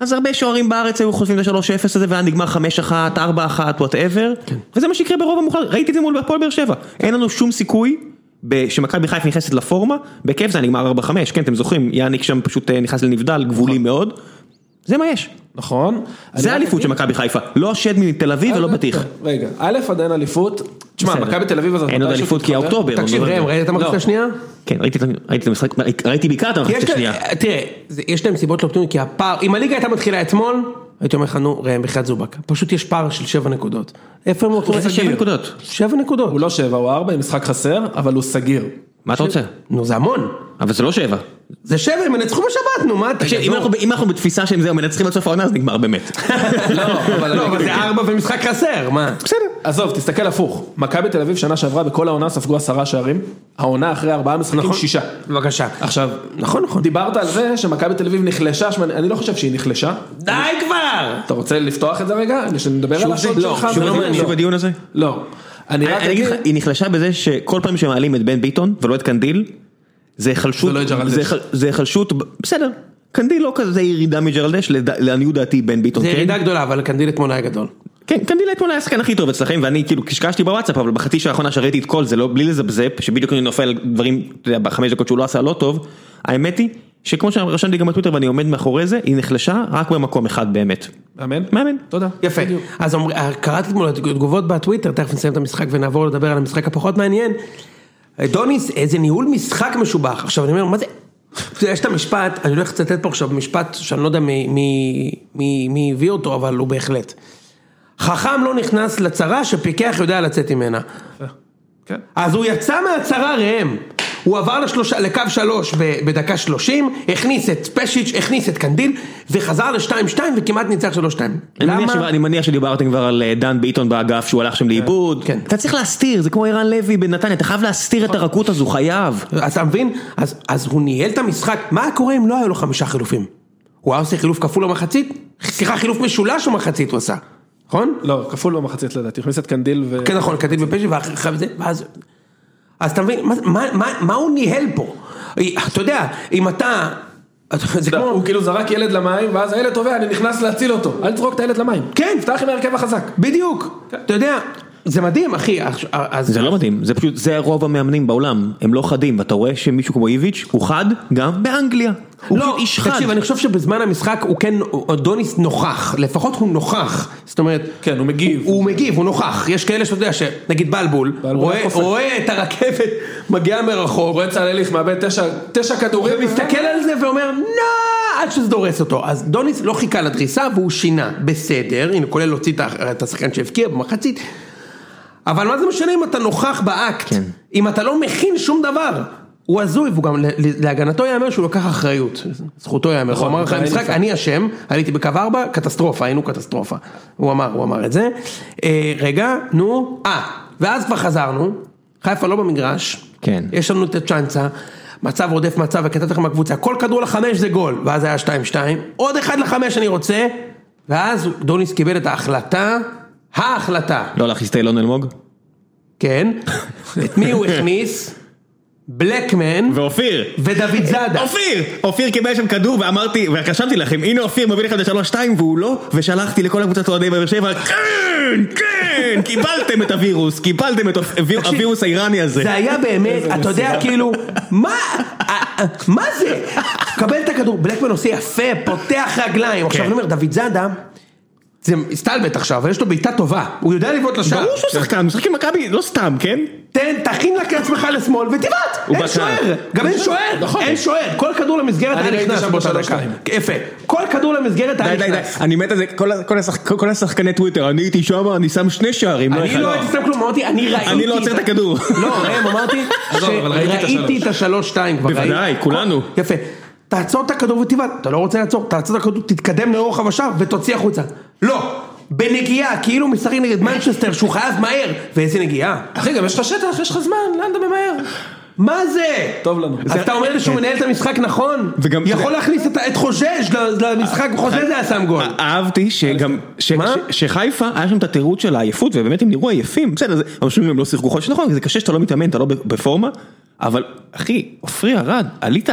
Speaker 4: אז הרבה שוערים בארץ היו חוטפים את ה-3-0 הזה והיה נגמר 5-1, 4-1, וואטאבר,
Speaker 2: כן.
Speaker 4: וזה מה שיקרה ברוב המוחלט, ראיתי את זה מול הפועל באר שבע, אין לנו שום סיכוי ב- שמכבי חיפה נכנסת לפורמה, בכיף זה היה נגמר 4-5, כן אתם זוכרים, יאניק שם פשוט אה, נכנס לנבדל, גבולי מאוד, זה מה יש,
Speaker 2: נכון. אני
Speaker 4: זה
Speaker 2: רק אה,
Speaker 4: האליפות של מכבי חיפה, לא השד מתל אביב ולא
Speaker 2: רגע,
Speaker 4: בטיח.
Speaker 2: רגע, א' עדיין אליפות, תשמע,
Speaker 4: בסדר.
Speaker 2: מכבי תל אביב הזאת
Speaker 4: אין עוד
Speaker 2: מתישהו
Speaker 4: אליפות כי
Speaker 2: תתחבר.
Speaker 4: האוקטובר.
Speaker 1: תקשיב
Speaker 4: אבל-
Speaker 1: ראם, ראית את המחצית
Speaker 2: לא.
Speaker 1: השנייה?
Speaker 4: כן, ראיתי את- ראיתי את המשחק, ראיתי בעיקר את
Speaker 1: יש
Speaker 4: המחצית השנייה.
Speaker 1: כאן- תראה, זה- יש להם סיבות לא פתאום, כי הפער, אם הליגה הייתה מתחילה אתמול, הייתי אומר לך, נו, ראם, בחייאת זובק, פשוט יש פער של שבע נקודות. איפה הם הולכים?
Speaker 4: איזה שבע נקודות?
Speaker 1: שבע נקודות.
Speaker 2: הוא לא שבע, הוא ארבע, עם משחק חסר, אבל הוא סגיר.
Speaker 4: מה אתה רוצה?
Speaker 1: נו, זה המון.
Speaker 4: אבל זה לא שבע.
Speaker 1: זה שבע, הם ינצחו בשבת, נו, מה אתה...
Speaker 4: תקשיב, אם
Speaker 1: נו.
Speaker 4: אנחנו- אם אנחנו בתפיסה שהם זהו מנצחים עד סוף העונה אז נגמר באמת.
Speaker 1: לא, אבל זה ארבע ומשחק חסר, מה?
Speaker 4: בסדר.
Speaker 2: עזוב, תסתכל הפוך. מכבי תל אביב שנה שעברה בכל העונה ספגו עשרה שערים, העונה אחרי ארבעה
Speaker 4: נכון.
Speaker 2: משחקים שישה.
Speaker 1: בבקשה.
Speaker 2: עכשיו, נכון, נכון. דיברת על זה שמכבי תל אביב נחלשה, שמע, אני לא חושב שהיא נחלשה.
Speaker 1: די כבר!
Speaker 2: אתה רוצה לפתוח את זה רגע? שנדבר על השעות
Speaker 1: לא,
Speaker 2: שלך?
Speaker 1: שוב
Speaker 2: זה
Speaker 1: זה-
Speaker 2: לא מעניין.
Speaker 4: שוב הדיון הזה?
Speaker 2: לא. אני רק
Speaker 4: אני אגיד
Speaker 2: אגיד...
Speaker 4: לך, היא נחלשה בזה שכל פעם שמעלים את בן ביטון ולא את קנדיל, זה היחלשות,
Speaker 2: ולא את ג'רלדש.
Speaker 4: זה היחל- זה היחלשות, בסדר, קנדיל לא כזה הירידה מג'רלדש, לדע- לעניות דעתי בן ביטון,
Speaker 1: זה
Speaker 4: כן?
Speaker 1: ירידה גדולה, אבל קנדיל אתמול היה גדול.
Speaker 4: כן, קנדיל אתמול היה השחקן הכי טוב אצלכם, ואני כאילו קשקשתי בוואטסאפ, אבל בחצי שעה האחרונה שראיתי את כל זה, לא, בלי לזפזפ, שבדיוק אני נופל על דברים, אתה יודע, בחמש דקות שהוא לא עשה לא טוב, האמת היא, שכמו שרשמתי גם בטוויטר ואני עומד מאחורי זה, היא נחלשה רק במקום אחד באמת.
Speaker 2: מאמן?
Speaker 4: מאמן.
Speaker 2: תודה.
Speaker 1: יפה. אז אומר- קראתי אתמול את התגובות בטוויטר, תכף נסיים את המשחק ונעבור לדבר על המשחק הפחות מעניין. דוניס, איזה ניהול משחק משובח. עכשיו אני אומר, מה זה? אתה יודע, יש את המשפט, אני הולך לצטט פה עכשיו משפט שאני לא יודע מי- מי- מי מי הביא אותו, אבל הוא בהחלט. חכם לא נכנס לצרה שפיקח יודע לצאת ממנה.
Speaker 2: כן.
Speaker 1: אז הוא יצא מהצרה ראם. הוא עבר לשלושה, לקו שלוש ב, בדקה שלושים, הכניס את פשיץ', הכניס את קנדיל, וחזר לשתיים שתיים וכמעט ניצח שלוש שתיים.
Speaker 4: אני מניח,
Speaker 1: למה?
Speaker 4: שב- אני מניח שדיברתם כבר על אה, דן ביטון באגף שהוא הלך שם לאיבוד.
Speaker 1: כן.
Speaker 4: אתה צריך להסתיר, זה כמו ערן לוי בנתניה, אתה חייב להסתיר את הרכות הזו, חייב.
Speaker 1: אז אתה מבין? אז, אז הוא ניהל את המשחק, מה קורה אם לא היו לו חמישה חילופים? הוא היה עושה חילוף כפול במחצית? סליחה, חילוף משולש במחצית הוא עשה, נכון?
Speaker 2: לא, כפול במחצית לדעתי, הכניס את קנדיל ו...
Speaker 1: כן נכון, קטין ופשע, ואחריו זה, ואז... אז אתה מבין, מה, מה, מה, מה הוא ניהל פה? אה, אתה יודע, אם אתה... זה
Speaker 2: אתה יודע,
Speaker 1: כמו...
Speaker 2: הוא כאילו זרק ילד למים, ואז הילד טובע, אני נכנס להציל אותו. אל תזרוק את הילד למים.
Speaker 1: כן.
Speaker 2: פתח עם ההרכב החזק.
Speaker 1: בדיוק, אתה יודע, זה מדהים אחי, אך- אז
Speaker 4: זה לא מדהים, זה פשוט, זה רוב המאמנים בעולם, הם לא חדים, ואתה רואה שמישהו כמו איביץ' הוא חד גם באנגליה. הוא פשוט איש חד.
Speaker 1: לא, תקשיב, אני חושב שבזמן המשחק הוא כן, אדוניס נוכח, לפחות הוא נוכח, זאת אומרת,
Speaker 2: כן, הוא מגיב.
Speaker 1: הוא מגיב, הוא נוכח, יש כאלה שאתה יודע, שנגיד בלבול,
Speaker 2: בלבול
Speaker 1: רואה-
Speaker 2: קופץ.
Speaker 1: רואה את הרכבת מגיעה מרחוק,
Speaker 2: רואה צלליך מאבד תשע- תשע כדורים.
Speaker 1: מסתכל על זה ואומר נו, עד שזה דורס אותו, אז דוניס לא חיכה לדריסה והוא שינה, בסדר, הנה כולל להוציא את ה- את השחקן שהבקיע במחצית, אבל מה זה משנה אם אתה נוכח באקט,
Speaker 4: כן.
Speaker 1: אם אתה לא מכין שום דבר. הוא הזוי, והוא גם, ל- להגנתו ייאמר שהוא לקח אחריות, זכותו ייאמר,
Speaker 4: נכון,
Speaker 1: הוא אמר אחרי
Speaker 2: אין
Speaker 1: המשחק, אני אשם, עליתי בקו 4, קטסטרופה, היינו קטסטרופה. הוא אמר, הוא אמר את זה. אה, רגע, נו, אה, ואז כבר חזרנו, חיפה לא במגרש,
Speaker 4: כן.
Speaker 1: יש לנו את הצ'אנסה, מצב רודף מצב, הקטעת לך מהקבוצה, כל כדור לחמש זה גול, ואז היה 2-2, עוד אחד לחמש אני רוצה, ואז דוניס קיבל את ההחלטה, ההחלטה,
Speaker 4: לא להכניס את אילון אלמוג?
Speaker 1: כן, את מי הוא הכניס? בלקמן
Speaker 4: ואופיר!
Speaker 1: ודוד זאדה.
Speaker 4: אופיר! אופיר קיבל שם כדור ואמרתי, ורשמתי לכם, הנה אופיר מוביל לכם ל-3-2 והוא לא, ושלחתי לכל הקבוצת אוהדי באר שבע, כן, כן, קיבלתם את הווירוס, קיבלתם את הוויר- הווירוס האיראני הזה.
Speaker 1: זה היה באמת, אתה יודע, כאילו, מה, אה, מה זה? קבל את הכדור, בלקמן עושה יפה, פותח רגליים. עכשיו אני אומר, דוד זאדה, זה הסתלבט עכשיו, אבל יש לו בעיטה טובה, הוא יודע לבעוט לשער.
Speaker 4: ברור שהוא שחקן, הוא משחק עם מכבי, לא סתם, כן?
Speaker 1: תן, תכין לק- לעצמך לשמאל ותבעט,
Speaker 4: הוא
Speaker 1: אין
Speaker 4: בקר.
Speaker 1: שוער, גם אין שוער,
Speaker 4: נכון.
Speaker 1: אין שוער, כל כדור למסגרת
Speaker 2: אני
Speaker 1: היה
Speaker 2: ראיתי
Speaker 1: נכנס
Speaker 2: שם
Speaker 1: באותה
Speaker 2: בשלוש
Speaker 1: דקה,
Speaker 2: שתיים.
Speaker 1: יפה, כל כדור למסגרת היה
Speaker 4: די די די,
Speaker 1: נכנס,
Speaker 4: אני מת על זה, כל ה- כל השחק- כל השחקני טוויטר, אני הייתי שם, אני שם שני שערים, לא
Speaker 1: אני
Speaker 4: אחד.
Speaker 1: לא הייתי שם כלום, אמרתי, אני ראיתי,
Speaker 4: אני לא עוצר את הכדור.
Speaker 1: לא, ראם, אמרתי,
Speaker 2: עזוב, אבל ראיתי את
Speaker 1: שראיתי את השלוש שתיים כבר,
Speaker 4: בוודאי,
Speaker 1: ראיתי.
Speaker 4: כולנו.
Speaker 1: יפה, תעצור את הכדור ותבעט, אתה לא רוצה לעצור, תעצור את הכדור, תתקדם לרוחב השער ותוציא החוצה, לא, בנגיעה, כאילו משחקים נגד מנצ'סטר שהוא חייב מהר, ואיזה נגיעה,
Speaker 2: אחי, גם יש לך שטח, יש לך זמן, לאן אתה ממהר?
Speaker 1: מה זה?
Speaker 2: טוב לנו.
Speaker 1: אז
Speaker 2: זה-
Speaker 1: אתה אומר לי שהוא מנהל את המשחק נכון?
Speaker 4: וגם-
Speaker 1: יכול להכניס את- את חושש ל- למשחק, חושש היה שם גול.
Speaker 4: אה, אהבתי שגם, ש-
Speaker 1: מה?
Speaker 4: ש- שחיפה, היה שם את התירוץ של העייפות, ובאמת הם נראו עייפים, בסדר, זה- אבל שוב, הם לא שיחקו חודש, נכון, זה קשה שאתה לא מתאמן, אתה לא ב- בפורמה, אבל אחי, עופרי ארד, עלית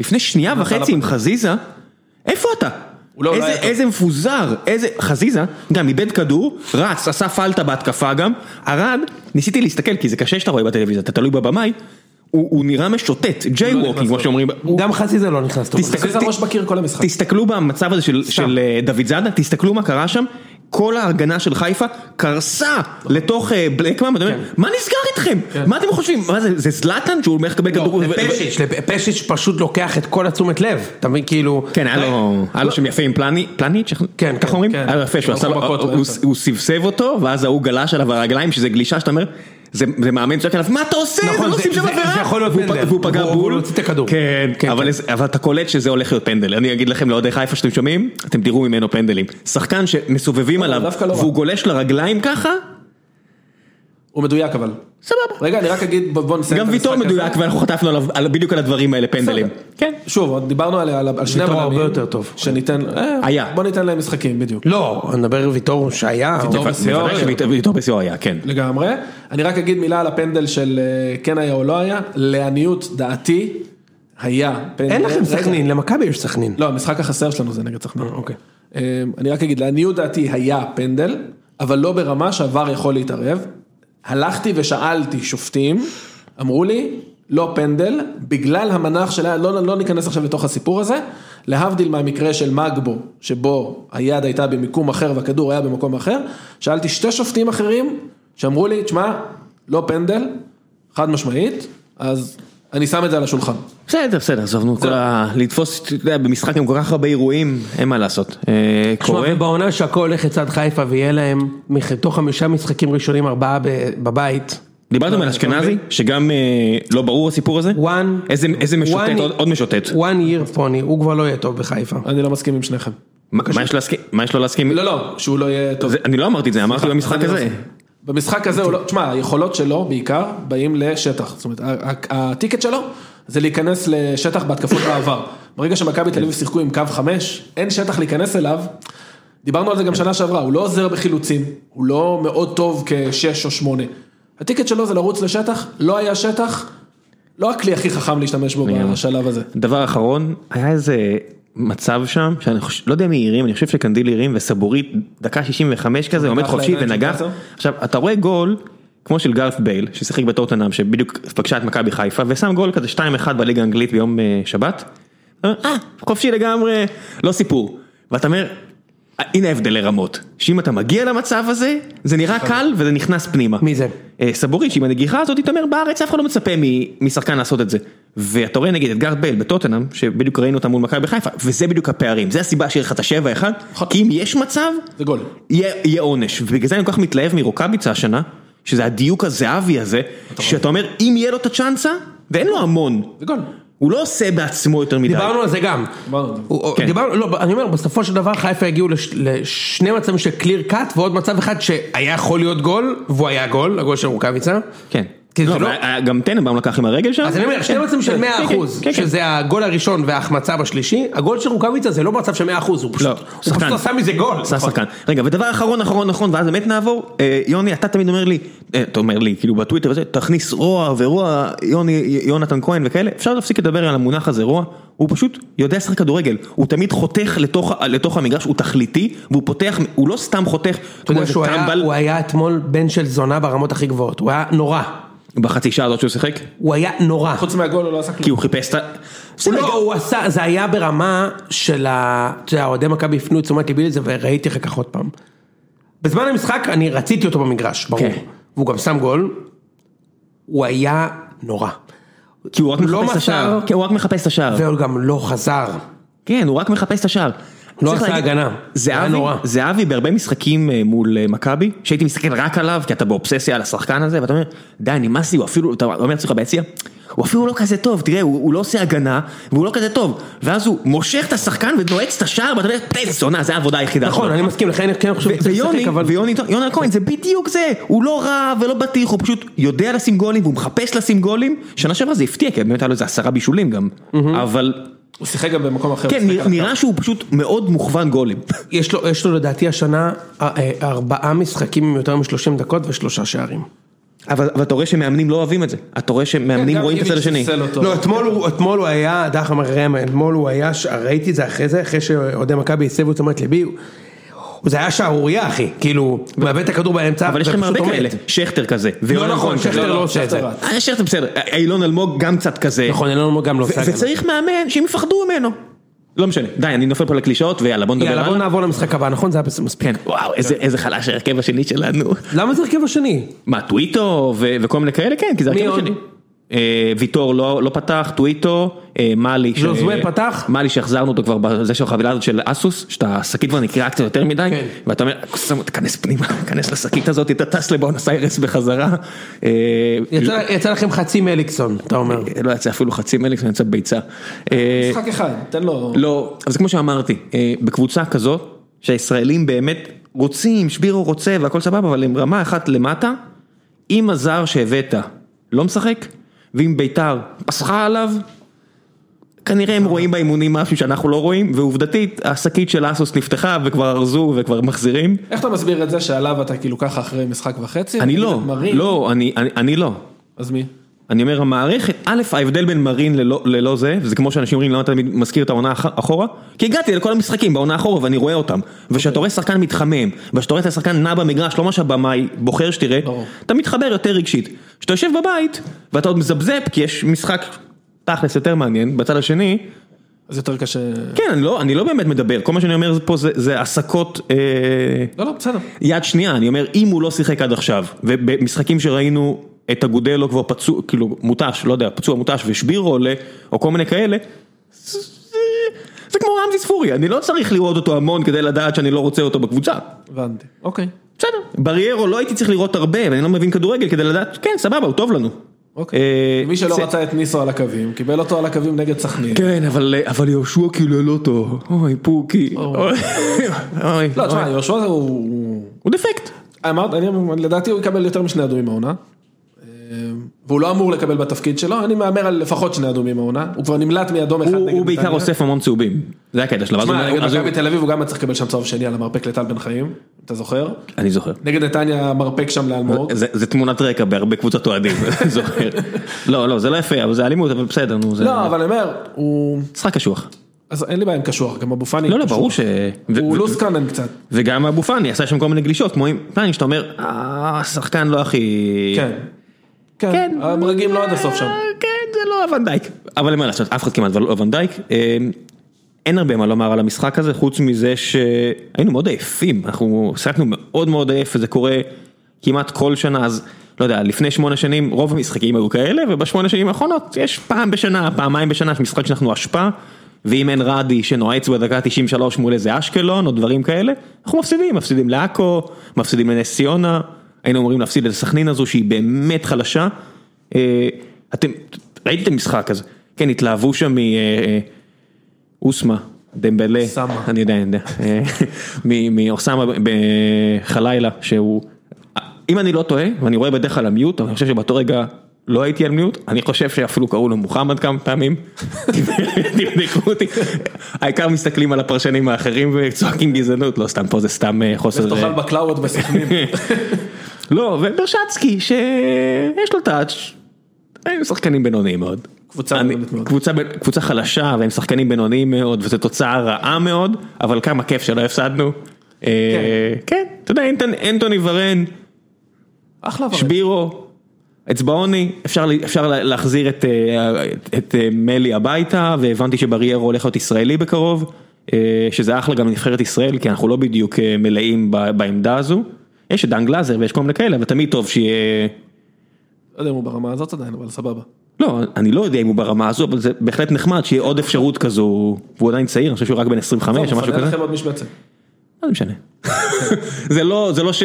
Speaker 4: לפני שנייה וחצי עם חזיזה, איפה אתה?
Speaker 2: הוא לא- הוא לא
Speaker 4: איזה-
Speaker 2: היה טוב.
Speaker 4: איזה מפוזר, איזה, חזיזה, גם איבד כדור, רץ, עשה פלטה בהתקפה גם, ארד, ניסיתי להסתכל, כי זה קשה שאתה רואה בטלוויזיה, אתה תלוי בבמאי, הוא הוא נראה משוטט, ג'יי
Speaker 2: לא
Speaker 4: ווקינג, כמו שאומרים, הוא-
Speaker 1: גם חזיזה לא נכנס טוב.
Speaker 4: תסתכל-
Speaker 2: תסתכל
Speaker 4: ת-
Speaker 2: על ראש בקיר כל המשחק.
Speaker 4: תסתכלו במצב הזה של, של אה, דוד זאדה, תסתכלו מה קרה שם, כל ההגנה של חיפה קרסה לתוך אה, בלקמן, ואתה אומר, מה נסגר איתכם? מה אתם חושבים? מה זה, זה זלאטן שהוא הולך לקבל כדור? ו-
Speaker 1: פשיץ', פשיץ' פשוט לוקח את כל התשומת לב, אתה מבין כאילו...
Speaker 4: כן, היה לו, היה לו שם יפה עם פלני, פלניץ',
Speaker 1: כן,
Speaker 4: ככה
Speaker 1: כן,
Speaker 4: אומרים?
Speaker 2: כן.
Speaker 4: היה לו יפה, שהוא עשה,
Speaker 2: שלוש
Speaker 4: לו-
Speaker 2: מכות
Speaker 4: הוא-
Speaker 2: באמצע.
Speaker 4: הוא סבסב אותו, ואז ההוא גלש עליו הרגליים, שזה גלישה שאתה אומר, זה זה מאמן צועק עליו, מה אתה עושה?
Speaker 1: נכון,
Speaker 4: אתם לא
Speaker 1: זה-
Speaker 4: עושים שם
Speaker 1: זה-
Speaker 4: עבירה?
Speaker 1: זה יכול להיות
Speaker 4: והוא פ-
Speaker 1: פנדל.
Speaker 4: והוא פגע
Speaker 1: והוא-
Speaker 4: בול.
Speaker 1: והוא הוציא את הכדור.
Speaker 4: כן,
Speaker 1: כן,
Speaker 4: אבל
Speaker 1: כן.
Speaker 4: איזה- אבל אתה קולט שזה הולך להיות פנדל. אני אגיד לכם לאוהדי חיפה שאתם שומעים, אתם תראו ממנו פנדלים. שחקן שמסובבים עליו,
Speaker 2: דווקא לא רע.
Speaker 4: והוא גולש לרגליים ככה,
Speaker 2: הוא מדויק אבל.
Speaker 4: סבבה.
Speaker 2: רגע, אני רק אגיד, בוא- בוא נסיים
Speaker 4: גם
Speaker 2: את המשחק
Speaker 4: ויטור
Speaker 2: הזה.
Speaker 4: מדויק ואנחנו חטפנו עליו על- בדיוק על הדברים האלה פנדלים.
Speaker 2: בסדר. כן. שוב, דיברנו על, על, על שני
Speaker 3: ויטור
Speaker 2: הבלמים.
Speaker 3: הרבה יותר טוב.
Speaker 2: שניתן, אה,
Speaker 4: היה.
Speaker 2: בוא ניתן להם משחקים, בדיוק.
Speaker 3: לא, אני מדבר על ויטור שהיה.
Speaker 2: ויטור
Speaker 3: אבל-
Speaker 2: בשיאו.
Speaker 4: בוודאי שוויטור בשיאו היה, כן.
Speaker 2: לגמרי. אני רק אגיד מילה על הפנדל של אה, כן היה או לא היה. לעניות דעתי, היה פנדל.
Speaker 3: אין לכם
Speaker 2: רגע.
Speaker 3: סכנין, למכבי יש סכנין.
Speaker 2: לא, המשחק החסר שלנו זה נגד סכנין. אוקיי. אני רק אגיד, לעניות דעתי היה פנדל, אבל לא ברמה שהVAR יכול להתערב. הלכתי ושאלתי שופטים, אמרו לי, לא פנדל, בגלל המנח של היד, לא, לא ניכנס עכשיו לתוך הסיפור הזה, להבדיל מהמקרה של מגבו, שבו היד הייתה במיקום אחר והכדור היה במקום אחר, שאלתי שתי שופטים אחרים, שאמרו לי, תשמע, לא פנדל, חד משמעית, אז אני שם את זה על השולחן.
Speaker 4: בסדר, בסדר, עזבנו כל ה... לתפוס, אתה יודע, במשחק עם כל כך הרבה אירועים, אין מה לעשות. אה,
Speaker 1: תשמע,
Speaker 4: קורה.
Speaker 1: ובעונה שהכל הולך לצד חיפה ויהיה להם מתוך חמישה משחקים ראשונים ארבעה ב- בבית.
Speaker 4: דיברתם על אשכנזי, שגם אה, לא ברור הסיפור הזה?
Speaker 1: וואן.
Speaker 4: איזה- איזה משוטט, עוד- עוד משוטט.
Speaker 1: וואן ייר פוני, הוא כבר לא יהיה טוב בחיפה.
Speaker 2: אני לא מסכים עם שניכם.
Speaker 4: מה מה יש להסכים? מה יש לו להסכים?
Speaker 2: לא, לא, שהוא לא יהיה טוב.
Speaker 4: זה- אני לא אמרתי את זה, אמרתי במשחק הזה.
Speaker 2: במשחק הזה הוא לא, תשמע, היכולות שלו בעיקר באים לשטח. זאת אומרת, ה- ה- הטיקט שלו זה להיכנס לשטח בהתקפות בעבר. ברגע שמכבי תל אביב שיחקו עם קו חמש, אין שטח להיכנס אליו. דיברנו על זה גם שנה שעברה, הוא לא עוזר בחילוצים, הוא לא מאוד טוב כשש או שמונה. הטיקט שלו זה לרוץ לשטח, לא היה שטח, לא הכלי הכי חכם להשתמש בו בשלב הזה.
Speaker 4: דבר אחרון, היה איזה מצב שם, שאני חושב, לא יודע מי הרים, אני חושב שקנדיל הרים וסבורית, דקה 65 כזה, עומד
Speaker 2: לקח
Speaker 4: חופשי
Speaker 2: לידיים של
Speaker 4: ונגח.
Speaker 2: גלאזר?
Speaker 4: עכשיו, אתה רואה גול, כמו של גארף בייל, ששיחק בטוטנאם, שבדיוק פגשה את מכבי חיפה, ושם גול כזה 2-1 בליגה האנגלית ביום אה, שבת. אה, חופשי לגמרי, לא סיפור. ואתה אומר, "אה, הנה ההבדל לרמות, שאם אתה מגיע למצב הזה, זה נראה קל וזה נכנס פנימה.
Speaker 1: מי זה?
Speaker 4: אה, סבורית שעם הנגיחה הזאת, אתה אומר בארץ אף אחד לא מצפה מ- משחקן לעשות את זה. ואתה רואה נגיד את גארד בייל בטוטנאם, שבדיוק ראינו אותה מול מכבי חיפה, וזה בדיוק הפערים, זה הסיבה שיהיה לך את השבע אחד,
Speaker 1: נכון.
Speaker 4: כי אם יש מצב,
Speaker 2: זה גול.
Speaker 4: יהיה, יהיה עונש. ובגלל זה אני כל כך מתלהב מרוקאביצה השנה, שזה הדיוק הזהבי הזה, שאתה אומר אם יהיה לו את הצ'אנסה, ואין לו המון,
Speaker 2: זה גול.
Speaker 4: הוא לא עושה בעצמו יותר מדי.
Speaker 1: דיברנו על זה גם.
Speaker 2: אמרנו את זה.
Speaker 1: הוא-
Speaker 4: כן.
Speaker 1: דיברנו, לא, אני אומר, בסופו של דבר חיפה הגיעו לש- לשני מצבים של קליר קאט ועוד מצב אחד שהיה יכול להיות גול, והוא היה גול, הגול של רוקאביצה.
Speaker 4: כן.
Speaker 1: כי זה
Speaker 4: לא,
Speaker 1: לא-
Speaker 4: אבל גם טננבאום לקח עם הרגל שם.
Speaker 1: אז אני אומר, שני
Speaker 4: כן,
Speaker 1: מצבים של
Speaker 4: כן,
Speaker 1: 100
Speaker 4: כן,
Speaker 1: אחוז,
Speaker 4: כן, כן.
Speaker 1: שזה הגול הראשון וההחמצה בשלישי, הגול של רוקאביצה זה לא מצב של 100 אחוז, הוא
Speaker 4: לא,
Speaker 1: פשוט הוא פשוט עשה מזה גול. נכון.
Speaker 4: עשה שחקן. רגע, ודבר אחרון, אחרון, אחרון, ואז באמת נעבור. אה, יוני, אתה תמיד אומר לי, אה, אתה אומר לי, כאילו בטוויטר וזה, תכניס רוע ורוע, יוני, יונתן כהן וכאלה. אפשר להפסיק לדבר על המונח הזה, רוע. הוא פשוט יודע לשחק כדורגל. הוא תמיד חותך לתוך, ה- לתוך המגרש, הוא תכליתי, והוא פותח, הוא לא סתם חותך,
Speaker 1: אתה
Speaker 4: כמו
Speaker 1: יודע
Speaker 4: איזה
Speaker 1: שהוא היה-
Speaker 4: טמבל,
Speaker 1: הוא היה אתמול בן של זונה ברמות הכי גבוהות, הוא היה נורא,
Speaker 4: בחצי שעה הזאת שהוא שיחק,
Speaker 1: הוא היה נורא.
Speaker 2: חוץ מהגול הוא לא עשה כלום.
Speaker 4: כי הוא חיפש את ה...
Speaker 1: הוא לא, הוא עשה, זה היה ברמה של ה... אתה יודע, אוהדי מכבי הפנו את תשומת ליבי לזה וראיתי אחר כך עוד פעם. בזמן המשחק אני רציתי אותו במגרש, ברור.
Speaker 4: כן.
Speaker 1: והוא גם שם גול. הוא היה נורא.
Speaker 4: אה. כי הוא רק
Speaker 1: הוא לא
Speaker 4: מחפש את השער.
Speaker 1: מסר.
Speaker 4: כן, הוא רק מחפש את השער.
Speaker 1: והוא גם לא חזר.
Speaker 4: כן, הוא רק מחפש את השער.
Speaker 1: לא
Speaker 4: צריך
Speaker 1: עשה
Speaker 4: להגיד,
Speaker 1: הגנה. היה
Speaker 4: זהבי,
Speaker 1: נורא.
Speaker 4: זהבי בהרבה משחקים אה, מול אה, מכבי, שהייתי מסתכל רק עליו, כי אתה באובססיה על השחקן הזה, ואתה אומר, די, נמאס לי, הוא אפילו, אתה אומר לעצמך ביציע, הוא אפילו לא כזה טוב, תראה, הוא, הוא לא עושה הגנה, והוא לא כזה טוב, ואז הוא מושך את השחקן ונועץ את השער, ואתה אומר, תן זונה, זה העבודה היחידה.
Speaker 1: נכון,
Speaker 4: שלו."
Speaker 1: אני מסכים, לכן אני כן חושב
Speaker 4: ו-
Speaker 1: שהוא צריך
Speaker 4: ויוני,
Speaker 1: לשחק, אבל...
Speaker 4: ויוני, יוני כהן, זה בדיוק זה, הוא לא רע ולא בטיח, הוא פשוט יודע לשים גולים, והוא מחפש לשים גולים, שנה שעברה זה הפתיע, כי באמת היה לו איזה עשרה בישולים גם, אבל
Speaker 2: הוא שיחק גם במקום אחר.
Speaker 4: כן,
Speaker 2: הוא שיחק
Speaker 4: נראה-
Speaker 2: על הקו.
Speaker 4: נראה שהוא פשוט מאוד מוכוון גולים.
Speaker 1: יש לו, יש לו לדעתי השנה אה, אה, ארבעה משחקים עם יותר מ-30 דקות ושלושה שערים.
Speaker 4: אבל אבל אתה רואה שמאמנים לא אוהבים את זה. אתה רואה
Speaker 1: כן,
Speaker 4: שמאמנים
Speaker 2: גם
Speaker 4: רואים את הצד
Speaker 2: איביץ'
Speaker 4: השני.
Speaker 2: חיסל אותו.
Speaker 1: לא, אתמול הוא, אתמול הוא היה, דרך אמר ראם, אתמול הוא היה, ש- ראיתי את זה אחרי זה, אחרי שאוהדי מכבי הסבו את תשומת ליבי, הוא- זה היה שערורייה אחי, כאילו, הוא מאבד את הכדור באמצע,
Speaker 4: אבל יש לכם
Speaker 1: ופשוט
Speaker 4: הרבה
Speaker 1: עומד.
Speaker 4: כאלה. שכטר כזה. ויונתן
Speaker 1: לא נכון,
Speaker 4: כהן כזה.
Speaker 1: שכטר
Speaker 2: לא,
Speaker 1: לא
Speaker 2: לא,
Speaker 1: עושה את זה.
Speaker 2: שכטר רץ.
Speaker 4: אה, שכטר בסדר. אה, אילון אלמוג גם קצת כזה.
Speaker 1: נכון, אלון אלמוג גם לא עושה
Speaker 4: ו-
Speaker 1: את זה.
Speaker 4: וצריך מאמן שהם יפחדו ממנו. לא משנה. די, אני נופל פה לקלישאות ויאללה בוא נדבר
Speaker 1: יאללה בוא
Speaker 4: הלאה.
Speaker 1: נעבור למשחק הבא, נכון? זה היה בסדר, מספיק.
Speaker 4: כן, וואו, איזה- איזה חלש ההרכב השני שלנו.
Speaker 1: למה זה הרכב השני?
Speaker 4: מה, טוויטו ו- וכל מיני כאלה? כן, כי זה
Speaker 1: מי
Speaker 4: הרכב
Speaker 1: עוד?
Speaker 4: השני. אה, ויטור לא לא פתח, טוויטו, אה, מאלי. ש-
Speaker 1: ז'וזווה פתח?
Speaker 4: מאלי שהחזרנו אותו כבר בזה של החבילה הזאת של אסוס, שאתה השקית כבר נקרעה קצת יותר מדי,
Speaker 1: כן.
Speaker 4: ואתה אומר, "שם, תיכנס פנימה, תיכנס לשקית הזאת, אתה טס לבואנוס איירס בחזרה. אה,
Speaker 1: יצא- יצא לכם חצי מאליקסון, אתה אומר.
Speaker 4: לא יצא אפילו חצי מלך, יצא ביצה. אה,
Speaker 2: משחק אחד, תן לו.
Speaker 4: לא, אבל זה כמו שאמרתי, אה, בקבוצה כזאת, שהישראלים באמת רוצים, שבירו רוצה והכל סבבה, אבל הם רמה אחת למטה, אם הזר שהבאת לא משחק, ואם ביתר פסחה עליו, כנראה הם רואים באימונים משהו שאנחנו לא רואים, ועובדתית, השקית של אסוס נפתחה וכבר ארזו וכבר מחזירים.
Speaker 2: איך אתה מסביר את זה שעליו אתה כאילו ככה אחרי משחק וחצי?
Speaker 4: אני
Speaker 2: נגיד
Speaker 4: לא,
Speaker 2: את מרין?
Speaker 4: לא, אני- אני אני לא.
Speaker 2: אז מי?
Speaker 4: אני אומר המערכת, א' ההבדל בין מרין ללא, ללא זה, וזה כמו שאנשים אומרים למה אתה תמיד מזכיר את העונה אח- אחורה, כי הגעתי לכל המשחקים בעונה אחורה ואני רואה אותם, וכשאתה רואה שחקן מתחמם, וכשאתה רואה את השחקן נע במגרש, לא מה שהבמאי בוחר שתראה,
Speaker 2: ברור.
Speaker 4: אתה מתחבר יותר רגשית. כשאתה יושב בבית, ואתה עוד מזבזב, כי יש משחק תכלס יותר מעניין, בצד השני,
Speaker 2: אז יותר קשה...
Speaker 4: כן, אני לא, אני לא באמת מדבר, כל מה שאני אומר פה זה, זה הסקות... אה,
Speaker 2: לא, לא, בסדר.
Speaker 4: יד שנייה, אני אומר, אם הוא לא שיחק עד עכשיו, ובמשחקים שראינו את אגודלו כבר פצוע, כאילו מותש, לא יודע, פצוע מותש ושבירו עולה, או כל מיני כאלה, זה- זה כמו רמזי ספורי, אני לא צריך לראות אותו המון כדי לדעת שאני לא רוצה אותו בקבוצה.
Speaker 2: הבנתי. אוקיי,
Speaker 4: בסדר, בריירו לא הייתי צריך לראות הרבה, ואני לא מבין כדורגל כדי לדעת, כן, סבבה, הוא טוב לנו.
Speaker 2: אוקיי.
Speaker 4: אה,
Speaker 2: מי שלא
Speaker 4: זה-
Speaker 2: רצה את ניסו על הקווים, קיבל אותו על הקווים נגד סכנין.
Speaker 4: כן, אבל, אבל יהושע כאילו לא טוב, אוי פוקי, אוי, אוי,
Speaker 2: לא, תשמע, יהושע הוא- הוא...
Speaker 4: הוא דפקט.
Speaker 2: אמרת, אני, לדעתי הוא יקבל יותר משני אדומים העונה. אה, והוא לא אמור לקבל בתפקיד שלו, אני מהמר על לפחות שני אדומים העונה, הוא כבר נמלט מאדום אחד
Speaker 4: הוא-
Speaker 2: נגד
Speaker 4: הוא בעיקר
Speaker 2: נתניה.
Speaker 4: אוסף המון צהובים, זה הקטע שלו, ואז הוא-
Speaker 2: תשמע, נגד
Speaker 4: אז הוא-
Speaker 2: מכבי תל אביב הוא גם היה צריך לקבל שם צהוב שני על המרפק לטל בן חיים, אתה זוכר?
Speaker 4: אני זוכר.
Speaker 2: נגד נתניה המרפק שם לאלמוג.
Speaker 4: זה, זה תמונת רקע בהרבה קבוצות אוהדים, אני זוכר. לא, לא, זה לא יפה, אבל זה אלימות, אבל בסדר, נו, זה
Speaker 2: לא, אבל אני אומר, הוא...
Speaker 4: משחק קשוח.
Speaker 2: אז אין לי בעיה עם קשוח, גם אבו פאני
Speaker 4: לא, לא,
Speaker 2: קשוח.
Speaker 4: ברור ש... ו-
Speaker 2: הוא לא-
Speaker 4: ו-
Speaker 2: לוסקאנן קצת.
Speaker 4: וגם אבו פאני עשה שם כל מיני גלישות, כמו עם פאני, שאתה אומר, "אה, השחקן לא הכי...
Speaker 2: כן. כן, הברגים לא עד הסוף שם.
Speaker 4: אה, כן, זה לא ונדייק. אבל אין מה לעשות, אף אחד כמעט לא ונדייק. אה, אין הרבה מה לומר על המשחק הזה, חוץ מזה שהיינו מאוד עייפים, אנחנו שיחקנו מאוד מאוד עייף, וזה קורה כמעט כל שנה, אז לא יודע, לפני שמונה שנים רוב המשחקים היו כאלה, ובשמונה שנים האחרונות יש פעם בשנה, פעמיים בשנה, יש משחק שאנחנו אשפה, ואם אין רדי שנועץ בדקה 93 מול איזה אשקלון או דברים כאלה, אנחנו מפסידים, מפסידים לעכו, מפסידים לנס ציונה, היינו אמורים להפסיד לסכנין הזו שהיא באמת חלשה. אה, אתם, ראיתם את המשחק הזה, כן, התלהבו שם מ... אה, אה, אוסמה, דמבלה,
Speaker 2: סמה.
Speaker 4: אני יודע, אני יודע, אה, מ- מאוסמה בחלילה, שהוא, אם אני לא טועה, ואני רואה בדרך כלל המיוט, אבל אני חושב שבאותו רגע לא הייתי על מיוט, אני חושב שאפילו קראו לו מוחמד כמה פעמים, תבדקו אותי, העיקר מסתכלים על הפרשנים האחרים וצועקים גזענות, לא סתם פה זה סתם אה, חוסר,
Speaker 2: לך תאכל בקלאוות בסכנין.
Speaker 4: לא, וברשצקי שיש לו טאץ', הם שחקנים בינוניים מאוד.
Speaker 2: קבוצה
Speaker 4: אני-
Speaker 2: בינונית מאוד.
Speaker 4: קבוצה, ב- קבוצה חלשה והם שחקנים בינוניים מאוד וזו תוצאה רעה מאוד, אבל כמה כיף שלא הפסדנו. אה, כן, אתה יודע, אינטון- אנטוני ורן,
Speaker 2: אחלה אבל.
Speaker 4: שבירו, אצבעוני, אפשר, ל- אפשר לה- להחזיר את, אה, את, את אה, מלי הביתה, והבנתי שבריירו הולך להיות ישראלי בקרוב, אה, שזה אחלה גם לנבחרת ישראל, כי אנחנו לא בדיוק אה, מלאים ב- בעמדה הזו. יש את דן גלאזר ויש כל מיני כאלה, אבל תמיד טוב שיהיה...
Speaker 2: לא יודע אם הוא ברמה הזאת עדיין, אבל סבבה.
Speaker 4: לא, אני לא יודע אם הוא ברמה הזו, אבל זה בהחלט נחמד שיהיה עוד אפשרות כזו, והוא עדיין צעיר, אני חושב שהוא רק בן 25 או משהו
Speaker 2: מפנה
Speaker 4: כזה.
Speaker 2: לכם עוד משבצת.
Speaker 4: לא זה משנה. זה לא, זה לא ש...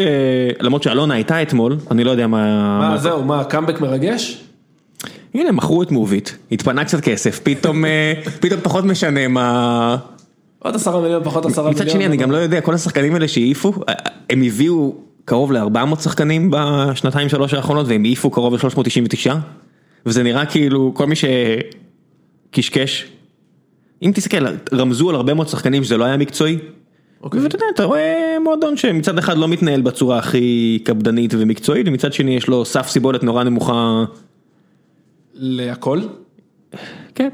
Speaker 4: למרות שאלונה הייתה אתמול, אני לא יודע מה...
Speaker 2: מה זהו, מה, קאמבק מרגש?
Speaker 4: הנה, מכרו את מובית, התפנה קצת כסף, פתאום, אה, פתאום פחות משנה מה...
Speaker 2: עוד עשרה מיליון, פחות עשרה מיליון.
Speaker 4: מצד שני, אני גם לא יודע, כל השחקנים האלה שהעיפו, אה, אה, הם הביאו קרוב ל-400 שחקנים בשנתיים שלוש האחרונות, והם העיפו קרוב ל-399, וזה נראה כאילו כל מי שקשקש, אם תסתכל, רמזו על הרבה מאוד שחקנים שזה לא היה מקצועי.
Speaker 2: אוקיי.
Speaker 4: ואתה יודע, אתה רואה מועדון שמצד אחד לא מתנהל בצורה הכי קפדנית ומקצועית, ומצד שני יש לו סף סיבולת נורא נמוכה
Speaker 2: להכל?
Speaker 4: כן.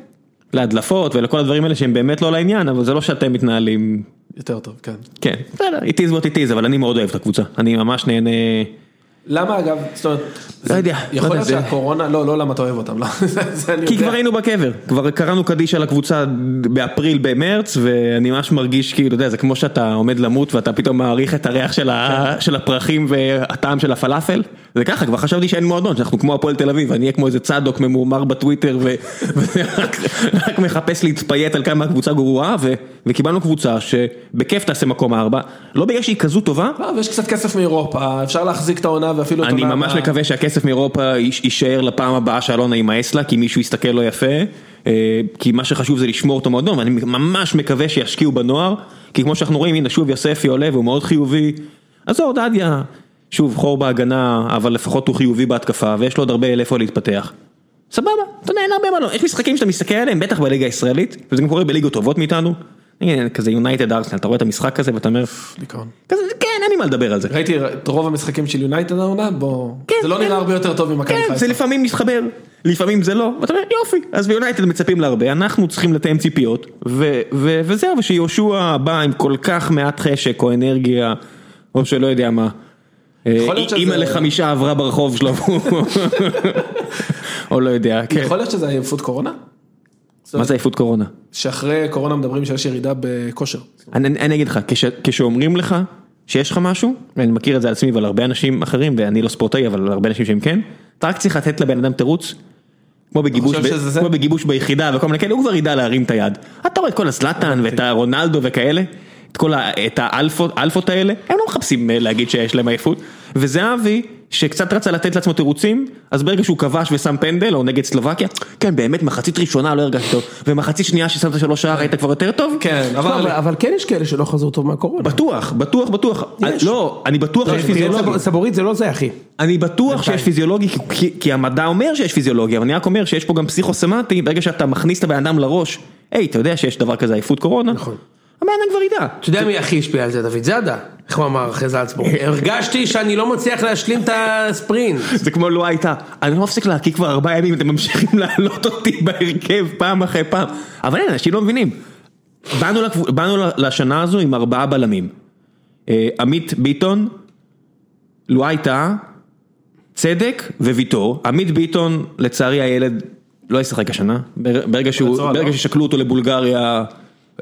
Speaker 4: להדלפות ולכל הדברים האלה שהם באמת לא לעניין, אבל זה לא שאתם מתנהלים,
Speaker 2: יותר טוב, כן.
Speaker 4: כן, בסדר, it is what it is, אבל אני מאוד אוהב את הקבוצה, אני ממש נהנה,
Speaker 2: למה אגב, זאת אומרת, זה-
Speaker 4: יודע, לא
Speaker 2: יכול
Speaker 4: יודע,
Speaker 2: להיות
Speaker 4: זה-
Speaker 2: שהקורונה, לא, לא למה אתה אוהב אותם, לא, זה זה אני
Speaker 4: כי כבר
Speaker 2: יודע.
Speaker 4: היינו בקבר, כבר קראנו קדיש על הקבוצה באפריל, במרץ, ואני ממש מרגיש כאילו, אתה יודע, זה כמו שאתה עומד למות ואתה פתאום מעריך את הריח של, ה...
Speaker 2: כן.
Speaker 4: של הפרחים והטעם של הפלאפל, זה ככה, כבר חשבתי שאין מועדון, שאנחנו כמו הפועל תל אביב, אני אהיה כמו איזה צדוק ממורמר בטוויטר, ו... ורק רק מחפש להתפייט על כמה הקבוצה גרועה, ו... וקיבלנו קבוצה שבכיף תעשה מקום ארבע, לא בגלל שהיא כזו טובה,
Speaker 2: לא, ויש קצת כסף מאירופה, אפשר להחזיק את העונה ואפילו את
Speaker 4: אני
Speaker 2: העונה
Speaker 4: ממש
Speaker 2: הבאה.
Speaker 4: מקווה שהכסף מאירופה ייש- יישאר לפעם הבאה שאלונה יימאס לה, כי מישהו יסתכל לא יפה, אה, כי מה שחשוב זה לשמור אותו מועדון, ואני ממש מקווה שישקיעו בנוער, כי כמו שאנחנו רואים, הנה שוב יוספי עולה והוא מאוד חיובי, עזוב דדיה, שוב, חור בהגנה, אבל לפחות הוא חיובי בהתקפה, ויש לו עוד הרבה לאיפה להתפתח. סבבה, אתה יודע, אין הרבה מה לא, יש משחקים שאתה מסתכל עליהם, בטח בליגה הישראלית, וזה גם קורה בליגות טובות מאיתנו. הנה, כזה יונייטד ארסנל, אתה רואה את המשחק הזה ואתה אומר,
Speaker 2: דיכאון.
Speaker 4: כזה, כן, אין לי מה לדבר על זה.
Speaker 2: ראיתי את רוב המשחקים של יונייטד העונה, בוא,
Speaker 4: כן,
Speaker 2: זה לא
Speaker 4: כן.
Speaker 2: נראה הרבה יותר טוב ממכבי
Speaker 4: כן, זה
Speaker 2: חיפה.
Speaker 4: לפעמים מתחבר, לפעמים זה לא, ואתה אומר יופי, אז ביונייטד מצפים להרבה, אנחנו צריכים לתאם ציפיות, ו- ו- וזהו, ושיהושע בא עם כל כך מעט חשק או אנרגיה, או שלא יודע מה.
Speaker 2: יכול להיות
Speaker 4: אה,
Speaker 2: שזה-
Speaker 4: אימא לחמישה עברה ברחוב שלו, או לא יודע, כן.
Speaker 2: יכול להיות שזה עייפות קורונה?
Speaker 4: מה זה עייפות קורונה?
Speaker 2: שאחרי קורונה מדברים שיש ירידה בכושר.
Speaker 4: אני, אני אני אגיד לך, כש, כשאומרים לך שיש לך משהו, ואני מכיר את זה על עצמי ועל הרבה אנשים אחרים, ואני לא ספורטאי, אבל על הרבה אנשים שהם כן, אתה רק צריך לתת לבן אדם תירוץ. כמו בגיבוש,
Speaker 2: חושב
Speaker 4: ב,
Speaker 2: שזה זה?
Speaker 4: כמו בגיבוש ביחידה וכל מיני כאלה, הוא כבר ידע להרים את היד. אתה רואה את כל הזלאטן ואת הרונלדו וכאלה, את כל ה, את האלפות, האלפות האלה, הם לא מחפשים אה, להגיד שיש להם עייפות. וזהבי, שקצת רצה לתת לעצמו תירוצים, אז ברגע שהוא כבש ושם פנדל, או נגד סלובקיה, כן באמת, מחצית ראשונה לא הרגשתי טוב, ומחצית שנייה ששמת שלוש שער היית כבר יותר טוב,
Speaker 2: כן,
Speaker 1: תשמע, אבל-
Speaker 2: אבל...
Speaker 1: אבל כן יש כאלה שלא חזרו טוב מהקורונה.
Speaker 4: בטוח, בטוח, בטוח. לא, אני בטוח שיש פיזיולוגיה.
Speaker 1: סב- סבורית זה לא זה אחי.
Speaker 4: אני בטוח שיש פיזיולוגיה, כי- כי- כי המדע אומר שיש פיזיולוגיה, אבל אני רק אומר שיש פה גם פסיכוסמטי, ברגע שאתה מכניס את הבן אדם לראש, היי, אתה יודע שיש דבר כזה עייפות קורונה? נכון. הבן אדם כבר ידע.
Speaker 1: אתה יודע מי הכי השפיע על זה? דוד זאדה. איך הוא אמר אחרי זלצבורג? הרגשתי שאני לא מצליח להשלים את הספרינט.
Speaker 4: זה כמו לא הייתה, אני לא מפסיק להקיא כבר ארבעה ימים, אתם ממשיכים להעלות אותי בהרכב פעם אחרי פעם. אבל אין, אנשים לא מבינים. באנו, לקב... באנו ל- לשנה הזו עם ארבעה בלמים. אה, עמית ביטון, לואי טאה, צדק וויטור. עמית ביטון, לצערי הילד לא ישחק השנה. בר- ברגע, שהוא,
Speaker 2: רצועה,
Speaker 4: ברגע
Speaker 2: לא?
Speaker 4: ששקלו אותו לבולגריה,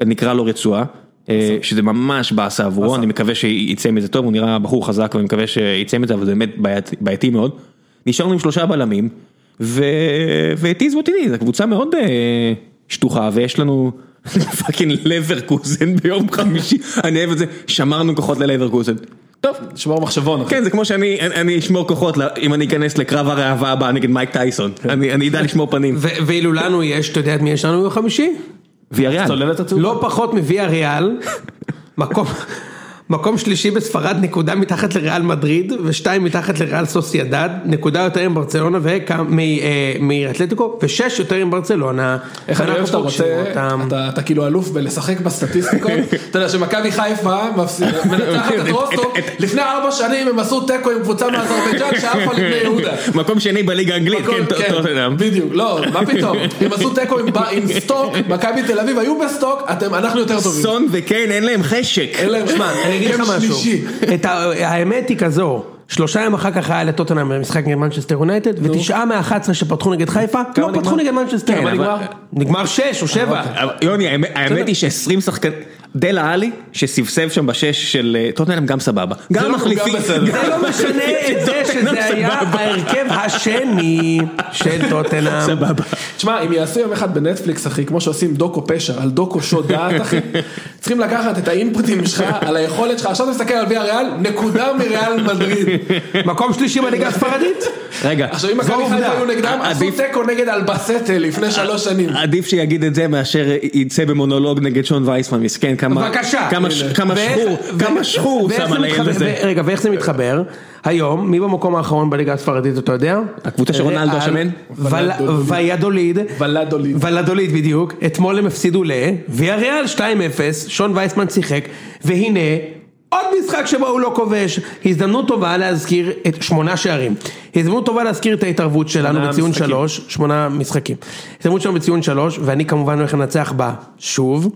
Speaker 4: נקרא לו רצועה. אה, שזה ממש באסה עבורו, אני מקווה שיצא מזה טוב, הוא נראה בחור חזק ואני מקווה שיצא מזה, אבל זה באמת בעייתי, בעייתי מאוד. נשארנו עם שלושה בלמים, ו... ו-it is what it is, זו קבוצה מאוד אה, שטוחה, ויש לנו פאקינג לברקוזן ביום חמישי, אני אוהב את זה, שמרנו כוחות ללברקוזן. טוב,
Speaker 2: שמור מחשבון. אחי.
Speaker 4: כן, זה כמו שאני אני- אני אשמור כוחות ל- אם אני אכנס לקרב הראווה הבא נגד מייק טייסון, אני אני אדע לשמור פנים.
Speaker 1: ו- ואילו לנו יש, אתה יודע את מי יש לנו ביום חמישי?
Speaker 4: ויריאל,
Speaker 2: צוללת הצהובה.
Speaker 1: לא פחות מוויה ריאל, מקום, מקום שלישי בספרד, נקודה מתחת לריאל מדריד, ושתיים מתחת לריאל סוסיידד, נקודה יותר עם ברצלונה וכמה- מ- אה, מאתלטיקו, ושש יותר עם ברצלונה.
Speaker 2: איך אני אוהב
Speaker 1: ואנחנו
Speaker 2: שאתה רוצה,
Speaker 1: פוגשים אותם.
Speaker 2: אתה- אתה כאילו אלוף בלשחק בסטטיסטיקות, אתה יודע שמכבי חיפה מפסיד- מנצחת
Speaker 4: כן.
Speaker 2: את רוסטוב, לפני ארבע שנים הם עשו תיקו עם קבוצה מאזרבייג'אן שעפה לבני יהודה.
Speaker 4: מקום שני בליגה האנגלית,
Speaker 2: הכל-
Speaker 4: כן, טוב,
Speaker 2: כן,
Speaker 4: טוב, טוב.
Speaker 2: בדיוק, לא, מה פתאום, הם עשו תיקו עם ב- עם סטוק, מכבי תל אביב היו בסטוק, אתם- אנחנו יותר טובים.
Speaker 4: סון וקיין אין להם חשק.
Speaker 2: אין להם זמן,
Speaker 1: אני אגיד לך
Speaker 2: הם
Speaker 1: משהו,
Speaker 2: שלישי.
Speaker 1: את ה- האמת היא כזו, שלושה ימים אחר כך היה לטוטנאם משחק נגד מנצ'סטר יונייטד, ותשעה מה-11 שפתחו נגד חיפה, לא
Speaker 2: נגמר?
Speaker 1: פתחו נגד מנצ'סטר.
Speaker 2: כמה
Speaker 1: כן,
Speaker 2: נגמר?
Speaker 1: אבל- נגמר שש או שבע.
Speaker 4: אבל יוני, האמת- האמת היא ש-20 שחקנים, דלה עלי, שסבסב שם בשש של אה, טוטנאם גם סבבה. גם
Speaker 2: גם
Speaker 4: מחליפים.
Speaker 2: בסדר.
Speaker 4: גם
Speaker 1: זה לא משנה
Speaker 4: מחליפים
Speaker 1: את
Speaker 4: של
Speaker 1: זה
Speaker 4: טוטנהאם
Speaker 1: שזה היה
Speaker 4: סבבה.
Speaker 1: ההרכב השני של טוטנאם.
Speaker 4: סבבה.
Speaker 2: תשמע, אם יעשו יום אחד בנטפליקס, אחי, כמו שעושים דוקו פשע, על דוקו שוד דעת, אחי, צריכים לקחת את האינפוטים שלך, על היכולת שלך, עכשיו אתה מסתכל על ויה ריאל, נקודה מריאל מדריד.
Speaker 1: מקום שלישי בליגה הספרדית?
Speaker 4: רגע,
Speaker 2: עכשיו אם
Speaker 1: זו
Speaker 2: מכבי
Speaker 1: עובדה.
Speaker 2: חיפה היו נגדם, עשו
Speaker 4: עדיף-
Speaker 2: תיקו נגד אלבסטה לפני שלוש שנים.
Speaker 4: עדיף שיגיד את זה מאשר יצא במונולוג נגד שון וייסמן, מסכן, כמה
Speaker 1: בבקשה.
Speaker 4: כמה ש- כמה
Speaker 1: ואיך-
Speaker 4: שחור,
Speaker 1: ואיך-
Speaker 4: כמה שחור הוא
Speaker 1: ואיך
Speaker 4: שם
Speaker 1: זה
Speaker 4: על הילד
Speaker 1: מתחבר-
Speaker 4: הזה.
Speaker 1: ו- רגע, ואיך זה מתחבר? היום, מי במקום האחרון בליגה הספרדית, אתה יודע?
Speaker 4: הקבוצה של רונלדו
Speaker 1: ריאל,
Speaker 4: השמן?
Speaker 1: ול- ויאדוליד.
Speaker 2: ולדוליד.
Speaker 1: ולדוליד בדיוק. אתמול הם הפסידו ל... ויאריאל 2-0, שון וייסמן שיחק, והנה... עוד משחק שבו הוא לא כובש, הזדמנות טובה להזכיר את שמונה שערים, הזדמנות טובה להזכיר את ההתערבות שלנו בציון
Speaker 2: משחקים.
Speaker 1: שלוש, שמונה משחקים, הזדמנות שלנו בציון שלוש, ואני כמובן הולך לנצח בה שוב,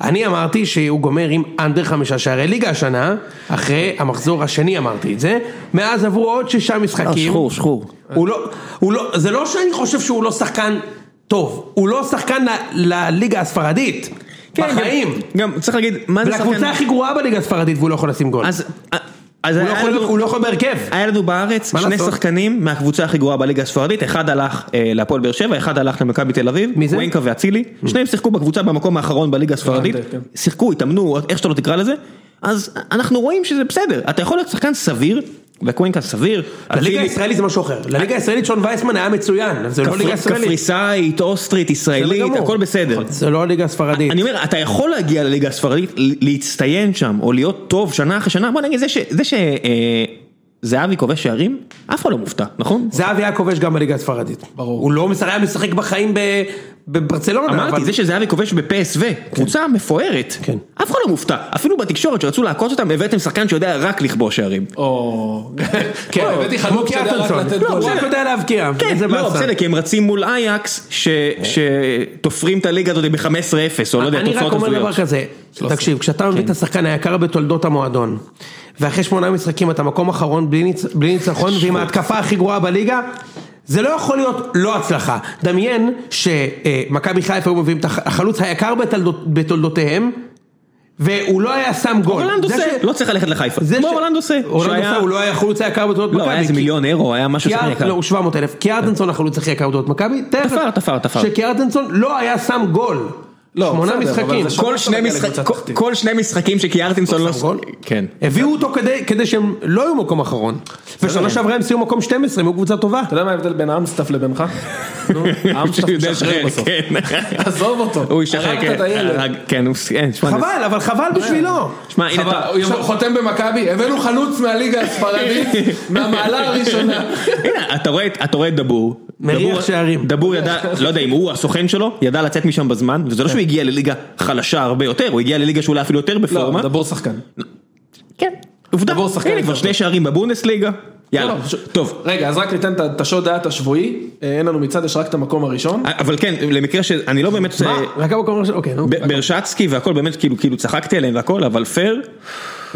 Speaker 1: אני אמרתי שהוא גומר עם אנדר חמישה שערי ליגה השנה, אחרי המחזור השני אמרתי את זה, מאז עברו עוד שישה משחקים,
Speaker 4: שחור, שחור.
Speaker 1: הוא לא, הוא לא, זה לא שאני חושב שהוא לא שחקן טוב, הוא לא שחקן ל- לליגה הספרדית,
Speaker 4: כן, גם-
Speaker 1: בחיים.
Speaker 4: גם צריך להגיד, מה זה שחקן...
Speaker 1: ולקבוצה הכי גרועה בליגה הספרדית והוא לא יכול לשים גול.
Speaker 4: אז אז
Speaker 1: הוא לא
Speaker 4: היה
Speaker 1: יכול-
Speaker 4: לנו-
Speaker 1: הוא לא יכול בהרכב.
Speaker 4: היה לנו בארץ
Speaker 1: מה
Speaker 4: שני
Speaker 1: לעשות?
Speaker 4: שחקנים מהקבוצה הכי גרועה בליגה הספרדית, אחד הלך אה, להפועל באר שבע, אחד הלך למכבי תל אביב,
Speaker 1: מי זה? Mm.
Speaker 4: ווינקה ואצילי, שניהם שיחקו בקבוצה במקום האחרון בליגה
Speaker 1: אה,
Speaker 4: הספרדית,
Speaker 2: הבנתי, כן.
Speaker 4: שיחקו, התאמנו, איך שאתה לא תקרא לזה, אז אנחנו רואים שזה בסדר, אתה יכול להיות שחקן סביר, וקווינקה סביר,
Speaker 1: לליגה
Speaker 4: אצילי-
Speaker 1: הישראלית זה משהו אחר. לליגה הישראלית שון וייסמן היה מצוין, אבל זה לא
Speaker 4: כפר-
Speaker 1: ליגה ישראלית.
Speaker 4: קפריסאית, אוסטרית, ישראלית,
Speaker 1: גמור.
Speaker 4: הכל בסדר.
Speaker 1: זה לא הליגה הספרדית.
Speaker 4: אני אומר, אתה יכול להגיע לליגה הספרדית, ל- להצטיין שם, או להיות טוב שנה אחרי שנה, בוא נגיד, זה ש... זה ש אה, זהבי כובש שערים, אף אחד לא מופתע, נכון?
Speaker 1: זהבי היה כובש גם בליגה הספרדית.
Speaker 2: ברור.
Speaker 1: הוא לא משחק- היה משחק בחיים ב- בברצלונה.
Speaker 4: אמרתי,
Speaker 1: אבל-
Speaker 4: זה שזהבי כובש ב-PSV, קבוצה מפוארת.
Speaker 1: כן.
Speaker 4: אף אחד לא מופתע. אפילו בתקשורת שרצו לעקוץ אותם, הבאתם שחקן שיודע רק לכבוש שערים.
Speaker 2: או... כן, הבאתי
Speaker 1: כמו
Speaker 2: חלוק שיודע רק
Speaker 1: קיארטנסון.
Speaker 2: לתת
Speaker 1: לא, הוא
Speaker 2: גולים.
Speaker 1: רק יודע להבקיע.
Speaker 4: כן,
Speaker 1: איזה
Speaker 4: לא,
Speaker 1: באסה.
Speaker 4: בסדר, כי הם רצים מול אייקס, ש- שתופרים את הליגה הזאת ב-15-0, או לא יודע,
Speaker 1: אני רק
Speaker 4: תוצאות
Speaker 1: אומר דבר
Speaker 4: הזויות. כן.
Speaker 1: כזה, תקשיב, כשאתה מביא את השחקן היקר בתולדות המועדון, ואחרי שמונה משחקים אתה מקום אחרון בלי ניצ- בלי ניצחון, ועם ההתקפה הכי גרועה בליגה, זה לא יכול להיות לא הצלחה. דמיין שמכבי חיפה היו מביאים את הח- החלוץ היקר בתולדות- בתולדותיהם, והוא לא היה שם גול.
Speaker 4: הולנד
Speaker 1: זה
Speaker 4: עושה,
Speaker 1: ש-
Speaker 4: לא צריך ללכת לחיפה.
Speaker 1: זה
Speaker 4: כמו
Speaker 1: ש-
Speaker 4: הולנד עושה.
Speaker 1: הולנד
Speaker 4: שהיה-
Speaker 1: עושה, הוא לא היה החלוץ היקר בתולדות מכבי.
Speaker 4: לא, היה איזה
Speaker 1: כי-
Speaker 4: מיליון אירו, היה משהו שחקן
Speaker 1: קיאר-
Speaker 4: יקר.
Speaker 1: לא, הוא 700 אלף, קיארדנסון החלוץ הכי יקר בתולדות מכבי,
Speaker 4: תפר, תפר, תפר.
Speaker 1: שקיארדנסון לא היה שם גול,
Speaker 2: לא,
Speaker 1: שמונה
Speaker 2: בסדר, אבל
Speaker 1: משחקים,
Speaker 2: זה
Speaker 4: כל שני
Speaker 2: מגיע
Speaker 4: משחק-
Speaker 2: לקבוצה
Speaker 4: כל-
Speaker 2: תחתית.
Speaker 4: כל שני משחקים שקיארטינסון לא...
Speaker 1: שם גול?
Speaker 4: כן.
Speaker 1: הביאו אותו כדי, כדי שהם לא יהיו מקום אחרון. ושנה שעברה הם סיימו מקום 12, הם היו קבוצה טובה.
Speaker 2: אתה יודע מה ההבדל בין אמסטף לבינך? נו, אמסטף
Speaker 4: שהוא יודע
Speaker 2: משחרר
Speaker 4: לשחרר,
Speaker 2: בסוף.
Speaker 4: כן.
Speaker 2: עזוב אותו.
Speaker 4: הוא ישחרר,
Speaker 2: הרגת
Speaker 4: כן.
Speaker 2: את הילד.
Speaker 4: הרג- כן, הוא... כן, שמע,
Speaker 1: חבל, אבל חבל בשבילו.
Speaker 4: שמע, הנה
Speaker 2: חבל,
Speaker 4: אתה...
Speaker 2: הוא יבוא- חותם במכבי, הבאנו חלוץ מהליגה הספרדית, מהמעלה הראשונה.
Speaker 4: הנה, אתה רואה את- אתה רואה את דבור.
Speaker 1: מריח
Speaker 4: דבור-
Speaker 1: שערים.
Speaker 4: דבור ידע, לא יודע אם הוא הסוכן שלו, ידע לצאת משם בזמן, וזה לא שהוא הגיע לליגה חלשה הרבה יותר, הוא הגיע לליגה שאולי אפילו יותר
Speaker 2: לא,
Speaker 4: בפורמה.
Speaker 2: דבור שחקן.
Speaker 4: כן. עובדה,
Speaker 2: דבור שחקן
Speaker 4: הנה כבר
Speaker 2: יותר
Speaker 4: שני שערים בבונדסליגה. יאללה,
Speaker 2: לא, לא, פשוט-
Speaker 4: טוב.
Speaker 2: רגע, אז רק ניתן את ה- את השוד דעת השבועי, אה, אין לנו מצעד, יש רק את המקום
Speaker 1: אה.
Speaker 2: הראשון.
Speaker 4: אבל כן, למקרה שאני לא באמת...
Speaker 1: מה?
Speaker 4: אה,
Speaker 1: רק המקום הראשון, אוקיי, נו.
Speaker 4: ב- ברשצקי והכל באמת כאילו כאילו צחקתי עליהם והכל אבל פייר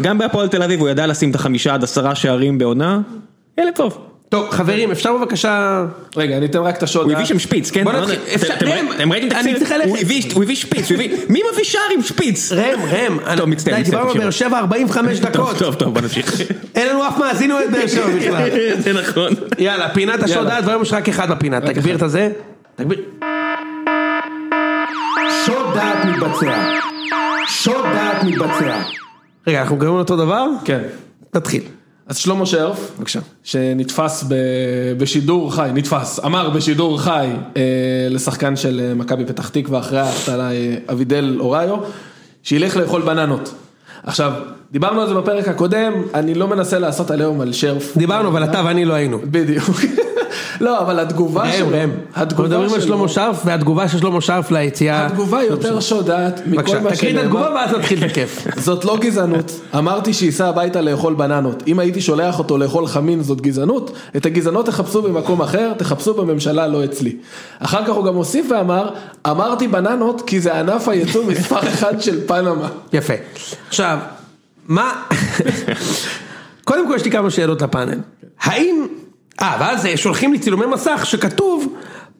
Speaker 4: גם בהפועל תל אביב הוא ידע לשים את החמישה עד עשרה שערים בעונה ילד טוב.
Speaker 1: טוב, חברים, אפשר בבקשה...
Speaker 2: רגע, אני אתן רק את השוד
Speaker 4: הוא
Speaker 2: דעת.
Speaker 4: הביא שם שפיץ כן?
Speaker 1: אה, בוא
Speaker 4: לא
Speaker 1: נתחיל,
Speaker 4: יודע,
Speaker 1: אפשר-
Speaker 4: אתם- אתם-
Speaker 1: ראם,
Speaker 4: אתם ראיתם
Speaker 1: אני
Speaker 4: תקציב?
Speaker 1: צריך ללכת.
Speaker 4: הוא הביא- הוא הביא שפיץ, הוא הביא, מי מביא שער עם שפיץ?
Speaker 1: ראם, ראם, אני-
Speaker 4: טוב מצטער,
Speaker 1: די,
Speaker 4: מצטער,
Speaker 1: דיברנו על
Speaker 4: תמשיכו.
Speaker 1: באר שבע 45 דקות.
Speaker 4: טוב טוב טוב בוא נמשיך.
Speaker 1: אין לנו אף מאזין אוהד באר שבע בכלל.
Speaker 4: זה נכון.
Speaker 1: יאללה, פינת השוד
Speaker 2: יאללה.
Speaker 1: דעת, והיום יש רק אחד בפינה. תגביר את הזה. תגביר.
Speaker 3: שוד דעת מתבצע. שוד דעת מתבצע.
Speaker 1: רגע, אנחנו גרים על אותו דבר?
Speaker 2: כן.
Speaker 1: נתחיל.
Speaker 2: אז שלמה שרף,
Speaker 1: בבקשה.
Speaker 2: שנתפס ב, בשידור חי, נתפס, אמר בשידור חי אה, לשחקן של אה, מכבי פתח תקווה אחרי ההפתעה אה, אבידל אוריו, שילך לאכול בננות. עכשיו, דיברנו על זה בפרק הקודם, אני לא מנסה לעשות עליהום על שרף.
Speaker 1: דיברנו, אבל אתה ואני לא היינו.
Speaker 2: בדיוק. לא, אבל התגובה שלו,
Speaker 1: ראם, ראם. אנחנו
Speaker 2: התגובה
Speaker 1: מדברים על שלמה שרף, והתגובה של שלמה שרף ליציאה...
Speaker 2: התגובה יותר שודעת מכל
Speaker 1: בבקשה,
Speaker 2: מה
Speaker 1: תקריא את התגובה
Speaker 2: שנאמר.
Speaker 1: ואז נתחיל את הכיף.
Speaker 2: זאת לא גזענות, אמרתי שייסע הביתה לאכול בננות. אם הייתי שולח אותו לאכול חמין זאת גזענות, את הגזענות תחפשו במקום אחר, תחפשו בממשלה, לא אצלי. אחר כך הוא גם הוסיף ואמר, אמרתי בננות כי זה ענף הייצוא מספר אחד של פנמה.
Speaker 1: יפה. עכשיו, מה... קודם כל יש לי כמה שאלות לפאנל. האם... אה, ואז אה, שולחים לי צילומי מסך שכתוב,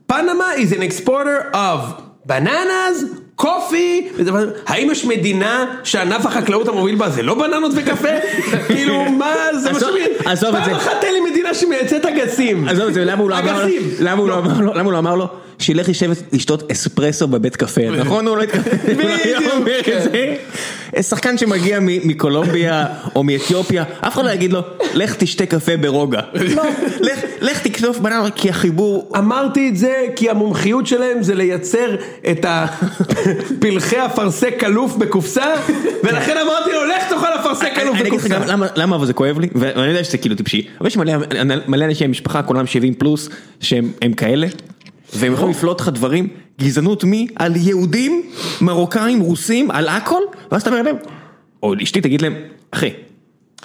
Speaker 1: פנמה is an exporter of bananas, קופי, וזה- האם יש מדינה שענף החקלאות המוביל בה זה לא בננות וקפה? כאילו, מה זה מה
Speaker 4: עזוב-
Speaker 1: שאני...
Speaker 4: עזוב את
Speaker 1: פעם
Speaker 4: זה.
Speaker 1: אחת תן לי מדינה שמייצאת אגסים.
Speaker 4: עזוב את זה, למה הוא לא אמר לו,
Speaker 1: אגסים.
Speaker 4: למה הוא לא אמר לו, למה הוא לא אמר לו, שילך לשבת לשתות אספרסו בבית קפה, נכון? הוא לא התכוון, הוא לא היה
Speaker 1: בדיוק, כן.
Speaker 4: אומר את זה. אה, שחקן שמגיע מ- מקולומביה או מאתיופיה, אף אחד לא יגיד לו, לך תשתה קפה ברוגע. לא, לך- לך תקטוף בננה, כי החיבור...
Speaker 1: אמרתי את זה כי המומחיות שלהם זה לייצר את הפלחי אפרסק כלוף בקופסה, ולכן אמרתי לו, לך תאכל אפרסק
Speaker 2: כן,
Speaker 4: אני-
Speaker 2: לא,
Speaker 1: כלוף
Speaker 4: אני אגיד לך
Speaker 1: בקופסה.
Speaker 4: גם למה- למה אבל זה כואב לי, ו- ואני יודע שזה כאילו טיפשי, אבל יש מלא מלא אנשי משפחה, כולם 70 פלוס, שהם הם כאלה, והם יכולים לפלוט לך דברים, גזענות מי? על יהודים, מרוקאים, רוסים, על הכל, ואז אתה אומר להם, או אשתי תגיד להם, אחי,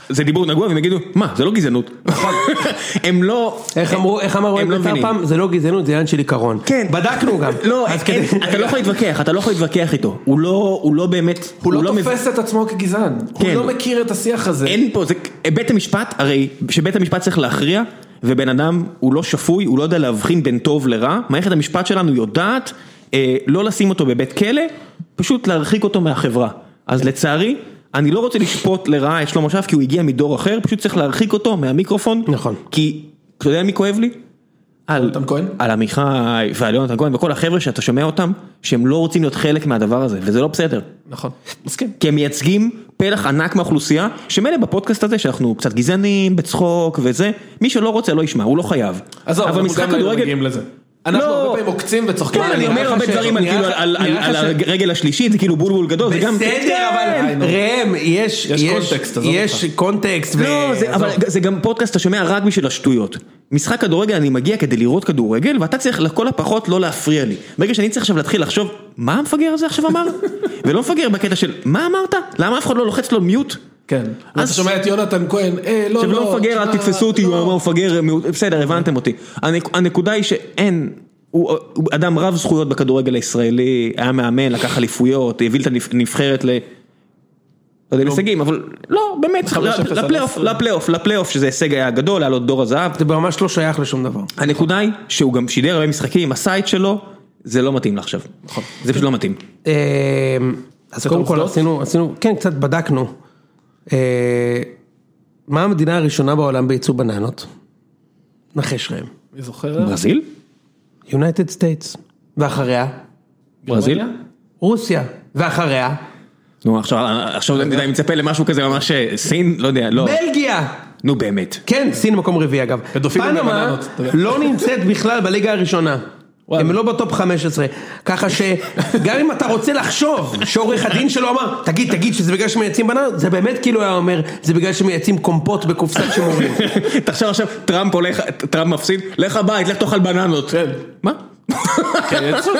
Speaker 4: זה דיבור נגוע, והם יגידו, מה, זה לא גזענות.
Speaker 2: נכון.
Speaker 4: הם לא...
Speaker 1: איך אמרו, איך אמר
Speaker 4: הם
Speaker 1: רועי
Speaker 4: לא
Speaker 1: בית"ר
Speaker 4: מבינים.
Speaker 1: פעם, זה לא גזענות, זה עניין של עיקרון.
Speaker 4: כן.
Speaker 1: בדקנו גם.
Speaker 4: לא,
Speaker 1: אז
Speaker 4: אין-
Speaker 1: כדי-
Speaker 4: אתה לא יכול להתווכח, אתה לא יכול להתווכח איתו, הוא לא, הוא לא באמת,
Speaker 2: הוא לא
Speaker 4: מבין-
Speaker 2: תופס את עצמו כגזען, הוא
Speaker 4: כן. אה,
Speaker 2: לא מכיר את השיח הזה.
Speaker 4: אין פה, זה, בית המשפט, הרי שבית המשפט צריך להכריע, ובן אדם הוא לא שפוי, הוא לא יודע להבחין בין טוב לרע, מערכת המשפט שלנו יודעת אה, לא לשים אותו בבית כלא, פשוט להרחיק אותו מהחברה. אז לצערי, אני לא רוצה לשפוט לרעה את שלמה שרף, כי הוא הגיע מדור אחר, פשוט צריך להרחיק אותו מהמיקרופון.
Speaker 1: נכון.
Speaker 4: כי, אתה יודע מי כואב לי? על,
Speaker 2: יונתן כהן?
Speaker 4: על עמיחי ועל יונתן כהן וכל החבר'ה שאתה שומע אותם, שהם לא רוצים להיות חלק מהדבר הזה, וזה לא בסדר.
Speaker 2: נכון, מסכים.
Speaker 4: כי הם מייצגים פלח ענק מהאוכלוסייה, שמילא בפודקאסט הזה שאנחנו קצת גזענים, בצחוק וזה, מי שלא רוצה לא ישמע, הוא לא חייב.
Speaker 2: עזוב,
Speaker 4: אבל
Speaker 2: אנחנו
Speaker 4: משחק
Speaker 2: גם לא היינו
Speaker 4: כדורגל-
Speaker 2: מגיעים לזה. אנחנו
Speaker 4: לא.
Speaker 2: הרבה פעמים עוקצים וצוחקים.
Speaker 4: כן, אני אומר הרבה דברים על כאילו, על- על על הרגל השלישית, זה כאילו בולבול גדול, זה גם...
Speaker 1: בסדר,
Speaker 4: כן.
Speaker 1: אבל ראם, יש,
Speaker 2: יש קונטקסט, עזוב
Speaker 1: יש קונטקסט, ו-
Speaker 4: לא, זה- אבל זה גם פודקאסט שאתה שומע רק בשביל השטויות. משחק כדורגל, אני מגיע כדי לראות כדורגל, ואתה צריך לכל הפחות לא להפריע לי. ברגע שאני צריך עכשיו להתחיל לחשוב, מה המפגר הזה עכשיו אמר? ולא מפגר בקטע של, מה אמרת? למה אף אחד לא לוחץ לו מיוט?
Speaker 2: כן.
Speaker 4: אז-
Speaker 2: אתה שומע את יונתן כהן, אה, לא, לא.
Speaker 4: עכשיו לא מפגר, אל
Speaker 2: תשמע,
Speaker 4: תתפסו אותי, הוא
Speaker 2: לא.
Speaker 4: אמר מפגר, מיעוט- בסדר, הבנתם אותי. הנק- הנקודה היא שאין, הוא הוא אדם רב זכויות בכדורגל הישראלי, היה מאמן, לקח אליפויות, הביא את הנבחרת ל... לא יודע, להישגים, אבל לא, באמת,
Speaker 2: 5-0 על
Speaker 4: לפלייאוף, לא.
Speaker 2: עשרה.
Speaker 4: לפלייאוף, לפלייאוף, שזה הישג היה גדול, היה לו את דור הזהב.
Speaker 1: זה ממש לא שייך לשום דבר.
Speaker 4: הנקודה היא שהוא גם שידר הרבה משחקים, הסייט שלו, זה לא מתאים לעכשיו.
Speaker 2: נכון.
Speaker 4: זה פשוט לא מתאים.
Speaker 2: אה.
Speaker 1: אמ, אז קודם כל
Speaker 2: העובדות?
Speaker 1: עשינו, עשינו, כן, קצת בדקנו. אה, מה המדינה הראשונה בעולם בייצוא בננות? נחש ראם.
Speaker 2: אני זוכר.
Speaker 4: ברזיל?
Speaker 1: יונייטד סטייטס. ואחריה?
Speaker 4: ברזיל?
Speaker 1: רוסיה. ואחריה?
Speaker 4: נו, עכשיו, עכשיו אני מצפה למשהו כזה ממש אה, סין, לא יודע, לא.
Speaker 1: בלגיה!
Speaker 4: נו באמת.
Speaker 1: כן, סין מקום רביעי אגב.
Speaker 2: פדופילים
Speaker 1: פנמה
Speaker 2: ובננות, אתה יודע.
Speaker 1: לא נמצאת בכלל בליגה הראשונה.
Speaker 2: וואלה.
Speaker 1: הם לא בטופ 15, ככה שגם אם אתה רוצה לחשוב שעורך הדין שלו אמר, תגיד, תגיד שזה בגלל שמייצאים בננות, זה באמת כאילו היה אומר, זה בגלל שמייצאים קומפוט בקופסת שימורים.
Speaker 4: תחשוב עכשיו, טראמפ הולך, טראמפ מפסיד, לך הבית, לך תאכל בננות.
Speaker 2: כן.
Speaker 4: מה?
Speaker 2: כן, יצאו.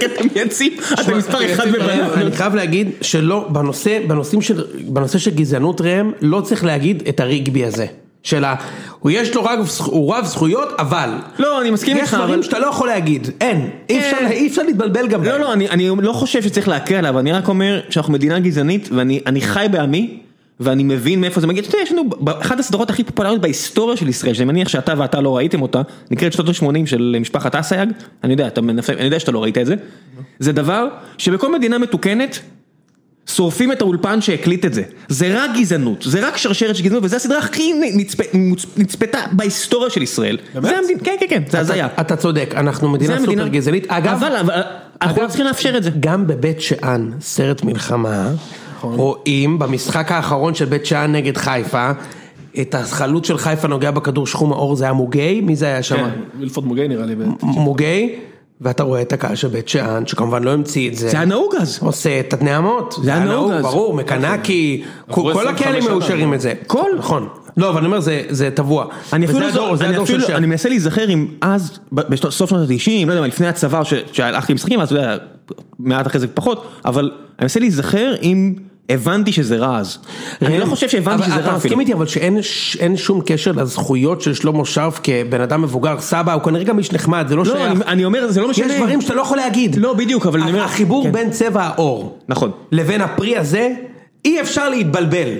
Speaker 4: כי אתם יצאים, אתם מספר אחד
Speaker 2: יצאים
Speaker 4: בבננות.
Speaker 1: אני חייב להגיד שלא, בנושא, בנושאים של, בנושא של גזענות ראם, לא צריך להגיד את הריגבי הזה. של ה... הוא יש לו רב, זכ- הוא רב זכויות, אבל...
Speaker 4: לא, אני מסכים
Speaker 1: יש
Speaker 4: איתך,
Speaker 1: דברים
Speaker 4: אבל...
Speaker 1: שאתה לא יכול להגיד, אין. אי
Speaker 4: כן.
Speaker 1: אפשר- אי אפשר להתבלבל גם.
Speaker 4: לא,
Speaker 1: בהם.
Speaker 4: לא, אני- אני לא חושב שצריך להקל עליו, אני רק אומר שאנחנו מדינה גזענית, ואני אני חי בעמי. ואני מבין מאיפה זה מגיע, אתה יודע, יש לנו ב- אחת הסדרות הכי פופולריות בהיסטוריה של ישראל, שאני מניח שאתה ואתה לא ראיתם אותה, נקראת שנות ה-80 של משפחת אסייג, אני יודע, אתה מנפ- אני יודע שאתה לא ראית את זה, זה דבר שבכל מדינה מתוקנת, שורפים את האולפן שהקליט את זה. זה רק גזענות, זה רק שרשרת של גזענות, וזו הסדרה הכי נצפ... מוצ- נצפתה בהיסטוריה של ישראל. זה המדינה, כן, כן, כן, זה הזיה.
Speaker 1: אתה צודק, אנחנו
Speaker 4: זה
Speaker 1: מדינה
Speaker 4: המדינה.
Speaker 1: סופר גזענית. אגב,
Speaker 4: אבל, אבל אנחנו לא
Speaker 1: אגב,
Speaker 4: צריכים לאפשר את זה.
Speaker 1: גם בבית שאן, סרט מלחמה,
Speaker 4: נכון.
Speaker 1: רואים במשחק האחרון של בית שאן נגד חיפה, את החלוץ של חיפה נוגע בכדור שחום האור, זה היה מוגי? מי זה היה שם?
Speaker 2: כן, וילפורד מוגי נראה לי. ב-
Speaker 1: מוגי, ואתה רואה את הקהל של בית שאן, שכמובן לא המציא את זה.
Speaker 4: זה היה נהוג אז.
Speaker 1: עושה את התנעמות. זה
Speaker 4: היה נהוג אז.
Speaker 1: ברור, מקנקי, כל
Speaker 2: עברו
Speaker 1: כל
Speaker 2: 25
Speaker 1: הקהלים
Speaker 2: שנה.
Speaker 1: מאושרים את זה. כל? נכון. לא, אבל אני אומר, זה- זה טבוע.
Speaker 4: אני
Speaker 1: וזה
Speaker 4: אפילו, לא,
Speaker 1: הדור-
Speaker 4: זוכר-
Speaker 1: זה
Speaker 4: אני,
Speaker 1: הדור של
Speaker 4: אפילו
Speaker 1: שאן.
Speaker 4: אני מנסה להיזכר אם אז, ב- בסוף שנות ה-90, לא יודע מה, לפני הצבא, ש- שהלכתי למשחקים, אז אתה יודע, מעט אחרי זה פחות, אבל אני מנסה להיזכר אם הבנתי שזה רע אז. אני לא חושב שהבנתי
Speaker 1: אבל
Speaker 4: שזה רע
Speaker 1: אתה
Speaker 4: אפילו.
Speaker 1: מסכים איתי אבל שאין ש- אין שום קשר לזכויות של שלמה שרף כבן אדם מבוגר, סבא, הוא כנראה גם איש נחמד, זה לא
Speaker 4: לא, אני,
Speaker 1: שייך.
Speaker 4: אני אומר, זה לא משנה.
Speaker 1: יש דברים שאתה לא יכול להגיד.
Speaker 4: לא, בדיוק, אבל אני אומר...
Speaker 1: החיבור
Speaker 4: כן.
Speaker 1: בין צבע העור.
Speaker 4: נכון.
Speaker 1: לבין הפרי הזה, אי אפשר להתבלבל. ל-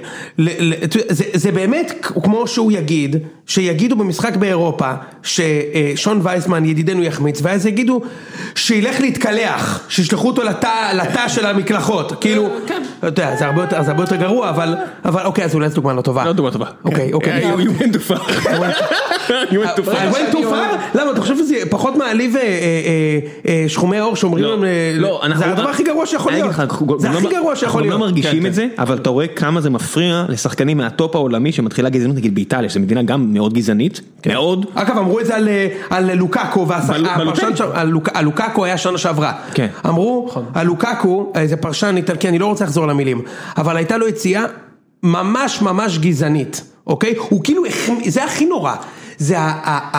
Speaker 1: ל- אתה יודע, זה, זה באמת כ- כמו שהוא יגיד, שיגידו במשחק באירופה, ששון וייסמן ידידנו יחמיץ, ואז יגידו, שילך להתקלח, שישלחו אותו לתא, לתא של המקלחות, כאילו, אתה יודע, זה הרבה יותר, זה הרבה יותר גרוע, אבל, אבל אוקיי, אז אולי זו דוגמה לא טובה.
Speaker 4: לא דוגמה טובה.
Speaker 1: אוקיי, אוקיי.
Speaker 4: You you went too far. you went too
Speaker 1: I
Speaker 4: far.
Speaker 1: went אה, too far? למה, אתה חושב שזה פחות מעליב אה, אה, אה, אה, שחומי עור שאומרים
Speaker 4: לא,
Speaker 1: להם, אה,
Speaker 4: לא, אנחנו-
Speaker 1: זה הדבר הכי גרוע שיכול
Speaker 4: אני
Speaker 1: להיות,
Speaker 4: אגיד לך, אנחנו
Speaker 1: זה
Speaker 4: גם
Speaker 1: הכי
Speaker 4: לא-
Speaker 1: גרוע שיכול להיות. כן,
Speaker 4: אנחנו לא מרגישים את זה, אבל אתה רואה כמה זה מפריע לשחקנים מהטופ העולמי שמתחילה גזענות, נגיד באיטליה, שזו מדינה גם מאוד גזענית,
Speaker 1: כן.
Speaker 4: מאוד.
Speaker 1: אגב אמרו את זה על, אה, על לוקקו, והשח-
Speaker 4: בל- בלוטן.
Speaker 1: הפרשן שם, על לוק- על לוקקו היה שנה שעברה.
Speaker 4: כן.
Speaker 1: אמרו, על לוקקו, איזה פרשן איטלקי, אני לא רוצה לחזור למילים, אבל הייתה לו יציאה ממש ממש גזענית, אוקיי? הוא כאילו, החמ- זה הכי נורא, זה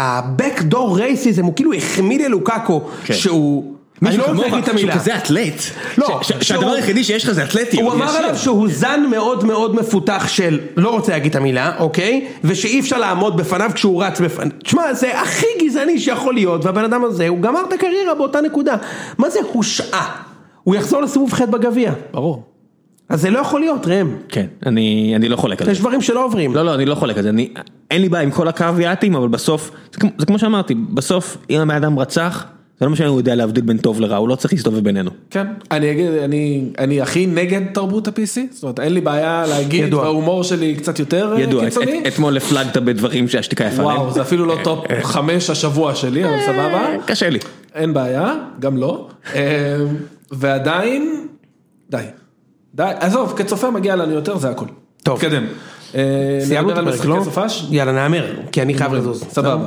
Speaker 1: ה-Backdoor racism, הוא כאילו החמיא ללוקקו,
Speaker 4: כן.
Speaker 1: שהוא, אני לא רוצה להגיד את המילה.
Speaker 4: שהוא כזה אתלט,
Speaker 1: לא,
Speaker 4: ש- ש-
Speaker 1: שהוא-
Speaker 4: שהדבר היחידי שיש לך זה אתלטיות.
Speaker 1: הוא אמר
Speaker 4: ישר.
Speaker 1: עליו שהוא זן מאוד מאוד מפותח של לא רוצה להגיד את המילה, אוקיי? ושאי אפשר לעמוד בפניו כשהוא רץ בפניו. תשמע, זה הכי גזעני שיכול להיות, והבן אדם הזה, הוא גמר את הקריירה באותה נקודה. מה זה הושעה? הוא יחזור לסיבוב ח' בגביע.
Speaker 2: ברור.
Speaker 1: אז זה לא יכול להיות, ראם.
Speaker 4: כן, אני אני לא חולק על זה.
Speaker 1: יש דברים שלא עוברים.
Speaker 4: לא, לא, אני לא חולק על זה, אני, אין לי בעיה עם כל הקוויאטים, אבל בסוף, זה כמו, זה כמו שאמרתי, בסוף אם הבן אדם רצח, זה לא משנה אם הוא יודע להבדיל בין טוב לרע, הוא לא צריך להסתובב בינינו.
Speaker 2: כן. אני אגיד, אני, אני הכי נגד תרבות ה-PC, זאת אומרת, אין לי בעיה להגיד,
Speaker 1: ידוע.
Speaker 2: וההומור שלי קצת יותר אה,
Speaker 4: ידוע, את, את,
Speaker 2: קיצוני.
Speaker 4: אתמול הפלגת בדברים שהשתיקה יפה להם.
Speaker 2: וואו, זה אפילו לא טופ
Speaker 1: אה.
Speaker 2: חמש השבוע שלי, אבל סבבה.
Speaker 4: אה, קשה לי.
Speaker 2: אין בעיה, גם לא. אה, ועדיין, די. די, עזוב, כצופה מגיע לנו יותר, זה הכל.
Speaker 1: טוב.
Speaker 2: תקדם. אה,
Speaker 1: סיימנו את
Speaker 2: נדבר על
Speaker 1: הפרק,
Speaker 2: משחקי
Speaker 1: לא?
Speaker 2: סופש? נכון.
Speaker 1: יאללה, נהמר, כי אני חייב לזוז.
Speaker 2: סבבה.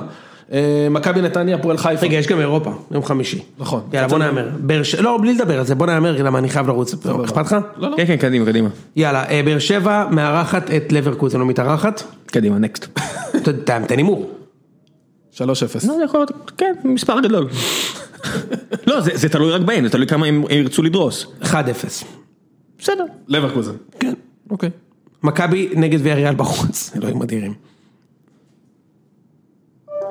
Speaker 2: אה, מכבי נתניה, הפועל חיפה.
Speaker 1: רגע, יש גם אירופה, יום חמישי.
Speaker 2: נכון.
Speaker 1: יאללה, בוא נהמר. באר ש- לא, בלי לדבר על זה, בוא נהמר, למה אני חייב לרוץ. אכפת לך?
Speaker 2: לא, לא.
Speaker 4: כן, כן, קדימה, קדימה.
Speaker 1: יאללה, אה, באר שבע מארחת את לברקוזן, לא מתארחת?
Speaker 4: קדימה, נקסט.
Speaker 1: אתה יודע, תן הימור.
Speaker 2: 3-0.
Speaker 4: לא, זה יכול להיות, כן, מספר גדול. לא, זה זה תלוי רק בהם, זה תלוי כמה הם הם ירצו לדרוס.
Speaker 1: 1-0.
Speaker 4: בסדר.
Speaker 2: לברקוזן.
Speaker 1: כן.
Speaker 2: אוקיי.
Speaker 1: מכבי נגד ויאריאל בחוץ, אלוהים אדירים.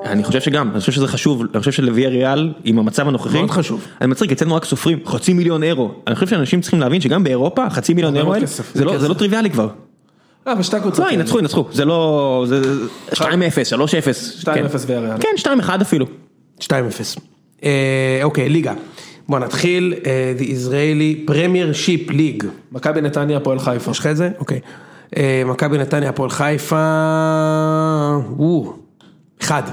Speaker 4: אני חושב שגם, אני חושב שזה חשוב, אני חושב שלוויה ריאל עם המצב הנוכחי,
Speaker 1: מאוד חשוב.
Speaker 4: אני מצחיק, אצלנו רק סופרים חצי מיליון אירו, אני חושב שאנשים צריכים להבין שגם באירופה חצי מיליון
Speaker 2: הרבה
Speaker 4: אירו
Speaker 2: מאוד
Speaker 4: האלה,
Speaker 2: כסף,
Speaker 4: זה לא-
Speaker 2: כסף.
Speaker 4: זה לא טריוויאלי כבר,
Speaker 2: אה, אבל שתי הקבוצות.
Speaker 4: לא ינצחו ינצחו, זה לא, זה 2-0, 3-0,
Speaker 2: 2-0
Speaker 4: כן.
Speaker 2: ויאריאל.
Speaker 4: כן 2-1 אפילו,
Speaker 1: 2-0. אה, אוקיי, ליגה. בוא נתחיל, אה, The Israeli Premier Ship League.
Speaker 2: מכבי נתניה, הפועל חיפה.
Speaker 1: יש לך את זה? אוקיי. אה, מכבי נתניה, הפועל חיפה... וואו. אחד.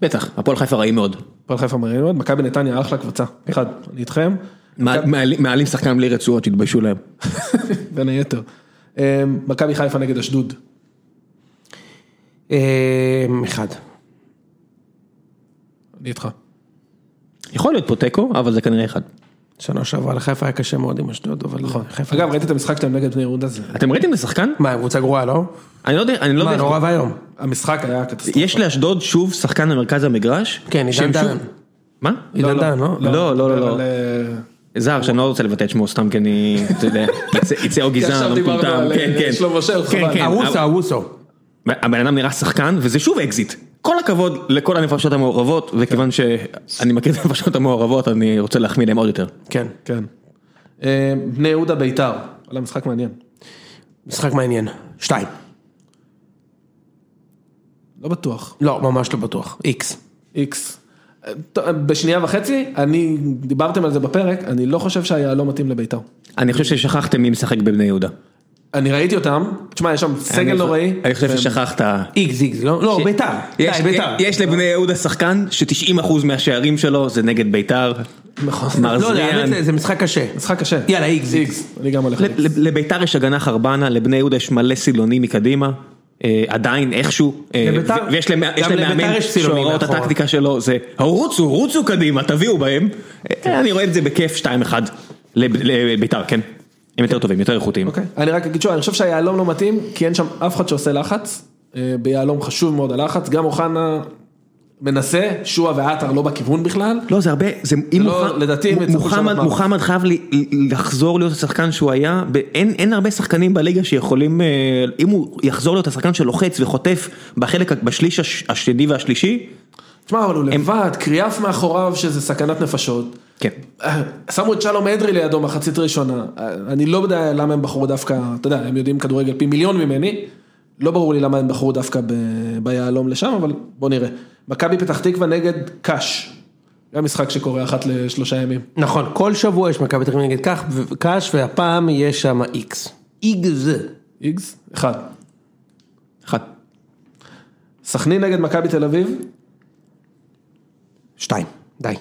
Speaker 4: בטח, הפועל חיפה רעים מאוד,
Speaker 2: הפועל חיפה מראים מאוד. מכבי נתניה, אחלה קבוצה. אחד, אני איתכם.
Speaker 4: מעל- מעלים מעלים שחקן בלי רצועות, התביישו להם,
Speaker 2: בין היתר. אה, מכבי חיפה נגד אשדוד.
Speaker 1: אה, אחד.
Speaker 2: אני איתך.
Speaker 4: יכול להיות פה תיקו, אבל זה כנראה אחד,
Speaker 1: שנה שעברה לחיפה היה קשה מאוד עם אשדוד, אבל נכון. חיפה...
Speaker 2: אגב, ראיתי את המשחק שלהם נגד בני יהודה זה.
Speaker 4: אתם ראיתם את השחקן?
Speaker 1: מה, קבוצה גרועה, לא?
Speaker 4: אני לא יודע, אני לא
Speaker 1: מה,
Speaker 4: יודע,
Speaker 1: נורא ואיום.
Speaker 2: המשחק היה קטסטרופה.
Speaker 4: יש לאשדוד שוב שחקן במרכז המגרש,
Speaker 1: כן, עידן
Speaker 4: שהם שוב-
Speaker 1: דהן.
Speaker 4: מה?
Speaker 1: עידן דן, לא?
Speaker 4: לא, לא, לא,
Speaker 2: אבל,
Speaker 4: לא.
Speaker 2: אה,
Speaker 4: זר שאני לא רוצה לבטא את שמו סתם כי אני, אתה יודע, יצא- יצא או
Speaker 2: עכשיו
Speaker 4: גזען או
Speaker 2: דיברנו
Speaker 4: מטומטם,
Speaker 2: על,
Speaker 4: כן
Speaker 2: אה,
Speaker 4: כן.
Speaker 2: שלמה שרף,
Speaker 4: כן,
Speaker 2: חבל.
Speaker 4: כן.
Speaker 1: ארוסו, ארוסו.
Speaker 4: הבן אדם נראה שחקן וזה שוב אקזיט. כל הכבוד לכל הנפשות המעורבות וכיוון
Speaker 2: כן.
Speaker 4: שאני מכיר את הנפשות המעורבות אני רוצה להחמיא להם עוד יותר.
Speaker 1: כן.
Speaker 2: כן. אה, בני יהודה ביתר. וואלה, משחק מעניין.
Speaker 1: משחק מעניין. שתיים.
Speaker 2: לא בטוח.
Speaker 1: לא, ממש לא בטוח. איקס.
Speaker 2: איקס. אה, טוב, בשנייה וחצי, אני, דיברתם על זה בפרק, אני לא חושב שהיהלום מתאים לביתר.
Speaker 4: אני חושב ששכחתם מי משחק בבני יהודה.
Speaker 2: אני ראיתי אותם, תשמע, יש שם סגל
Speaker 4: אני-
Speaker 2: נוראי. כן. אמ,
Speaker 4: אני חושב ששכחת.
Speaker 1: איקס, איקס, לא? לא,
Speaker 4: ש-
Speaker 1: ביתר. די,
Speaker 4: יש-
Speaker 1: ביתר.
Speaker 4: יש לבני יהודה שחקן ש-90% מהשערים שלו זה נגד ביתר.
Speaker 2: נכון.
Speaker 4: מר
Speaker 1: לא,
Speaker 4: זריאן.
Speaker 1: האמת, זה- זה משחק קשה.
Speaker 2: משחק קשה.
Speaker 1: יאללה, איקס,
Speaker 2: איקס. אני גם הולך. על איקס.
Speaker 4: ל- ל- לביתר יש הגנה חרבנה, לבני יהודה יש מלא סילונים מקדימה, אה, עדיין איכשהו, אה,
Speaker 1: לביתר-
Speaker 4: ו- ויש להם יש
Speaker 1: גם
Speaker 4: להם
Speaker 1: לביתר
Speaker 4: מאמן
Speaker 1: יש סילונים נכון.
Speaker 4: שהוראות
Speaker 1: מאחורה.
Speaker 4: הטקטיקה שלו זה, רוצו, רוצו קדימה, תביאו בהם.
Speaker 1: כן.
Speaker 4: אה, אני רואה את זה בכיף 2-1 לב- לביתר, כן. הם יותר טובים, יותר איכותיים.
Speaker 2: אוקיי. אני רק אגיד שוב, אני חושב שהיהלום לא מתאים, כי אין שם אף אחד שעושה לחץ. אה, ביהלום חשוב מאוד הלחץ, גם אוחנה מנסה, שועה ועטר לא בכיוון בכלל.
Speaker 4: לא, זה הרבה, זה אם
Speaker 2: לא,
Speaker 4: מוחמד-
Speaker 2: לדעתי הם יצטרכו לשנות
Speaker 4: מוחמד,
Speaker 2: משהו.
Speaker 4: מוחמד חייב לי- לחזור להיות השחקן שהוא היה, ב- אין, אין הרבה שחקנים בליגה שיכולים, אה, אם הוא יחזור להיות השחקן שלוחץ וחוטף בחלק, ה- בשליש הש- השני והשלישי,
Speaker 2: תשמע, אבל הוא לבד, קריאף מאחוריו שזה סכנת נפשות.
Speaker 4: כן.
Speaker 2: אה, שמו את שלום אדרי לידו מחצית ראשונה, אה, אני לא יודע למה הם בחרו דווקא, אתה יודע, הם יודעים כדורגל פי מיליון ממני, לא ברור לי למה הם בחרו דווקא ב- ביהלום לשם, אבל בוא נראה. מכבי פתח תקווה נגד קאש, גם משחק שקורה אחת לשלושה ימים.
Speaker 1: נכון, כל שבוע יש מכבי תל אביב נגד כך ו- קאש, והפעם יש שם איקס. איגז.
Speaker 2: איגס, אחד.
Speaker 4: אחד.
Speaker 2: סכנין נגד מכבי תל אביב,
Speaker 1: שתיים, די.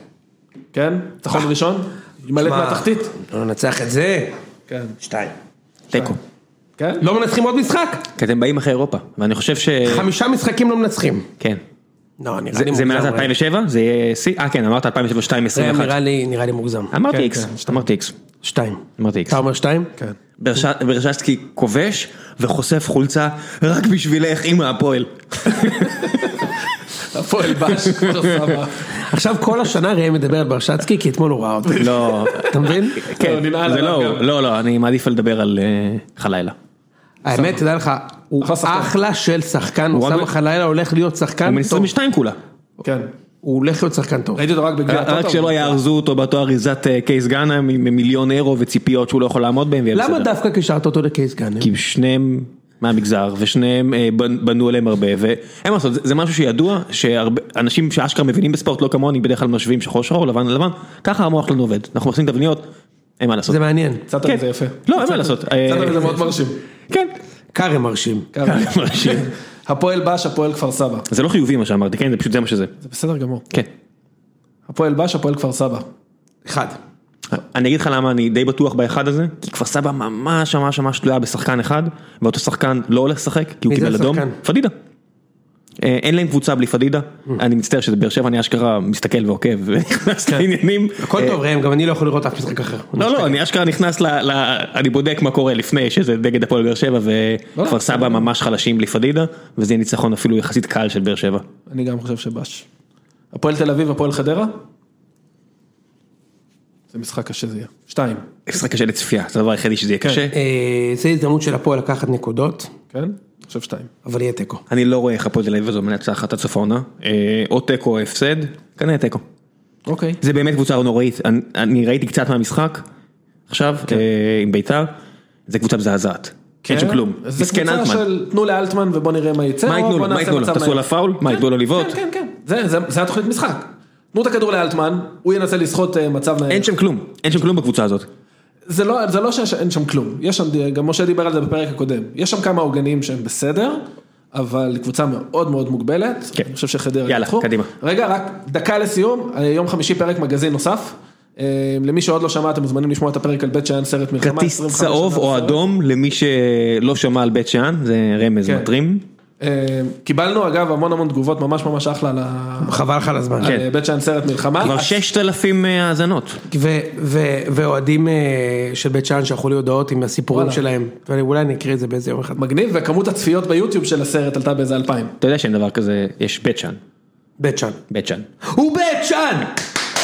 Speaker 2: כן? ניצחון ראשון? מלט
Speaker 1: שמע,
Speaker 2: מהתחתית?
Speaker 1: לא ננצח את זה.
Speaker 2: כן.
Speaker 1: שתיים.
Speaker 4: תיקו.
Speaker 2: כן?
Speaker 1: לא מנצחים עוד משחק?
Speaker 4: כי אתם באים אחרי אירופה, ואני חושב ש...
Speaker 1: חמישה משחקים לא מנצחים.
Speaker 4: כן.
Speaker 1: לא, נראה
Speaker 4: זה
Speaker 1: לי
Speaker 4: זה מאז
Speaker 1: מוגזם.
Speaker 4: 2007? זה יהיה שיא? אה כן, אמרת 2007-2021.
Speaker 1: זה נראה לי, נראה לי מוגזם.
Speaker 4: אמרתי
Speaker 2: כן,
Speaker 4: איקס,
Speaker 2: כן,
Speaker 4: אמרתי איקס.
Speaker 1: שתיים.
Speaker 4: אמרתי איקס.
Speaker 1: אתה אומר שתיים?
Speaker 2: כן.
Speaker 4: ברש- ברשסקי כובש וחושף חולצה רק בשבילך עם הפועל.
Speaker 2: הפועל בש, כפר סבא.
Speaker 1: עכשיו כל השנה ראם מדבר על ברשצקי, כי אתמול הוא ראה אותו.
Speaker 4: לא,
Speaker 1: אתה מבין?
Speaker 2: לא,
Speaker 4: כן,
Speaker 2: ננעל
Speaker 4: זה
Speaker 2: עליו
Speaker 4: לא,
Speaker 2: גם.
Speaker 4: הוא. לא, לא, אני מעדיף לדבר על אה, חלילה.
Speaker 1: האמת, תדע לך, הוא
Speaker 2: אחלה שחקן.
Speaker 1: אחלה של שחקן, הוא
Speaker 4: רק
Speaker 1: שם
Speaker 4: בן-
Speaker 1: לך לילה, הולך להיות
Speaker 4: הוא בן
Speaker 1: שחקן טוב.
Speaker 4: 22 כולה.
Speaker 2: כן.
Speaker 1: הוא הולך להיות שחקן טוב.
Speaker 2: ראיתי אותו רק בגביע הטוטו.
Speaker 4: אה, רק שלא יארזו אותו באותו אריזת אה, קייס גאנה עם עם מיליון אירו וציפיות שהוא לא יכול לעמוד בהם. ויהיה
Speaker 1: למה
Speaker 4: בסדר.
Speaker 1: דווקא קישרת אותו לקייס גאנר?
Speaker 4: כי שניהם מהמגזר ושניהם אה, בנ- בנו עליהם הרבה ואין מה לעשות זה- זה משהו שידוע שאנשים שאשכרה מבינים בספורט לא כמוני בדרך כלל משווים שחור שחור לבן לבן ככה המוח שלנו עובד אנחנו עושים תבניות אין מה לעשות.
Speaker 1: זה מעניין.
Speaker 2: יצאת
Speaker 4: כן.
Speaker 2: מזה יפה.
Speaker 4: לא אין מה לעשות. אה,
Speaker 2: יצאת מזה מאוד מרשים. כן.
Speaker 4: כן.
Speaker 1: קארם מרשים.
Speaker 4: מרשים.
Speaker 2: הפועל בש, הפועל כפר סבא.
Speaker 4: זה לא חיובי מה שאמרתי כן זה פשוט זה מה שזה.
Speaker 2: זה בסדר גמור.
Speaker 4: כן.
Speaker 2: הפועל בש, הפועל כפר סבא.
Speaker 1: אחד.
Speaker 4: אני אגיד לך למה אני די בטוח באחד הזה, כי כפר סבא ממש ממש ממש תלויה בשחקן אחד, ואותו שחקן לא הולך לשחק, כי הוא
Speaker 1: מי זה
Speaker 4: קיבל אדום,
Speaker 1: השחקן?
Speaker 4: פדידה. אה, אין להם קבוצה בלי פדידה, אני מצטער שזה באר שבע, אני אשכרה מסתכל ועוקב ונכנס לעניינים. אה,
Speaker 1: הכל טוב ראם, גם אני לא יכול לראות אף משחק אחר.
Speaker 4: לא, לא, אני אשכרה נכנס ל... ל- אני בודק מה קורה לפני שזה נגד הפועל באר שבע וכפר סבא ממש חלשים בלי פדידה, וזה ניצחון אפילו יחסית קל של באר שבע.
Speaker 2: אני גם חושב שבש. הפועל תל אביב, הפועל חדרה? זה משחק קשה זה יהיה. שתיים,
Speaker 4: משחק קשה לצפייה, זה הדבר היחידי שזה יהיה קשה.
Speaker 1: אה, זה הזדמנות של הפועל לקחת נקודות,
Speaker 2: כן? אני חושב שתיים.
Speaker 1: אבל יהיה תיקו.
Speaker 4: אני לא רואה איך הפועל תל אביב הזו מנצחת עד סוף העונה, אה, או תיקו או הפסד, כנראה תיקו.
Speaker 2: אוקיי.
Speaker 4: זה באמת קבוצה נוראית, אני, אני ראיתי קצת מהמשחק עכשיו
Speaker 2: כן.
Speaker 4: אה, עם ביתר, זה קבוצה מזעזעת, אין שם כלום,
Speaker 2: זה
Speaker 4: מסכן
Speaker 2: קבוצה
Speaker 4: אלטמן,
Speaker 2: של תנו לאלטמן ובוא נראה מה יצא.
Speaker 4: מה
Speaker 2: או
Speaker 4: ייתנו
Speaker 2: בוא
Speaker 4: לו, מה
Speaker 2: נעשה
Speaker 4: ייתנו לו,
Speaker 2: מצב
Speaker 4: תעשו
Speaker 2: מהיר.
Speaker 4: עליו פאול, מה ייתנו לו לבעוט,
Speaker 2: כן, כן, כן. זה- זה- זה התוכנית משחק. תנו את הכדור לאלטמן, הוא ינסה לסחוט אה, מצב נייח.
Speaker 4: אין שם כלום, אין שם כלום בקבוצה הזאת,
Speaker 2: זה לא, זה לא שיש- אין שם כלום, יש שם, גם משה דיבר על זה בפרק הקודם, יש שם כמה עוגנים שהם בסדר, אבל קבוצה מאוד מאוד מוגבלת,
Speaker 4: כן.
Speaker 2: אני חושב שחדרה
Speaker 4: יאללה,
Speaker 2: ניצחו.
Speaker 4: קדימה.
Speaker 2: רגע, רק דקה לסיום, אה, יום חמישי פרק מגזין נוסף, אה, למי שעוד לא שמע, אתם מוזמנים לשמוע את הפרק על בית שאן סרט מלחמה,
Speaker 4: כרטיס
Speaker 2: 25
Speaker 4: צהוב
Speaker 2: שנה
Speaker 4: או
Speaker 2: לסרט.
Speaker 4: אדום למי שלא שמע על בית שאן, זה רמז
Speaker 2: כן.
Speaker 4: מטרים,
Speaker 2: אה, קיבלנו אגב המון המון תגובות ממש ממש אחלה על ה-
Speaker 1: חבל לך על הזמן.
Speaker 4: כן.
Speaker 2: על אה, בית שאן סרט מלחמה,
Speaker 4: כבר 6,000 האזנות,
Speaker 1: ו- ו- ואוהדים אה, של בית שאן שלחו לי הודעות עם הסיפורים
Speaker 2: וואלה.
Speaker 1: שלהם, ואני- אולי אני אקריא את זה באיזה יום אחד.
Speaker 2: מגניב, וכמות הצפיות ביוטיוב של הסרט עלתה באיזה אלפיים.
Speaker 4: אתה יודע שאין דבר כזה, יש בית שאן,
Speaker 1: בית שאן.
Speaker 4: בית שאן,
Speaker 1: הוא בית שאן!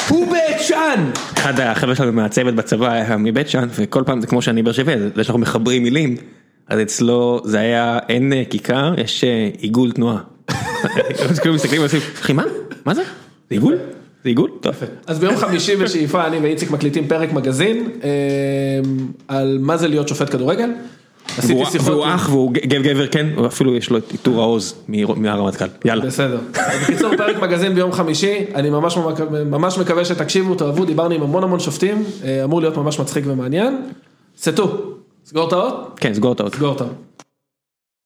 Speaker 1: הוא בית שאן!
Speaker 4: אחד החבר'ה שלנו מהצוות בצבא היה מבית שאן וכל פעם זה כמו שאני באר שבע זה שאנחנו מחברים מילים אז אצלו זה היה אין אה, כיכר יש אה, עיגול תנועה. אז כאילו מסתכלים ועושים אחי מה? מה זה? זה עיגול? זה עיגול? טוב.
Speaker 2: אז ביום חמישי בשאיפה אני ואיציק מקליטים פרק מגזין אה, על מה זה להיות שופט כדורגל. עשיתי
Speaker 4: והוא-
Speaker 2: שיחות,
Speaker 4: והוא אח והוא ג- גב- גבר כן הוא אפילו יש לו את עיטור העוז מר- מהרמטכ"ל יאללה.
Speaker 2: בסדר. אז בקיצור פרק מגזין ביום חמישי, אני ממש ממק- ממש מקווה שתקשיבו, תאהבו, דיברנו עם המון המון שופטים, אה, אמור להיות ממש מצחיק ומעניין. סטו, סגור את האות?
Speaker 4: כן סגור את האוטו.
Speaker 2: סגור את האות.